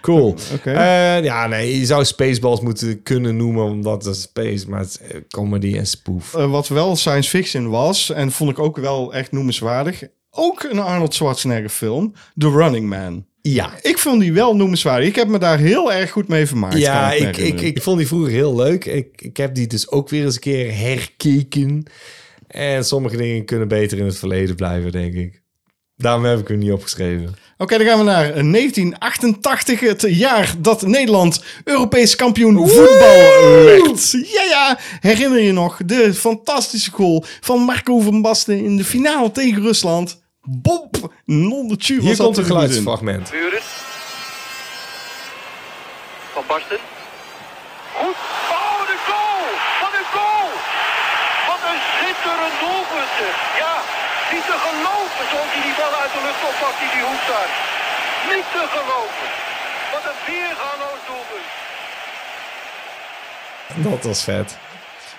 Speaker 7: Cool.
Speaker 2: Oké.
Speaker 7: Eh, ja, nee, je zou Spaceballs moeten kunnen noemen, omdat het space, maar het is eh, comedy en spoof.
Speaker 2: Eh, wat wel science fiction was, en vond ik ook wel echt noemenswaardig... Ook een Arnold Schwarzenegger film, The Running Man.
Speaker 7: Ja,
Speaker 2: Ik vond die wel noemenswaardig. Ik heb me daar heel erg goed mee vermaakt. kan
Speaker 7: Ja,
Speaker 2: me
Speaker 7: ik, ik,
Speaker 2: herinneren.
Speaker 7: ik vond die vroeger heel leuk. Ik, ik heb die dus ook weer eens een keer herkeken. En sommige dingen kunnen beter in het verleden blijven, denk ik. Daarom heb ik hem niet opgeschreven.
Speaker 2: Oké, dan gaan we naar eh, 1988, het jaar dat Nederland Europees kampioen voetbal werd. Ja, ja, herinner je nog de fantastische goal van Marco van Basten in de finale tegen Rusland? Bob, nondertje was
Speaker 7: Hier
Speaker 2: dat
Speaker 7: komt een
Speaker 2: er goed in.
Speaker 7: geluidsfragment.
Speaker 8: Buren. Van Barsten. Goed. Oh, wat een goal! Wat een goal! Wat een schitterend doelpunt. zeg. Ja, niet te geloven zoals hij die bal uit de lucht oppakt die die hoek daar. Niet te geloven. Wat een weergaloos doelpunt.
Speaker 7: Dat was vet.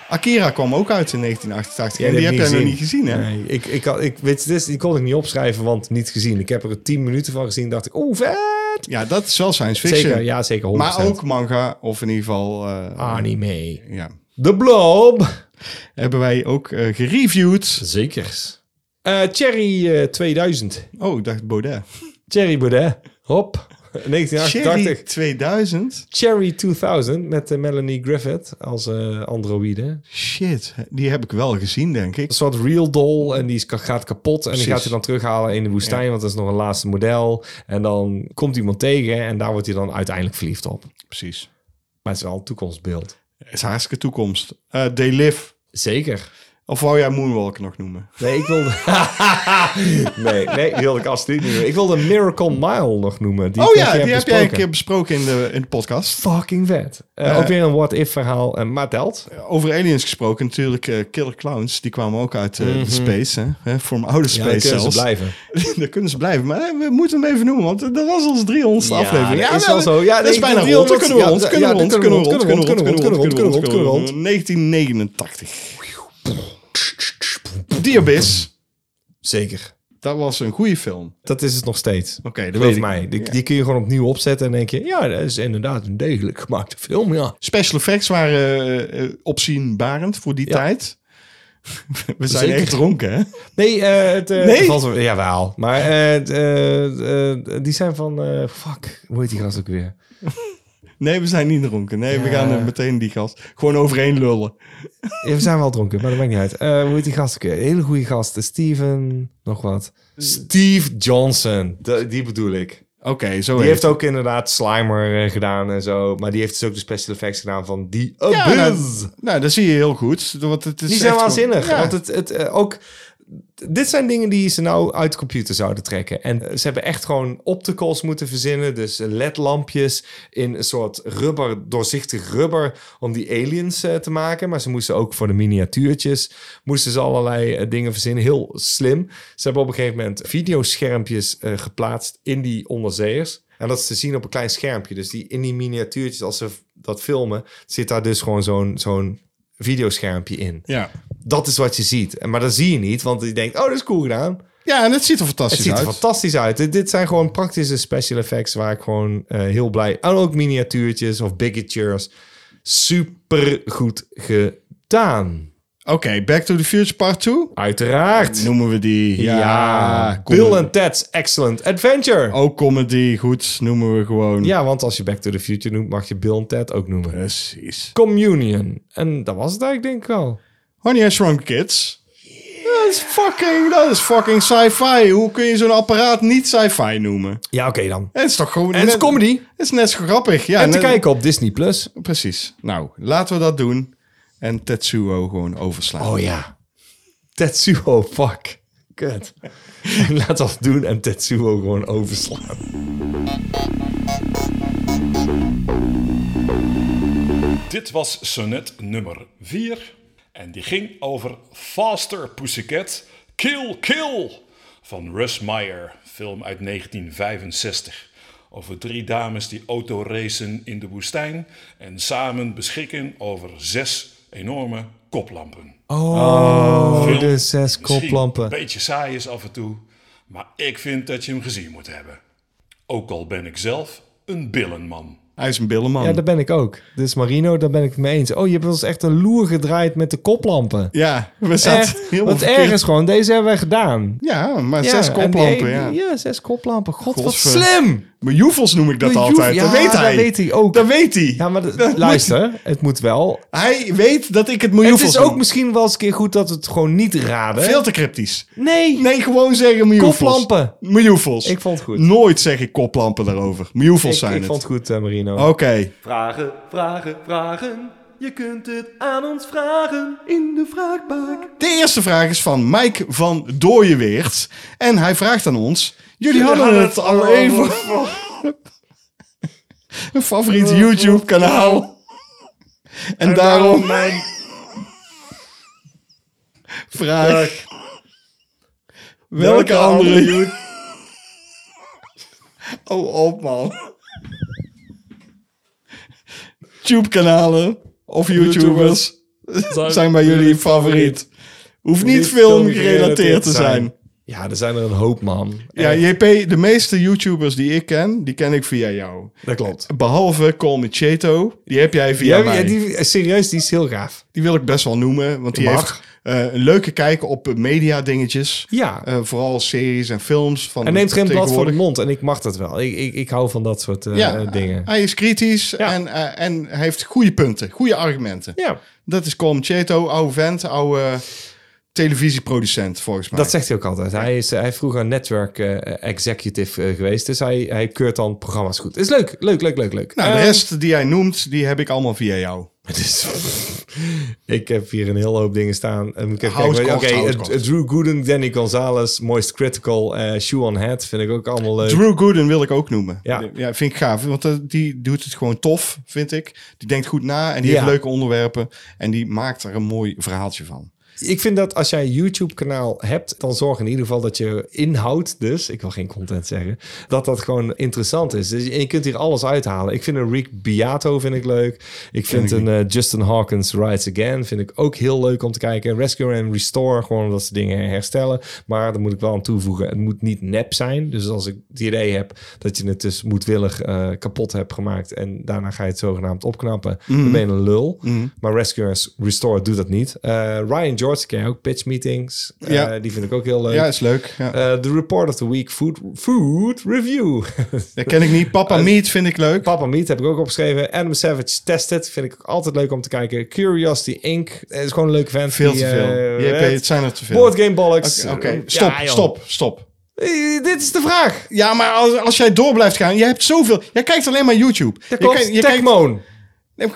Speaker 2: Akira kwam ook uit in 1988
Speaker 7: Ja,
Speaker 2: en die heb jij nog niet gezien, hè?
Speaker 7: Nee, ik, ik, had- ik, weet je, dit, die kon ik niet opschrijven, want niet gezien. Ik heb er tien minuten van gezien dacht ik, oeh, vet.
Speaker 2: Ja, dat is wel science fiction.
Speaker 7: Zeker, ja, Ah. zeker. 100%.
Speaker 2: Maar ook manga, of in ieder geval... eh,
Speaker 7: anime.
Speaker 2: Ja.
Speaker 7: De Blob.
Speaker 2: Hebben wij ook eh, gereviewd.
Speaker 7: Zekers. Eh Cherry eh, 2000.
Speaker 2: Oh, ik dacht
Speaker 7: [LAUGHS]
Speaker 2: Baudet.
Speaker 7: Thierry Baudet. Hop.
Speaker 2: [LAUGHS]
Speaker 7: 1988.
Speaker 2: Cherry
Speaker 7: Cherry.
Speaker 2: 2000.
Speaker 7: 2000 met eh, Melanie Griffith als eh, androïde. Een
Speaker 2: Shit, die heb ik wel gezien, denk ik.
Speaker 7: soort real doll en die is, ka- gaat kapot. En
Speaker 2: Precies.
Speaker 7: die gaat hij dan terughalen in de woestijn, want dat is nog een laatste model. En dan komt iemand tegen en daar wordt hij dan uiteindelijk verliefd op.
Speaker 2: Precies.
Speaker 7: Maar het is wel een toekomstbeeld.
Speaker 2: Het is hartstikke toekomst. Eh They Live.
Speaker 7: Zeker.
Speaker 2: Of wou jij Moonwalker nog noemen?
Speaker 7: Nee, ik wilde... [LAUGHS] nee, nee, die wilde ik alsjeblieft niet noemen. Ik wilde Miracle Mile nog noemen. Die
Speaker 2: Oh
Speaker 7: ik nog
Speaker 2: ja,
Speaker 7: niet
Speaker 2: die heb jij een
Speaker 7: besproken.
Speaker 2: keer besproken in de, in de podcast.
Speaker 7: Fucking vet. Eh, ook weer een what-if verhaal, eh, maar telt.
Speaker 2: Over aliens gesproken, natuurlijk eh, Killer Clowns. Die kwamen ook uit eh, de space, hè? hè? From outer
Speaker 7: Mhm. Ja,
Speaker 2: space
Speaker 7: dan kunnen ze
Speaker 2: zelfs.
Speaker 7: blijven.
Speaker 2: [LAUGHS] Daar kunnen ze blijven. Maar eh, we moeten hem even noemen, want eh, dat was onze 300ste aflevering.
Speaker 7: dat is
Speaker 2: nou,
Speaker 7: wel zo. Ja,
Speaker 2: dat is
Speaker 7: ik
Speaker 2: bijna
Speaker 7: vind
Speaker 2: rond. Dan
Speaker 7: 300.
Speaker 2: kunnen we
Speaker 7: Ja,
Speaker 2: rond,
Speaker 7: ja,
Speaker 2: kunnen we
Speaker 7: ja,
Speaker 2: rond,
Speaker 7: dan
Speaker 2: kunnen we rond,
Speaker 7: kunnen we
Speaker 2: kunnen we rond, kunnen we rond, kunnen we rond, kunnen we rond.
Speaker 7: kunnen
Speaker 2: 1989. Diabetes.
Speaker 7: Zeker.
Speaker 2: Dat was een goede film.
Speaker 7: Dat is het nog steeds.
Speaker 2: Oké, dat
Speaker 7: Geloof
Speaker 2: weet ik.
Speaker 7: mij. Die,
Speaker 2: Ja.
Speaker 7: die kun je gewoon opnieuw opzetten en denk je... Ja, dat is inderdaad een degelijk gemaakte film, ja.
Speaker 2: Special effects waren eh, eh, opzienbarend voor die
Speaker 7: Ja.
Speaker 2: tijd. [LAUGHS] We zijn
Speaker 7: Zeker.
Speaker 2: echt dronken, hè?
Speaker 7: Nee, eh, het... eh,
Speaker 2: Nee?
Speaker 7: Valt, wel- jawel. Maar eh, het, eh, eh, die zijn van... eh, fuck, hoe heet die gast ook weer?
Speaker 2: Nee, we zijn niet dronken. Nee, we gaan er meteen die gast gewoon overheen lullen.
Speaker 7: Ja, we zijn wel dronken, maar dat maakt niet uit. Eh, hoe heet die gast ook weer? Hele goede gast. eh, Steven... Nog wat. Steve Johnson. De- die bedoel ik.
Speaker 2: Oké, zo
Speaker 7: Die
Speaker 2: heet
Speaker 7: heeft ook inderdaad Slimer eh, gedaan en zo. Maar die heeft dus ook de special effects gedaan van die Abyss.
Speaker 2: Ja, nou, nou, dat zie je heel goed. Want het is
Speaker 7: die zijn
Speaker 2: echt gewoon-
Speaker 7: waanzinnig.
Speaker 2: Ja.
Speaker 7: Want het, het, eh, ook, dit zijn dingen die ze nou uit de computer zouden trekken. En eh, ze hebben echt gewoon opticals moeten verzinnen. Dus eh, ledlampjes in een soort rubber, doorzichtig rubber... om die aliens eh, te maken. Maar ze moesten ook voor de miniatuurtjes... moesten ze allerlei eh, dingen verzinnen. Heel slim. Ze hebben op een gegeven moment videoschermpjes eh, geplaatst... in die onderzeeërs. En dat is te zien op een klein schermpje. Dus die, in die miniatuurtjes, als ze v- dat filmen... zit daar dus gewoon zo'n... zo'n videoschermpje in.
Speaker 2: ja.
Speaker 7: Dat is wat je ziet. En- Maar dat zie je niet, want je denkt, oh, dat is cool gedaan.
Speaker 2: ja, en het ziet er
Speaker 7: Het
Speaker 2: fantastisch
Speaker 7: ziet er
Speaker 2: uit.
Speaker 7: fantastisch uit. Dit- Dit zijn gewoon praktische special effects waar ik gewoon eh, heel blij... En ook miniatuurtjes of bigatures. Super goed gedaan.
Speaker 2: Oké, Back to the Future Part 2.
Speaker 7: Uiteraard.
Speaker 2: Noemen we die. Ja, Oh. comedy.
Speaker 7: Bill and Ted's Excellent Adventure.
Speaker 2: Ook comedy, goed, noemen we gewoon.
Speaker 7: Ja, want als je Back to the Future noemt, mag je Bill en Ted ook noemen.
Speaker 2: Precies.
Speaker 7: Communion. En dat was het eigenlijk, denk ik wel.
Speaker 2: Honey, I Shrunk Kids. Dat is fucking, dat is fucking sci-fi. Hoe kun je zo'n apparaat niet sci-fi noemen?
Speaker 7: Ja, oké dan.
Speaker 2: Het is toch gewoon...
Speaker 7: En het is comedy.
Speaker 2: Het is net zo grappig. Ja,
Speaker 7: En te
Speaker 2: net-
Speaker 7: kijken op Disney+. Plus.
Speaker 2: Precies. Nou, laten we dat doen. En Tetsuo gewoon overslaan.
Speaker 7: Oh ja. Tetsuo, fuck.
Speaker 2: [LAUGHS]
Speaker 7: Kut. Laat dat doen en Tetsuo gewoon overslaan.
Speaker 4: Dit was sonnet nummer 4 en die ging over Faster Pussycat Kill Kill van Russ Meyer, film uit 1965. Over drie dames die autoracen in de woestijn en samen beschikken over zes enorme koplampen.
Speaker 7: Oh,
Speaker 4: Film
Speaker 7: de zes
Speaker 4: misschien Een
Speaker 7: koplampen.
Speaker 4: beetje saai is af en toe, maar ik vind dat je hem gezien moet hebben. Ook al ben ik zelf een billenman.
Speaker 2: Hij is een billenman.
Speaker 7: Ja, daar ben ik ook. Dus Marino, daar ben ik het mee eens. Oh, je hebt ons echt een loer gedraaid met de koplampen.
Speaker 2: Ja, we zaten
Speaker 7: Echt,
Speaker 2: heel
Speaker 7: want Eh, ergens gewoon, deze hebben wij gedaan.
Speaker 2: Ja, maar
Speaker 7: Ja,
Speaker 2: zes
Speaker 7: en die
Speaker 2: koplampen,
Speaker 7: ene-
Speaker 2: Oh ja.
Speaker 7: Ja, zes koplampen. God, wat
Speaker 2: Godver-
Speaker 7: slim!
Speaker 2: Maar joefels noem ik dat
Speaker 7: De joef-
Speaker 2: altijd.
Speaker 7: ja,
Speaker 2: dat weet hij.
Speaker 7: dat weet hij ook.
Speaker 2: Dat weet hij.
Speaker 7: Ja, maar d- luister, het moet wel.
Speaker 2: Hij weet dat ik het
Speaker 7: Het
Speaker 2: miljoefels
Speaker 7: is ook misschien wel eens een keer goed dat we het gewoon niet raden.
Speaker 2: Veel te cryptisch.
Speaker 7: Nee,
Speaker 2: Nee, gewoon zeggen miljoefels.
Speaker 7: Koplampen.
Speaker 2: Miljoefels.
Speaker 7: Ik vond het goed.
Speaker 2: Nooit zeg ik koplampen daarover. Miljoefels
Speaker 7: ik,
Speaker 2: zijn
Speaker 7: ik
Speaker 2: het.
Speaker 7: vond het goed, eh, Marino.
Speaker 2: Oké.
Speaker 9: Vragen, vragen, vragen. Je kunt het aan ons vragen in de vraagbak.
Speaker 2: De eerste vraag is van Mike van Dooyeweert. En hij vraagt aan ons... Jullie hadden het al even... [LAUGHS] Een favoriet YouTube-kanaal. En daarom
Speaker 9: Mijn
Speaker 2: [LAUGHS] vraag... Welke andere... you-
Speaker 7: [LAUGHS]
Speaker 2: Oh, op man. YouTube-kanalen of YouTubers zijn bij jullie favoriet. Hoeft niet film-gerelateerd te zijn.
Speaker 7: Ja, er zijn er een hoop, man.
Speaker 2: Ja, JP, de meeste YouTubers die ik ken, die ken ik via jou.
Speaker 7: dat klopt.
Speaker 2: Behalve Call Me Cheto, die heb jij via
Speaker 7: Ja,
Speaker 2: mij.
Speaker 7: ja,
Speaker 2: die...
Speaker 7: die, serieus, die is heel gaaf.
Speaker 2: wil ik best wel noemen, want die
Speaker 7: Mag.
Speaker 2: heeft eh, een leuke kijk op media dingetjes.
Speaker 7: Ja.
Speaker 2: vooral series en films. Van
Speaker 7: Hij neemt geen blad voor de
Speaker 2: Eh, tegenwoordig.
Speaker 7: mond en ik mag dat wel. Ik, ik, ik hou van dat soort eh,
Speaker 2: Ja,
Speaker 7: eh, dingen.
Speaker 2: hij is kritisch en, eh, en hij heeft goede punten, goede argumenten.
Speaker 7: Ja,
Speaker 2: Dat is Colm Cheto, oude vent, oude eh, televisieproducent volgens mij.
Speaker 7: dat zegt hij ook altijd. Hij is, eh, hij is vroeger een network eh, executive eh, geweest, dus hij, hij keurt dan programma's goed. Is leuk, leuk, leuk, leuk, leuk.
Speaker 2: nou,
Speaker 7: Eh,
Speaker 2: de rest die hij noemt, die heb ik allemaal via jou.
Speaker 7: [LAUGHS] Het is, dus, ik heb hier een hele hoop dingen staan. En moet ik even
Speaker 2: Houtkocht,
Speaker 7: kijken. Oké,
Speaker 2: houtkocht.
Speaker 7: eh, Drew Gooden, Danny Gonzalez, Moist Critical, eh Shoe on Head vind ik ook allemaal leuk.
Speaker 2: Drew Gooden wil ik ook noemen.
Speaker 7: Ja.
Speaker 2: ja, vind ik gaaf. Want eh, die doet het gewoon tof, vind ik. Die denkt goed na en die
Speaker 7: Ja.
Speaker 2: heeft leuke onderwerpen. En die maakt er een mooi verhaaltje van.
Speaker 7: Ik vind dat als jij een YouTube-kanaal hebt, dan zorg in ieder geval dat je inhoud, dus ik wil geen content zeggen, dat dat gewoon interessant is. Dus, en je kunt hier alles uithalen. Ik vind een Rick Beato vind ik leuk. Ik vind een eh, Justin Hawkins Rides Again vind ik ook heel leuk om te kijken. Rescue and Restore, gewoon omdat ze dingen herstellen. Maar daar moet ik wel aan toevoegen, het moet niet nep zijn. Dus als ik het idee heb dat je het dus moedwillig eh, kapot hebt gemaakt en daarna ga je het zogenaamd opknappen,
Speaker 2: Mhm.
Speaker 7: dan ben je een lul. Maar Rescue and Restore doet dat niet. Eh, Ryan George ken je ook, Pitch Meetings. Eh,
Speaker 2: Ja.
Speaker 7: Die vind ik ook heel leuk.
Speaker 2: Ja, is leuk. Ja.
Speaker 7: Eh, the Report of the Week Food, food Review. [LAUGHS]
Speaker 2: dat ken ik niet. Papa Meat vind ik leuk.
Speaker 7: eh, Papa Meat heb ik ook opgeschreven. Adam Savage Tested vind ik ook altijd leuk om te kijken. Curiosity Inc. eh, is gewoon een leuke vent.
Speaker 2: Veel
Speaker 7: die,
Speaker 2: te veel.
Speaker 7: eh,
Speaker 2: JP,
Speaker 7: het-
Speaker 2: het zijn er te veel.
Speaker 7: Board Game Bollocks.
Speaker 2: Oké, oké.
Speaker 7: Eh,
Speaker 2: stop,
Speaker 7: ja, joh.
Speaker 2: stop, stop.
Speaker 7: Eh, dit is de vraag.
Speaker 2: Ja, maar als, als jij door blijft gaan, je hebt zoveel. Jij kijkt alleen maar YouTube.
Speaker 7: Dat
Speaker 2: je
Speaker 7: komt
Speaker 2: kijkt- je
Speaker 7: Tecmoon.
Speaker 2: kijkt-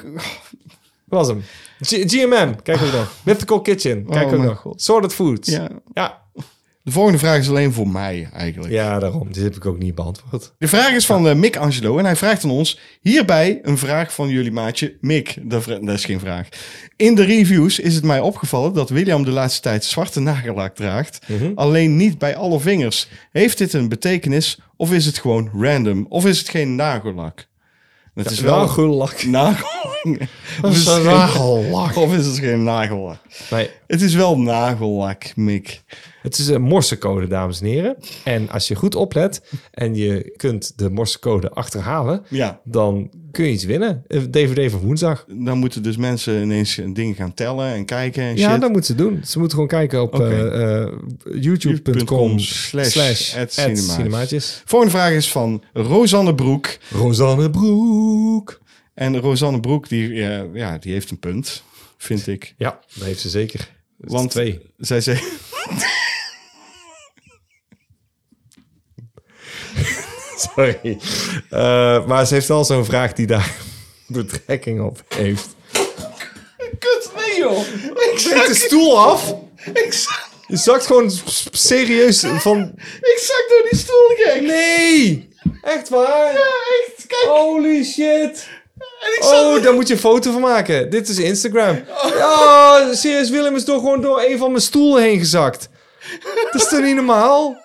Speaker 7: Dat was hem. G- GMM, kijk ook
Speaker 2: [LAUGHS]
Speaker 7: nog. Mythical Kitchen, kijk
Speaker 2: Oh,
Speaker 7: ook
Speaker 2: mijn
Speaker 7: nog.
Speaker 2: God.
Speaker 7: Sorted Foods.
Speaker 2: Ja.
Speaker 7: ja.
Speaker 2: De volgende vraag is alleen voor mij eigenlijk.
Speaker 7: Ja, daarom. Dit heb ik ook niet beantwoord.
Speaker 2: De vraag is van eh, Mick Angelo en hij vraagt aan ons hierbij een vraag van jullie maatje Mick. Dat, vra- dat is geen vraag. In de reviews is het mij opgevallen dat William de laatste tijd zwarte nagellak draagt,
Speaker 7: Mhm.
Speaker 2: alleen niet bij alle vingers. Heeft dit een betekenis of is het gewoon random? Of is het geen nagellak? Het is wel een
Speaker 7: Nagellak.
Speaker 2: nagel. [LAUGHS]
Speaker 7: Dat is een nagellak.
Speaker 2: Of is het geen nagellak?
Speaker 7: Nee,
Speaker 2: Het is wel nagellak, Mick.
Speaker 7: het is een morsecode, dames en heren. En als je goed oplet en je kunt de morsecode achterhalen,
Speaker 2: Ja.
Speaker 7: dan kun je iets winnen. Eh, Een DVD van woensdag.
Speaker 2: Dan moeten dus mensen ineens dingen gaan tellen en kijken en
Speaker 7: Ja,
Speaker 2: shit.
Speaker 7: dat moeten ze doen. Ze moeten gewoon kijken op
Speaker 2: Oké.
Speaker 7: eh, eh, youtube.com
Speaker 2: slash
Speaker 7: slash
Speaker 2: at
Speaker 7: at
Speaker 2: cinemaatjes.
Speaker 7: cinemaatjes.
Speaker 2: Volgende vraag is van Rosanne Broek.
Speaker 7: Rosanne Broek.
Speaker 2: En Rosanne Broek, die, eh, ja, die heeft een punt, vind ik.
Speaker 7: Ja, dat heeft ze zeker.
Speaker 2: Want-
Speaker 7: Want twee.
Speaker 2: Zij zegt...
Speaker 7: Sorry. Eh, maar ze heeft wel zo'n vraag die daar [LAUGHS] betrekking op heeft.
Speaker 2: Kut, nee joh! Ik
Speaker 7: Zet de stoel af.
Speaker 2: [LAUGHS] ik zak,
Speaker 7: Je zakt gewoon s- serieus van...
Speaker 2: ik zak door die stoel, gek!
Speaker 7: Nee! Echt waar?
Speaker 2: echt, kijk!
Speaker 7: Holy shit!
Speaker 2: En ik Oh.
Speaker 7: Oh, daar moet je een foto van maken. Dit is Instagram. Ja, serieus, Willem is door gewoon door een van mijn stoelen heen gezakt. Dat is toch niet normaal?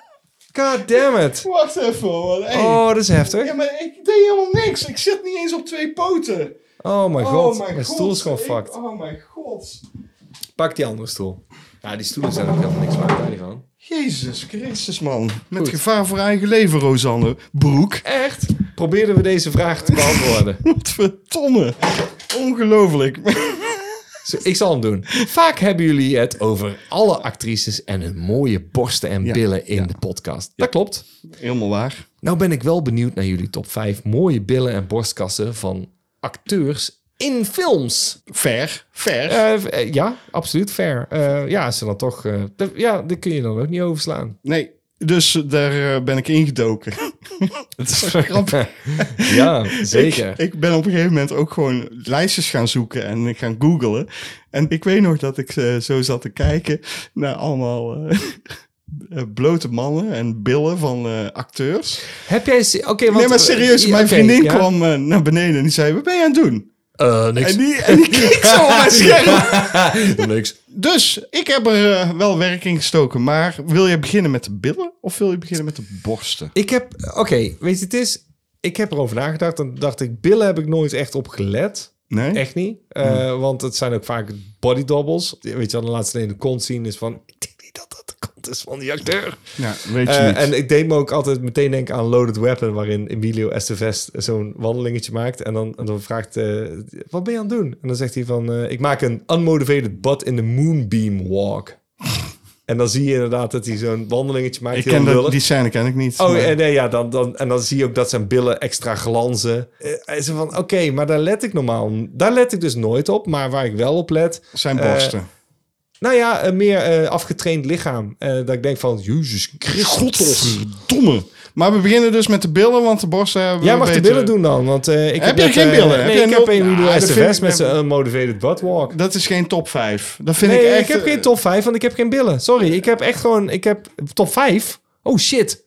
Speaker 7: God damn it.
Speaker 2: Wacht even, man. Hey.
Speaker 7: Oh, dat is heftig.
Speaker 2: Ja, maar ik deed helemaal niks. Ik zit niet eens op twee poten.
Speaker 7: Oh mijn
Speaker 2: Oh
Speaker 7: god, mijn stoel is gewoon
Speaker 2: Ik-
Speaker 7: fucked.
Speaker 2: Oh mijn god.
Speaker 7: Pak die andere stoel. Ja, die stoelen zijn ook helemaal niks waard, daar niet van.
Speaker 2: Jezus Christus, man. Met gevaar voor eigen leven, Rosanne Broek.
Speaker 7: Echt? Probeerden we deze vraag te beantwoorden.
Speaker 2: Wat verdomme. Ongelooflijk.
Speaker 7: Zo, Ik zal hem doen. Vaak hebben jullie het over alle actrices en hun mooie borsten en billen in de podcast. Dat klopt.
Speaker 2: Helemaal waar.
Speaker 7: Nou ben ik wel benieuwd naar jullie top 5 mooie billen en borstkassen van acteurs in films.
Speaker 2: Ver. Ver.
Speaker 7: Eh, v- eh, ja, absoluut fair. Eh, ja, ze dan toch. eh, d- ja, daar kun je dan ook niet overslaan.
Speaker 2: Nee, dus eh, daar eh, ben ik ingedoken. [LAUGHS] Het is wel grappig.
Speaker 7: [LAUGHS] ja, [LAUGHS] zeker.
Speaker 2: Ik, ik ben op een gegeven moment ook gewoon lijstjes gaan zoeken en gaan googlen. En ik weet nog dat ik eh, zo zat te kijken naar allemaal eh, [LAUGHS] eh, blote mannen en billen van eh, acteurs.
Speaker 7: Heb jij. se- Oké, want-
Speaker 2: nee, maar serieus,
Speaker 7: eh,
Speaker 2: mijn
Speaker 7: oké,
Speaker 2: vriendin
Speaker 7: ja.
Speaker 2: kwam eh, naar beneden en die zei, wat ben je aan het doen?
Speaker 7: Eh, niks. [LAUGHS]
Speaker 2: En die, en die keek zo op mijn scherm.
Speaker 7: niks.
Speaker 2: Dus ik heb er eh, wel werk in gestoken. Maar wil je beginnen met de billen of wil je beginnen met de borsten?
Speaker 7: Ik heb, oké, weet je, het is. Ik heb erover nagedacht en dacht ik, billen heb ik nooit echt op gelet.
Speaker 2: Nee? Hmm.
Speaker 7: Echt niet. Eh, Want het zijn ook vaak body doubles. Weet je, al de laatste in de kont zien is van. Ik denk niet dat dat de kont is van die acteur.
Speaker 2: Ja, weet je
Speaker 7: Eh,
Speaker 2: niet.
Speaker 7: en ik deed me ook altijd meteen denken aan Loaded Weapon, waarin Emilio Estevez zo'n wandelingetje maakt. En dan, en dan vraagt, eh, wat ben je aan het doen? En dan zegt hij van, eh, ik maak een unmotivated butt in the moonbeam walk. [LAUGHS] en dan zie je inderdaad dat hij zo'n wandelingetje maakt.
Speaker 2: Ik
Speaker 7: heel
Speaker 2: ken dat,
Speaker 7: lullig.
Speaker 2: die scène ken ik niet.
Speaker 7: Oh,
Speaker 2: maar-
Speaker 7: en, nee, ja, dan, dan, en dan zie je ook dat zijn billen extra glanzen. Eh, en zo van, oké, maar daar let ik normaal... Daar let ik dus nooit op, maar waar ik wel op let...
Speaker 2: zijn
Speaker 7: eh,
Speaker 2: borsten.
Speaker 7: nou ja, een meer eh, afgetraind lichaam. Eh, dat ik denk van, jezus Christus.
Speaker 2: Godverdomme. Maar we beginnen dus met de billen, want de borsten hebben
Speaker 7: Jij
Speaker 2: we
Speaker 7: mag de
Speaker 2: beter-
Speaker 7: billen doen dan, want eh, ik
Speaker 2: Heb jij
Speaker 7: net,
Speaker 2: geen
Speaker 7: eh,
Speaker 2: billen? Heb
Speaker 7: Nee,
Speaker 2: jij
Speaker 7: ik
Speaker 2: nul-
Speaker 7: heb een Ah,
Speaker 2: Ja,
Speaker 7: Widow
Speaker 2: dat vind
Speaker 7: SFS
Speaker 2: ik-
Speaker 7: met zijn eh, unmotivated buttwalk.
Speaker 2: Dat is geen top 5. Dat vind
Speaker 7: Nee,
Speaker 2: ik
Speaker 7: ik, eh,
Speaker 2: echt...
Speaker 7: heb geen top 5, want ik heb geen billen. Sorry, ik heb echt gewoon... Ik heb top 5. Oh, shit.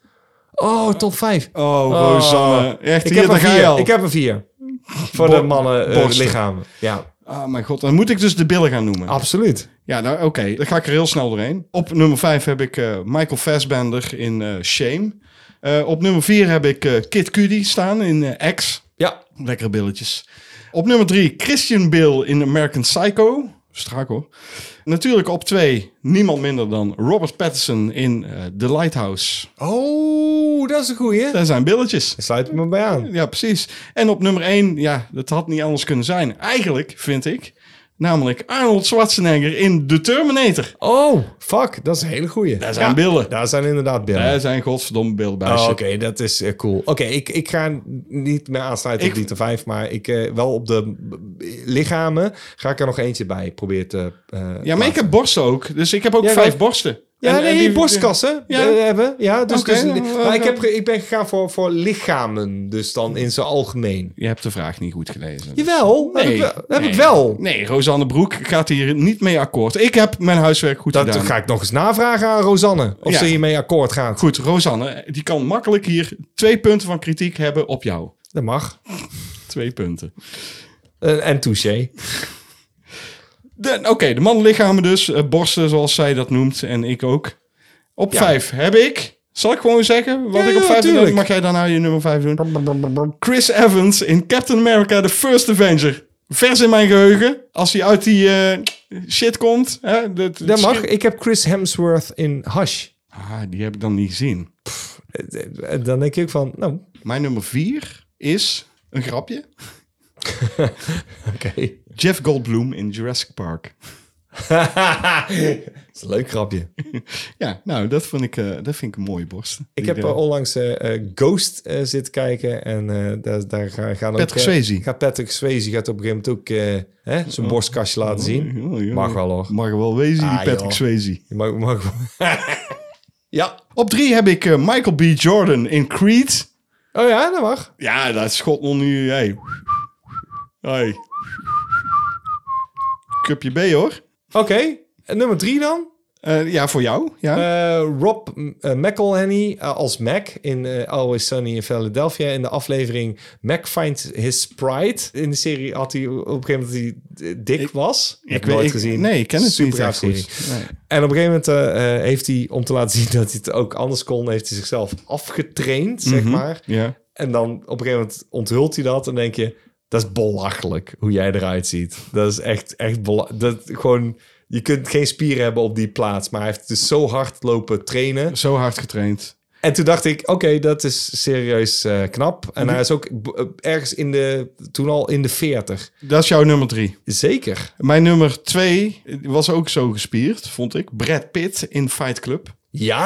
Speaker 7: Oh, top 5.
Speaker 2: Oh, Rosanne. Echt,
Speaker 7: ik,
Speaker 2: hier,
Speaker 7: heb
Speaker 2: daar
Speaker 7: een
Speaker 2: ga je
Speaker 7: vier.
Speaker 2: al.
Speaker 7: ik heb een 4. Voor
Speaker 2: Bo-
Speaker 7: de mannen eh,
Speaker 2: borsten.
Speaker 7: lichamen. Ja,
Speaker 2: Ah, mijn god. Dan moet ik dus de billen gaan noemen.
Speaker 7: Ah. absoluut.
Speaker 2: Ja, nou, oké. Dan ga ik er heel snel doorheen. Op nummer 5 heb ik eh, Michael Fassbender in eh, Shame. Eh, op nummer 4 heb ik eh, Kid Cudi staan in eh, X.
Speaker 7: Ja,
Speaker 2: Lekkere billetjes. Op nummer 3 Christian Bale in American Psycho. Strak hoor. Natuurlijk op 2 niemand minder dan Robert Pattinson in eh, The Lighthouse.
Speaker 7: Oh, dat is een goeie.
Speaker 2: Daar zijn billetjes.
Speaker 7: Sluit me bij aan.
Speaker 2: Ja, precies. En op nummer 1, ja, dat had niet anders kunnen zijn. Eigenlijk, vind ik, namelijk Arnold Schwarzenegger in The Terminator.
Speaker 7: Oh, fuck. Dat is een hele goeie.
Speaker 2: Daar zijn billen.
Speaker 7: Daar zijn inderdaad billen.
Speaker 2: Daar zijn godsverdomme billen bij.
Speaker 7: Oh,
Speaker 2: shit.
Speaker 7: Oké, dat is eh, cool. Oké, ik, ik ga niet meer aansluiten
Speaker 2: Ik-
Speaker 7: op die te 5, maar ik, eh, wel op de b- b- lichamen ga ik er nog eentje bij proberen te. eh,
Speaker 2: Ja, maar ik
Speaker 7: plaatsen.
Speaker 2: heb borsten ook. Dus ik heb ook
Speaker 7: Ja,
Speaker 2: vijf
Speaker 7: maar-
Speaker 2: borsten.
Speaker 7: Ja,
Speaker 2: En-
Speaker 7: nee,
Speaker 2: en die-
Speaker 7: borstkassen
Speaker 2: Ja.
Speaker 7: eh, hebben. Ja, dus,
Speaker 2: Oké,
Speaker 7: dus-
Speaker 2: dan-
Speaker 7: maar ik, heb, ge- ik ben gegaan voor, voor lichamen, dus dan in zijn algemeen.
Speaker 2: Je hebt de vraag niet goed gelezen.
Speaker 7: Jawel, heb ik wel. Heb ik wel.
Speaker 2: Nee, Rosanne Broek gaat hier niet mee akkoord. Ik heb mijn huiswerk goed
Speaker 7: Dat
Speaker 2: gedaan.
Speaker 7: ga ik nog eens navragen aan Rosanne, of
Speaker 2: Ja.
Speaker 7: ze hiermee akkoord gaat.
Speaker 2: Goed, Rosanne, die kan makkelijk hier twee punten van kritiek hebben op jou.
Speaker 7: Dat mag.
Speaker 2: Twee punten.
Speaker 7: Eh, en touché.
Speaker 2: De- Oké, de mannenlichamen dus. eh, borsten, zoals zij dat noemt. En ik ook. Op vijf heb ik... Zal ik gewoon zeggen wat
Speaker 7: Ja,
Speaker 2: ik op
Speaker 7: ja,
Speaker 2: vijf doe?
Speaker 7: tuurlijk.
Speaker 2: Mag jij daarna je nummer vijf doen? Chris Evans in Captain America The First Avenger. Vers in mijn geheugen. Als hij uit die eh, shit komt. Hè, dat,
Speaker 7: Dat mag. Ik heb Chris Hemsworth in Hush.
Speaker 2: Ah, die heb ik dan niet gezien.
Speaker 7: Eh, eh, Dan denk ik van, nou,
Speaker 2: Mijn nummer vier is... Een grapje.
Speaker 7: [LAUGHS] oké.
Speaker 2: Jeff Goldblum in Jurassic Park. [LAUGHS]
Speaker 7: dat is een leuk grapje.
Speaker 2: Ja, nou, dat, vond ik, eh, dat vind ik een mooie borsten.
Speaker 7: Ik
Speaker 2: Die
Speaker 7: heb
Speaker 2: daar-
Speaker 7: eh, onlangs eh, eh, Ghost eh, zitten kijken. En eh, daar, daar ga- gaan ook...
Speaker 2: Patrick
Speaker 7: eh,
Speaker 2: Swayze.
Speaker 7: Gaat Patrick Swayze gaat op een gegeven moment ook eh, hè, zijn borstkastje laten zien.
Speaker 2: Oh, joh.
Speaker 7: Mag wel hoor.
Speaker 2: Mag wel wezen, die
Speaker 7: Ah,
Speaker 2: Patrick
Speaker 7: joh.
Speaker 2: Swayze.
Speaker 7: Je mag, mag... [LAUGHS] ja.
Speaker 2: Op drie heb ik eh, Michael B. Jordan in Creed.
Speaker 7: Oh ja, dat mag.
Speaker 2: Ja, dat is God nog nu. Hey. Hey. Cupje B hoor.
Speaker 7: Oké. En nummer drie dan.
Speaker 2: Eh, ja, voor jou. Ja.
Speaker 7: Eh, Rob eh, McElhenney eh, als Mac in eh, Always Sunny in Philadelphia. In de aflevering Mac Finds His Pride. In de serie had hij op een gegeven moment dat hij eh, dik was. Heb
Speaker 2: weet-
Speaker 7: nooit gezien.
Speaker 2: Nee, ik ken het niet
Speaker 7: Supergaaf
Speaker 2: echt
Speaker 7: serie.
Speaker 2: goed. Nee.
Speaker 7: En op een gegeven moment eh, eh, heeft hij, om te laten zien dat hij het ook anders kon, heeft hij zichzelf afgetraind, zeg maar.
Speaker 2: Ja.
Speaker 7: En dan op een gegeven moment onthult hij dat en denk je, dat is belachelijk hoe jij eruit ziet. Dat is echt, echt bela- dat gewoon. Je kunt geen spieren hebben op die plaats, maar hij heeft dus zo hard lopen trainen.
Speaker 2: Zo hard getraind.
Speaker 7: En toen dacht ik, oké, dat is serieus eh, knap. En hij is ook b- eh, ergens in de, toen al in de 40.
Speaker 2: Dat is jouw nummer drie.
Speaker 7: Zeker.
Speaker 2: Mijn nummer twee was ook zo gespierd, vond ik. Brad Pitt in Fight Club.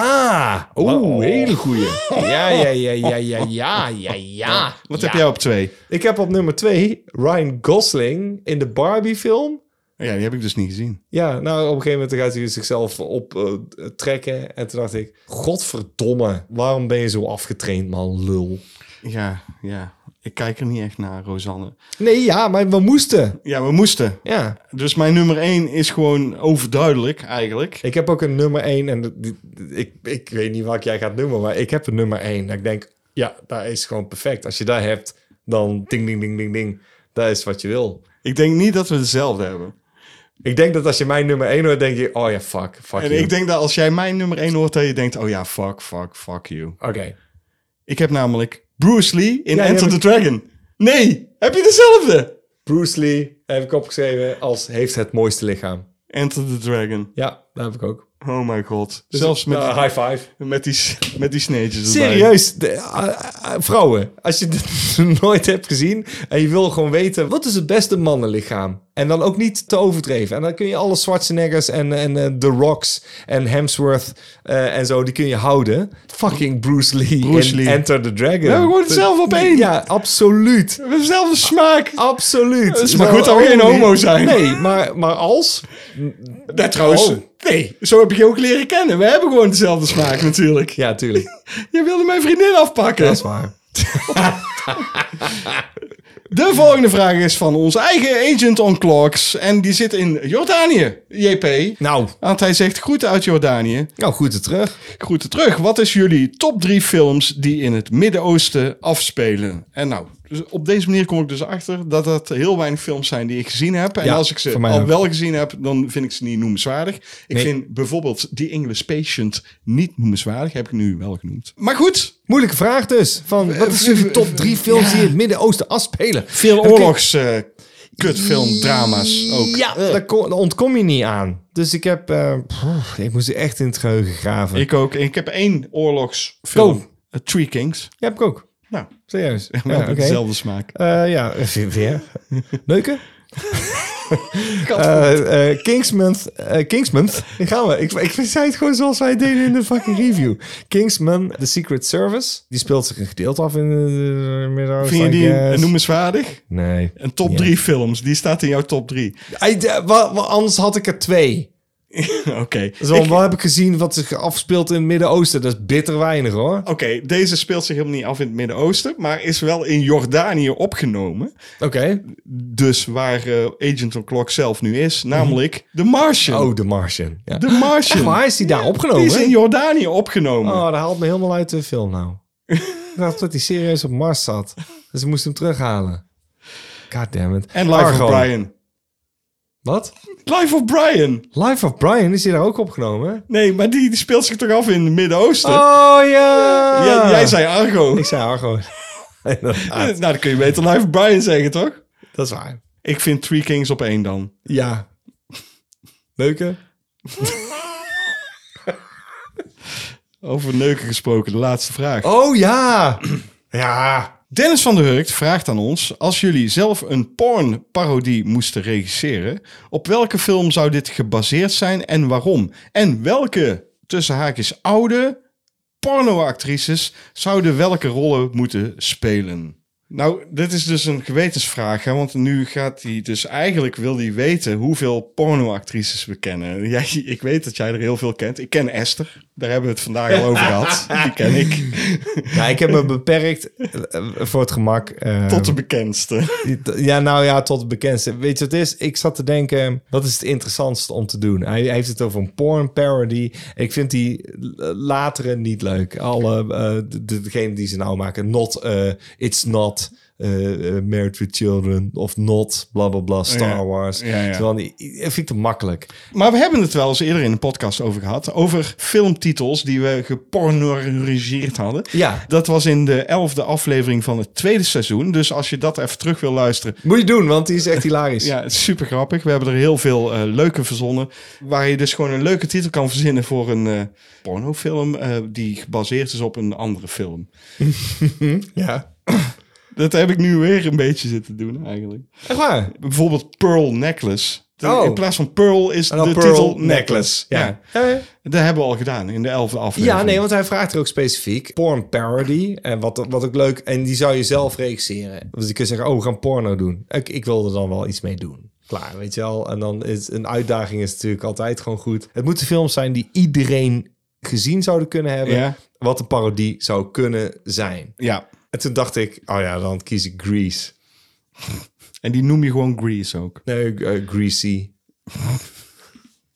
Speaker 7: Ja! Oeh, hele goeie. Ja, ja, ja, ja, ja, ja, ja, ja.
Speaker 2: Wat heb jij op twee?
Speaker 7: Ik heb op nummer twee Ryan Gosling in de Barbie-film.
Speaker 2: Ja, die heb ik dus niet gezien.
Speaker 7: Ja, nou, op een gegeven moment gaat hij zichzelf op eh, trekken. En toen dacht ik, godverdomme, waarom ben je zo afgetraind, man, lul?
Speaker 2: Ja, ja. Ik kijk er niet echt naar, Rosanne.
Speaker 7: Nee, ja, maar we moesten.
Speaker 2: Ja, we moesten.
Speaker 7: Ja.
Speaker 2: Dus mijn nummer 1 is gewoon overduidelijk eigenlijk.
Speaker 7: Ik heb ook een nummer één. En die- die- ik, ik weet niet welke jij gaat noemen, maar ik heb een nummer één. Dat ik denk, ja, daar is gewoon perfect. Als je dat hebt, dan ding, ding, ding, ding, ding. Dat is wat je wil.
Speaker 2: Ik denk niet dat we dezelfde hebben.
Speaker 7: Ik denk dat als je mijn nummer 1 hoort, denk je... Oh ja, fuck, fuck
Speaker 2: En
Speaker 7: you.
Speaker 2: ik denk dat als jij mijn nummer 1 hoort, dat je denkt, oh ja, fuck, fuck, fuck you.
Speaker 7: Oké.
Speaker 2: Ik heb namelijk Bruce Lee in
Speaker 7: Ja,
Speaker 2: Enter
Speaker 7: ja,
Speaker 2: the
Speaker 7: maar-
Speaker 2: Dragon. Nee, heb je dezelfde?
Speaker 7: Bruce Lee heb ik opgeschreven als heeft het mooiste lichaam.
Speaker 2: Enter the Dragon.
Speaker 7: Ja, dat heb ik ook.
Speaker 2: Oh my god. Zelfs met,
Speaker 7: Nou, high five.
Speaker 2: met die, met die sneetjes erbij.
Speaker 7: Serieus, de- ah, ah, vrouwen. Als je dit [LAUGHS] nooit hebt gezien en je wil gewoon weten... wat is het beste mannenlichaam? En dan ook niet te overdreven. En dan kun je alle Schwarzeneggers en, en eh, The Rocks en Hemsworth eh, en zo... die kun je houden. Fucking Bruce Lee
Speaker 2: Bruce
Speaker 7: in
Speaker 2: Lee.
Speaker 7: Enter the Dragon.
Speaker 2: we worden zelf op één.
Speaker 7: Ja, absoluut.
Speaker 2: We hebben dezelfde smaak.
Speaker 7: Absoluut.
Speaker 2: Het is [LAUGHS] maar
Speaker 7: Zo,
Speaker 2: goed dat we
Speaker 7: oh,
Speaker 2: geen
Speaker 7: die-
Speaker 2: homo zijn.
Speaker 7: Nee, maar, maar als... Nou, trouwens.
Speaker 2: Nee, zo heb ik je ook leren kennen. We hebben gewoon dezelfde smaak natuurlijk.
Speaker 7: Ja, tuurlijk.
Speaker 2: Je wilde mijn vriendin afpakken.
Speaker 7: Dat is waar.
Speaker 2: De volgende vraag is van onze eigen agent on clocks. En die zit in Jordanië, JP.
Speaker 7: Nou,
Speaker 2: Want hij zegt groeten uit Jordanië.
Speaker 7: nou goed er terug.
Speaker 2: Groeten terug. Wat is jullie top drie films die in het Midden-Oosten afspelen? En nou, dus op deze manier kom ik dus achter dat dat heel weinig films zijn die ik gezien heb. En
Speaker 7: Ja,
Speaker 2: als ik ze
Speaker 7: voor mij
Speaker 2: al
Speaker 7: ook.
Speaker 2: wel gezien heb, dan vind ik ze niet noemenswaardig. Ik
Speaker 7: Nee.
Speaker 2: vind bijvoorbeeld The English Patient niet noemenswaardig. Heb ik nu wel genoemd. Maar goed,
Speaker 7: Moeilijke vraag dus. Van, wat is jullie top drie films die in het Midden-Oosten afspelen?
Speaker 2: veel
Speaker 7: Heb ik-
Speaker 2: oorlogs... eh, Kutfilmdrama's ook.
Speaker 7: Ja, daar, ko- daar ontkom je niet aan. Dus ik heb... eh, pff, ik moest echt in het geheugen graven.
Speaker 2: Ik ook. En ik heb één oorlogsfilm.
Speaker 7: Go.
Speaker 2: Eh, Three Kings.
Speaker 7: Ja, heb ik ook.
Speaker 2: Nou,
Speaker 7: Serieus. Ja,
Speaker 2: we hebben
Speaker 7: oké.
Speaker 2: dezelfde smaak.
Speaker 7: Eh, ja,
Speaker 2: [LAUGHS]
Speaker 7: weer. Neuken? Eh, eh, Kingsman. eh, Kingsman. Daar gaan we. Ik, ik zei het gewoon zoals wij het deden in de fucking review. Kingsman, The Secret Service. Die speelt zich een gedeelte af in de middag.
Speaker 2: Vind je die een noemenswaardig?
Speaker 7: Nee.
Speaker 2: Een top
Speaker 7: Ja.
Speaker 2: drie films. Die staat in jouw top drie.
Speaker 7: Ei, de- eh, wa- wa- anders had ik er twee.
Speaker 2: [LAUGHS] Oké.
Speaker 7: Zo,
Speaker 2: Ik-
Speaker 7: wat heb ik gezien wat zich afspeelt in het Midden-Oosten? Dat is bitter weinig hoor.
Speaker 2: Oké, deze speelt zich helemaal niet af in het Midden-Oosten, maar is wel in Jordanië opgenomen.
Speaker 7: Oké.
Speaker 2: Dus waar eh, Agent on Clock zelf nu is, namelijk The Martian.
Speaker 7: Oh, The Martian. Ja.
Speaker 2: The Martian.
Speaker 7: Echt waar? Is die daar opgenomen?
Speaker 2: Die is in Jordanië opgenomen.
Speaker 7: Oh, dat haalt me helemaal uit de film nou. Ik dacht dat hij serieus op Mars zat. Dus ik moest hem terughalen. God damn it.
Speaker 2: En Life
Speaker 7: Argo.
Speaker 2: of Brian.
Speaker 7: Wat?
Speaker 2: Life of Brian.
Speaker 7: Life of Brian is hier daar ook opgenomen?
Speaker 2: Nee, maar die, die speelt zich toch af in het Midden-Oosten?
Speaker 7: Oh ja!
Speaker 2: Jij, jij zei Argo.
Speaker 7: Ik zei Argo.
Speaker 2: nou, [LAUGHS]
Speaker 7: Inderdaad,
Speaker 2: dan kun je beter Life of Brian zeggen, toch?
Speaker 7: dat is waar.
Speaker 2: Ik vind Three Kings op één dan.
Speaker 7: Ja. Leuke?
Speaker 2: Over neuken gesproken, de laatste vraag.
Speaker 7: Oh ja! Ja.
Speaker 2: Dennis van der Hurkt vraagt aan ons: als jullie zelf een pornparodie moesten regisseren, op welke film zou dit gebaseerd zijn en waarom? En welke tussen haakjes oude pornoactrices zouden welke rollen moeten spelen? Nou, dit is dus een gewetensvraag, hè? want nu gaat hij dus eigenlijk wil hij weten hoeveel pornoactrices we kennen. [LAUGHS] Jij, ik weet dat jij er heel veel kent. Ik ken Esther, daar hebben we het vandaag al over gehad. Die ken ik
Speaker 7: ja. Ik
Speaker 2: [LAUGHS]
Speaker 7: heb me beperkt eh, eh, voor het gemak. eh,
Speaker 2: tot de bekendste.
Speaker 7: Ja, nou ja, tot het bekendste. Weet je wat het is? Ik zat te denken, wat is het interessantste om te doen? Hij heeft het over een porn parody. Ik vind die eh, latere niet leuk. Alle, eh, de, degene die ze nou maken. Not, eh, it's not eh, eh, Married with Children of not, bla bla bla, Star
Speaker 2: Ja.
Speaker 7: Wars.
Speaker 2: Ja, ja.
Speaker 7: Terwijl die, die vind ik te makkelijk.
Speaker 2: Maar we hebben het wel eens eerder in een podcast over gehad. Over filmtitels die we gepornoriseerd hadden.
Speaker 7: Ja.
Speaker 2: Dat was in de elfde aflevering van het tweede seizoen. Dus als je dat even terug wil luisteren.
Speaker 7: Moet je doen, want die is echt hilarisch.
Speaker 2: Ja, het is super grappig. We hebben er heel veel eh, leuke verzonnen. Waar je dus gewoon een leuke titel kan verzinnen voor een eh, pornofilm. eh, die gebaseerd is op een andere film.
Speaker 7: ja.
Speaker 2: Dat heb ik nu weer een beetje zitten doen eigenlijk.
Speaker 7: Echt waar?
Speaker 2: Bijvoorbeeld Pearl Necklace. De-
Speaker 7: Oh.
Speaker 2: In plaats van Pearl is
Speaker 7: En dan
Speaker 2: de
Speaker 7: Pearl
Speaker 2: titel
Speaker 7: Necklace.
Speaker 2: Necklace.
Speaker 7: Ja. ja.
Speaker 2: Dat hebben we al gedaan in de elfde aflevering.
Speaker 7: Ja, nee, want hij vraagt er ook specifiek. Porn parody. En wat, wat ook leuk. En die zou je zelf regisseren. Dus je kunt zeggen, oh, we gaan porno doen. Ik, ik wil er dan wel iets mee doen. Klaar, weet je wel. En dan is een uitdaging is natuurlijk altijd gewoon goed. Het moeten films zijn die iedereen gezien zouden kunnen hebben.
Speaker 2: Ja.
Speaker 7: Wat een parodie zou kunnen zijn.
Speaker 2: Ja,
Speaker 7: En toen dacht ik, oh ja, dan kies ik Grease.
Speaker 2: En die noem je gewoon Grease ook.
Speaker 7: Nee, eh, Greasy.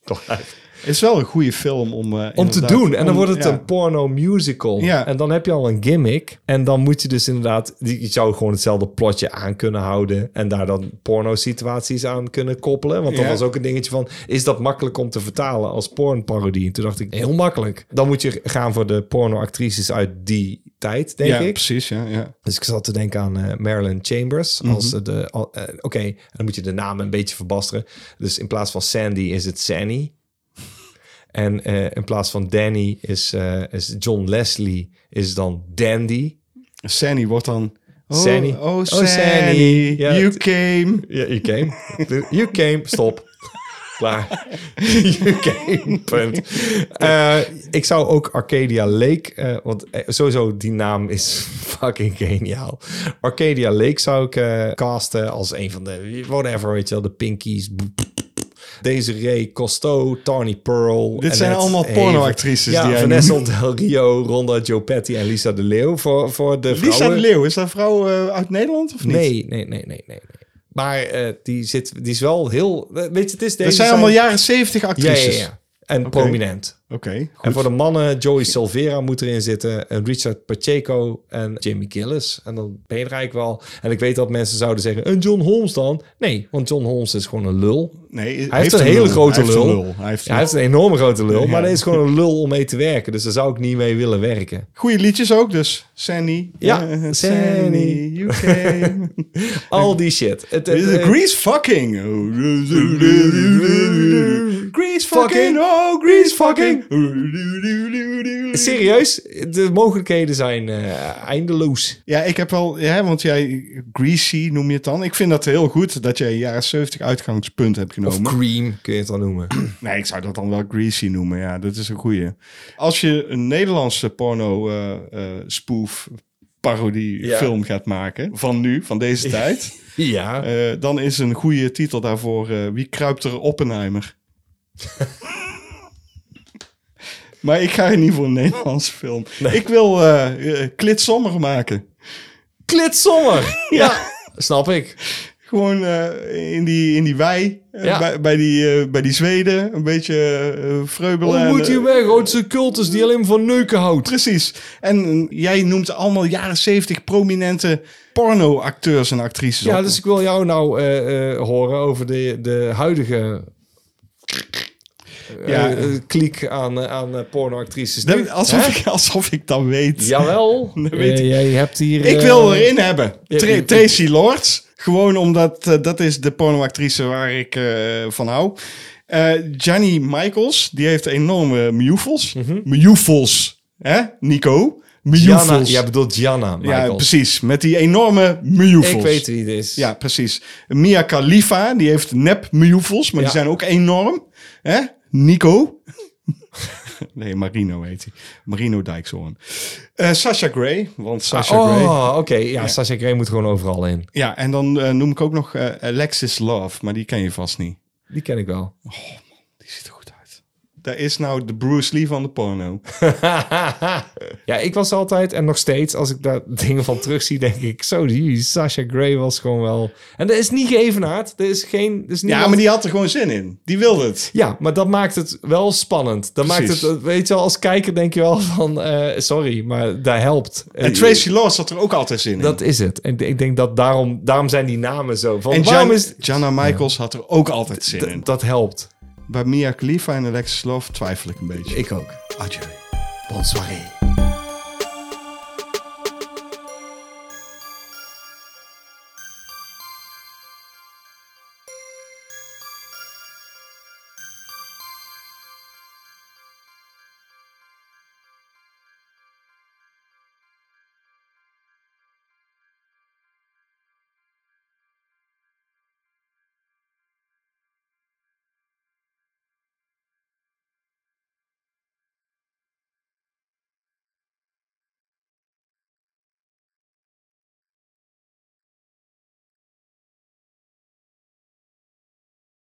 Speaker 7: Klaar.
Speaker 2: Het is wel een goede film om... eh,
Speaker 7: Om te
Speaker 2: inderdaad-
Speaker 7: doen. En dan
Speaker 2: om-
Speaker 7: wordt het
Speaker 2: ja.
Speaker 7: een porno musical.
Speaker 2: Ja.
Speaker 7: En dan heb je al een gimmick. En dan moet je dus inderdaad... die- Je zou gewoon hetzelfde plotje aan kunnen houden. En daar dan porno situaties aan kunnen koppelen. Want dat
Speaker 2: Ja.
Speaker 7: was ook een dingetje van... Is dat makkelijk om te vertalen als pornparodie? En toen dacht ik, heel makkelijk. Dan moet je gaan voor de pornoactrices uit die tijd, denk
Speaker 2: Ja,
Speaker 7: ik.
Speaker 2: precies. Ja, ja.
Speaker 7: Dus ik zat te denken aan eh, Marilyn Chambers. als eh, de al- eh, Oké, dan moet je de naam een beetje verbasteren. Dus in plaats van Sandy is het Sanny. En eh, in plaats van Danny is, eh, is John Leslie is dan Dandy.
Speaker 2: Sanny wordt dan... Oh,
Speaker 7: Sanny.
Speaker 2: Oh,
Speaker 7: Oh,
Speaker 2: Sanny.
Speaker 7: Sanny. Ja,
Speaker 2: you
Speaker 7: het-
Speaker 2: came.
Speaker 7: Ja, you came. You came. Stop. Klaar. You came. Punt. Eh, ik zou ook Arcadia Lake... eh, want eh, sowieso, die naam is [LAUGHS] fucking geniaal. Arcadia Lake zou ik eh, casten als een van de... Whatever, weet je wel. De Pinkies. Desiree Costo, Tarni Pearl.
Speaker 2: Dit zijn
Speaker 7: Annette
Speaker 2: allemaal
Speaker 7: Haver-
Speaker 2: pornoactrices
Speaker 7: Ja,
Speaker 2: die jij
Speaker 7: Vanessa
Speaker 2: noemt.
Speaker 7: Del Rio, Ronda Giopetti en Lisa de Leeuw voor, voor de vrouwen.
Speaker 2: Lisa de Leeuw, is dat een vrouw eh, uit Nederland of niet?
Speaker 7: Nee, nee, nee, nee, nee. nee. Maar eh, die, zit, die is wel heel... eh, Weet je, het is deze...
Speaker 2: Dat zijn allemaal jaren zeventig
Speaker 7: Ja, ja,
Speaker 2: actrices.
Speaker 7: ja. En prominent.
Speaker 2: Oké, goed.
Speaker 7: En voor de mannen, Joey Silvera moet erin zitten. En Richard Pacheco en Jimmy Gillis. En dan ben je er eigenlijk wel. En ik weet dat mensen zouden zeggen, en John Holmes dan? Nee, want John Holmes is gewoon een lul.
Speaker 2: Nee,
Speaker 7: Hij heeft, een hele grote
Speaker 2: Hij heeft
Speaker 7: lul.
Speaker 2: een Hij heeft
Speaker 7: Ja, hij heeft een enorme grote lul. Maar
Speaker 2: Ja.
Speaker 7: dat is gewoon een lul om mee te werken. Dus daar zou ik niet mee willen werken.
Speaker 2: Goede liedjes ook dus. Sandy.
Speaker 7: Ja,
Speaker 2: Eh,
Speaker 7: Sandy.
Speaker 2: You
Speaker 7: [LAUGHS]
Speaker 2: came.
Speaker 7: Al die shit. Het, het-
Speaker 2: Dit is
Speaker 7: het-
Speaker 2: Grease
Speaker 7: [LAUGHS]
Speaker 2: fucking. Grease fucking. Oh, Grease fucking.
Speaker 7: Mm. serieus, de mogelijkheden zijn eh, eindeloos.
Speaker 2: Ja, ik heb wel... Ja, want jij... Greasy noem je het dan. Ik vind dat heel goed dat jij jaren 70 uitgangspunt hebt
Speaker 7: Of
Speaker 2: genomen.
Speaker 7: cream kun je het dan noemen.
Speaker 2: Nee, ik zou dat dan wel greasy noemen. Ja, dat is een goeie. Als je een Nederlandse porno eh, eh, spoof parodie
Speaker 7: Ja.
Speaker 2: film gaat maken van nu, van
Speaker 7: [LAUGHS]
Speaker 2: deze tijd,
Speaker 7: ja.
Speaker 2: eh, dan is een goede titel daarvoor eh, Wie kruipt er
Speaker 7: [LAUGHS]
Speaker 2: Oppenheimer? maar ik ga niet voor een Nederlandse film. Ik wil eh eh, klitsommer maken.
Speaker 7: Klitsommer. [LAUGHS] ja, snap ik.
Speaker 2: Gewoon eh, in, die, in die wei, eh,
Speaker 7: Ja.
Speaker 2: bij, bij, die, eh, bij die Zweden, een beetje eh, vreubelen. en,
Speaker 7: Ontmoet
Speaker 2: eh,
Speaker 7: je weg, Oh, grootste cultus die alleen maar van neuken houdt.
Speaker 2: Precies. En eh, jij noemt allemaal jaren 70 prominente pornoacteurs en actrices.
Speaker 7: Ja,
Speaker 2: op.
Speaker 7: dus ik wil jou nou eh, eh, horen over de, de huidige eh,
Speaker 2: Ja.
Speaker 7: eh, kliek aan, eh, aan eh, pornoactrices.
Speaker 2: Dat-
Speaker 7: Nu, hè? [LAUGHS]
Speaker 2: alsof, ik, alsof ik dat weet.
Speaker 7: Jawel, [LAUGHS]
Speaker 2: weet
Speaker 7: Eh, jij hebt hier...
Speaker 2: Ik
Speaker 7: eh,
Speaker 2: wil erin hebben.
Speaker 7: Ja,
Speaker 2: Tra-
Speaker 7: ik-
Speaker 2: Tracy Lords. Gewoon omdat eh, dat is de pornoactrice waar ik eh, van hou. Eh Johnny Michaels, die heeft enorme mioefels.
Speaker 7: Mhm.
Speaker 2: Mioefels. Hè, Nico?
Speaker 7: Gianna,
Speaker 2: Mioefels.
Speaker 7: jij bedoelt Janna,
Speaker 2: ja,
Speaker 7: Michael.
Speaker 2: precies. Met die enorme mioefels.
Speaker 7: Ik weet wie het is.
Speaker 2: Ja, precies. Mia Khalifa, die heeft nep mioefels, maar die
Speaker 7: Ja.
Speaker 2: zijn ook enorm. Hè? Nico. [LAUGHS] nee, Marino heet hij. Marino Dijkshoorn. Eh Sasha Gray, want Sasha Gray...
Speaker 7: Oh, oké. Ja, Sasha Grey moet gewoon overal in.
Speaker 2: Ja, en dan eh, noem ik ook nog eh, Alexis Love, maar die ken je vast niet.
Speaker 7: Die ken ik wel.
Speaker 2: Die ziet er goed uit. Dat is nou de Bruce Lee van de porno.
Speaker 7: ja, ik was altijd en nog steeds, als ik daar [LAUGHS] dingen van terugzie, denk ik, zo, die Sasha Grey was gewoon wel... En dat is niet geëvenaard. Er is geen... Er is
Speaker 2: Ja,
Speaker 7: niemand-
Speaker 2: maar die had er gewoon zin in. Die wilde het.
Speaker 7: Ja, maar dat maakt het wel spannend. Dat
Speaker 2: Precies.
Speaker 7: maakt het, weet je wel, als kijker denk je wel van, eh, sorry, maar dat helpt. Eh,
Speaker 2: En Tracy Lords had er ook altijd zin in.
Speaker 7: Dat is het. En ik denk dat daarom, daarom zijn die namen zo. Van,
Speaker 2: en
Speaker 7: waarom
Speaker 2: Jan,
Speaker 7: is,
Speaker 2: Jana Michaels had er ook altijd zin in.
Speaker 7: d- dat helpt.
Speaker 2: Bij Mia Khalifa en Alexis Love twijfel ik een beetje.
Speaker 7: Ik ook.
Speaker 2: Adieu.
Speaker 7: Bonsoiré.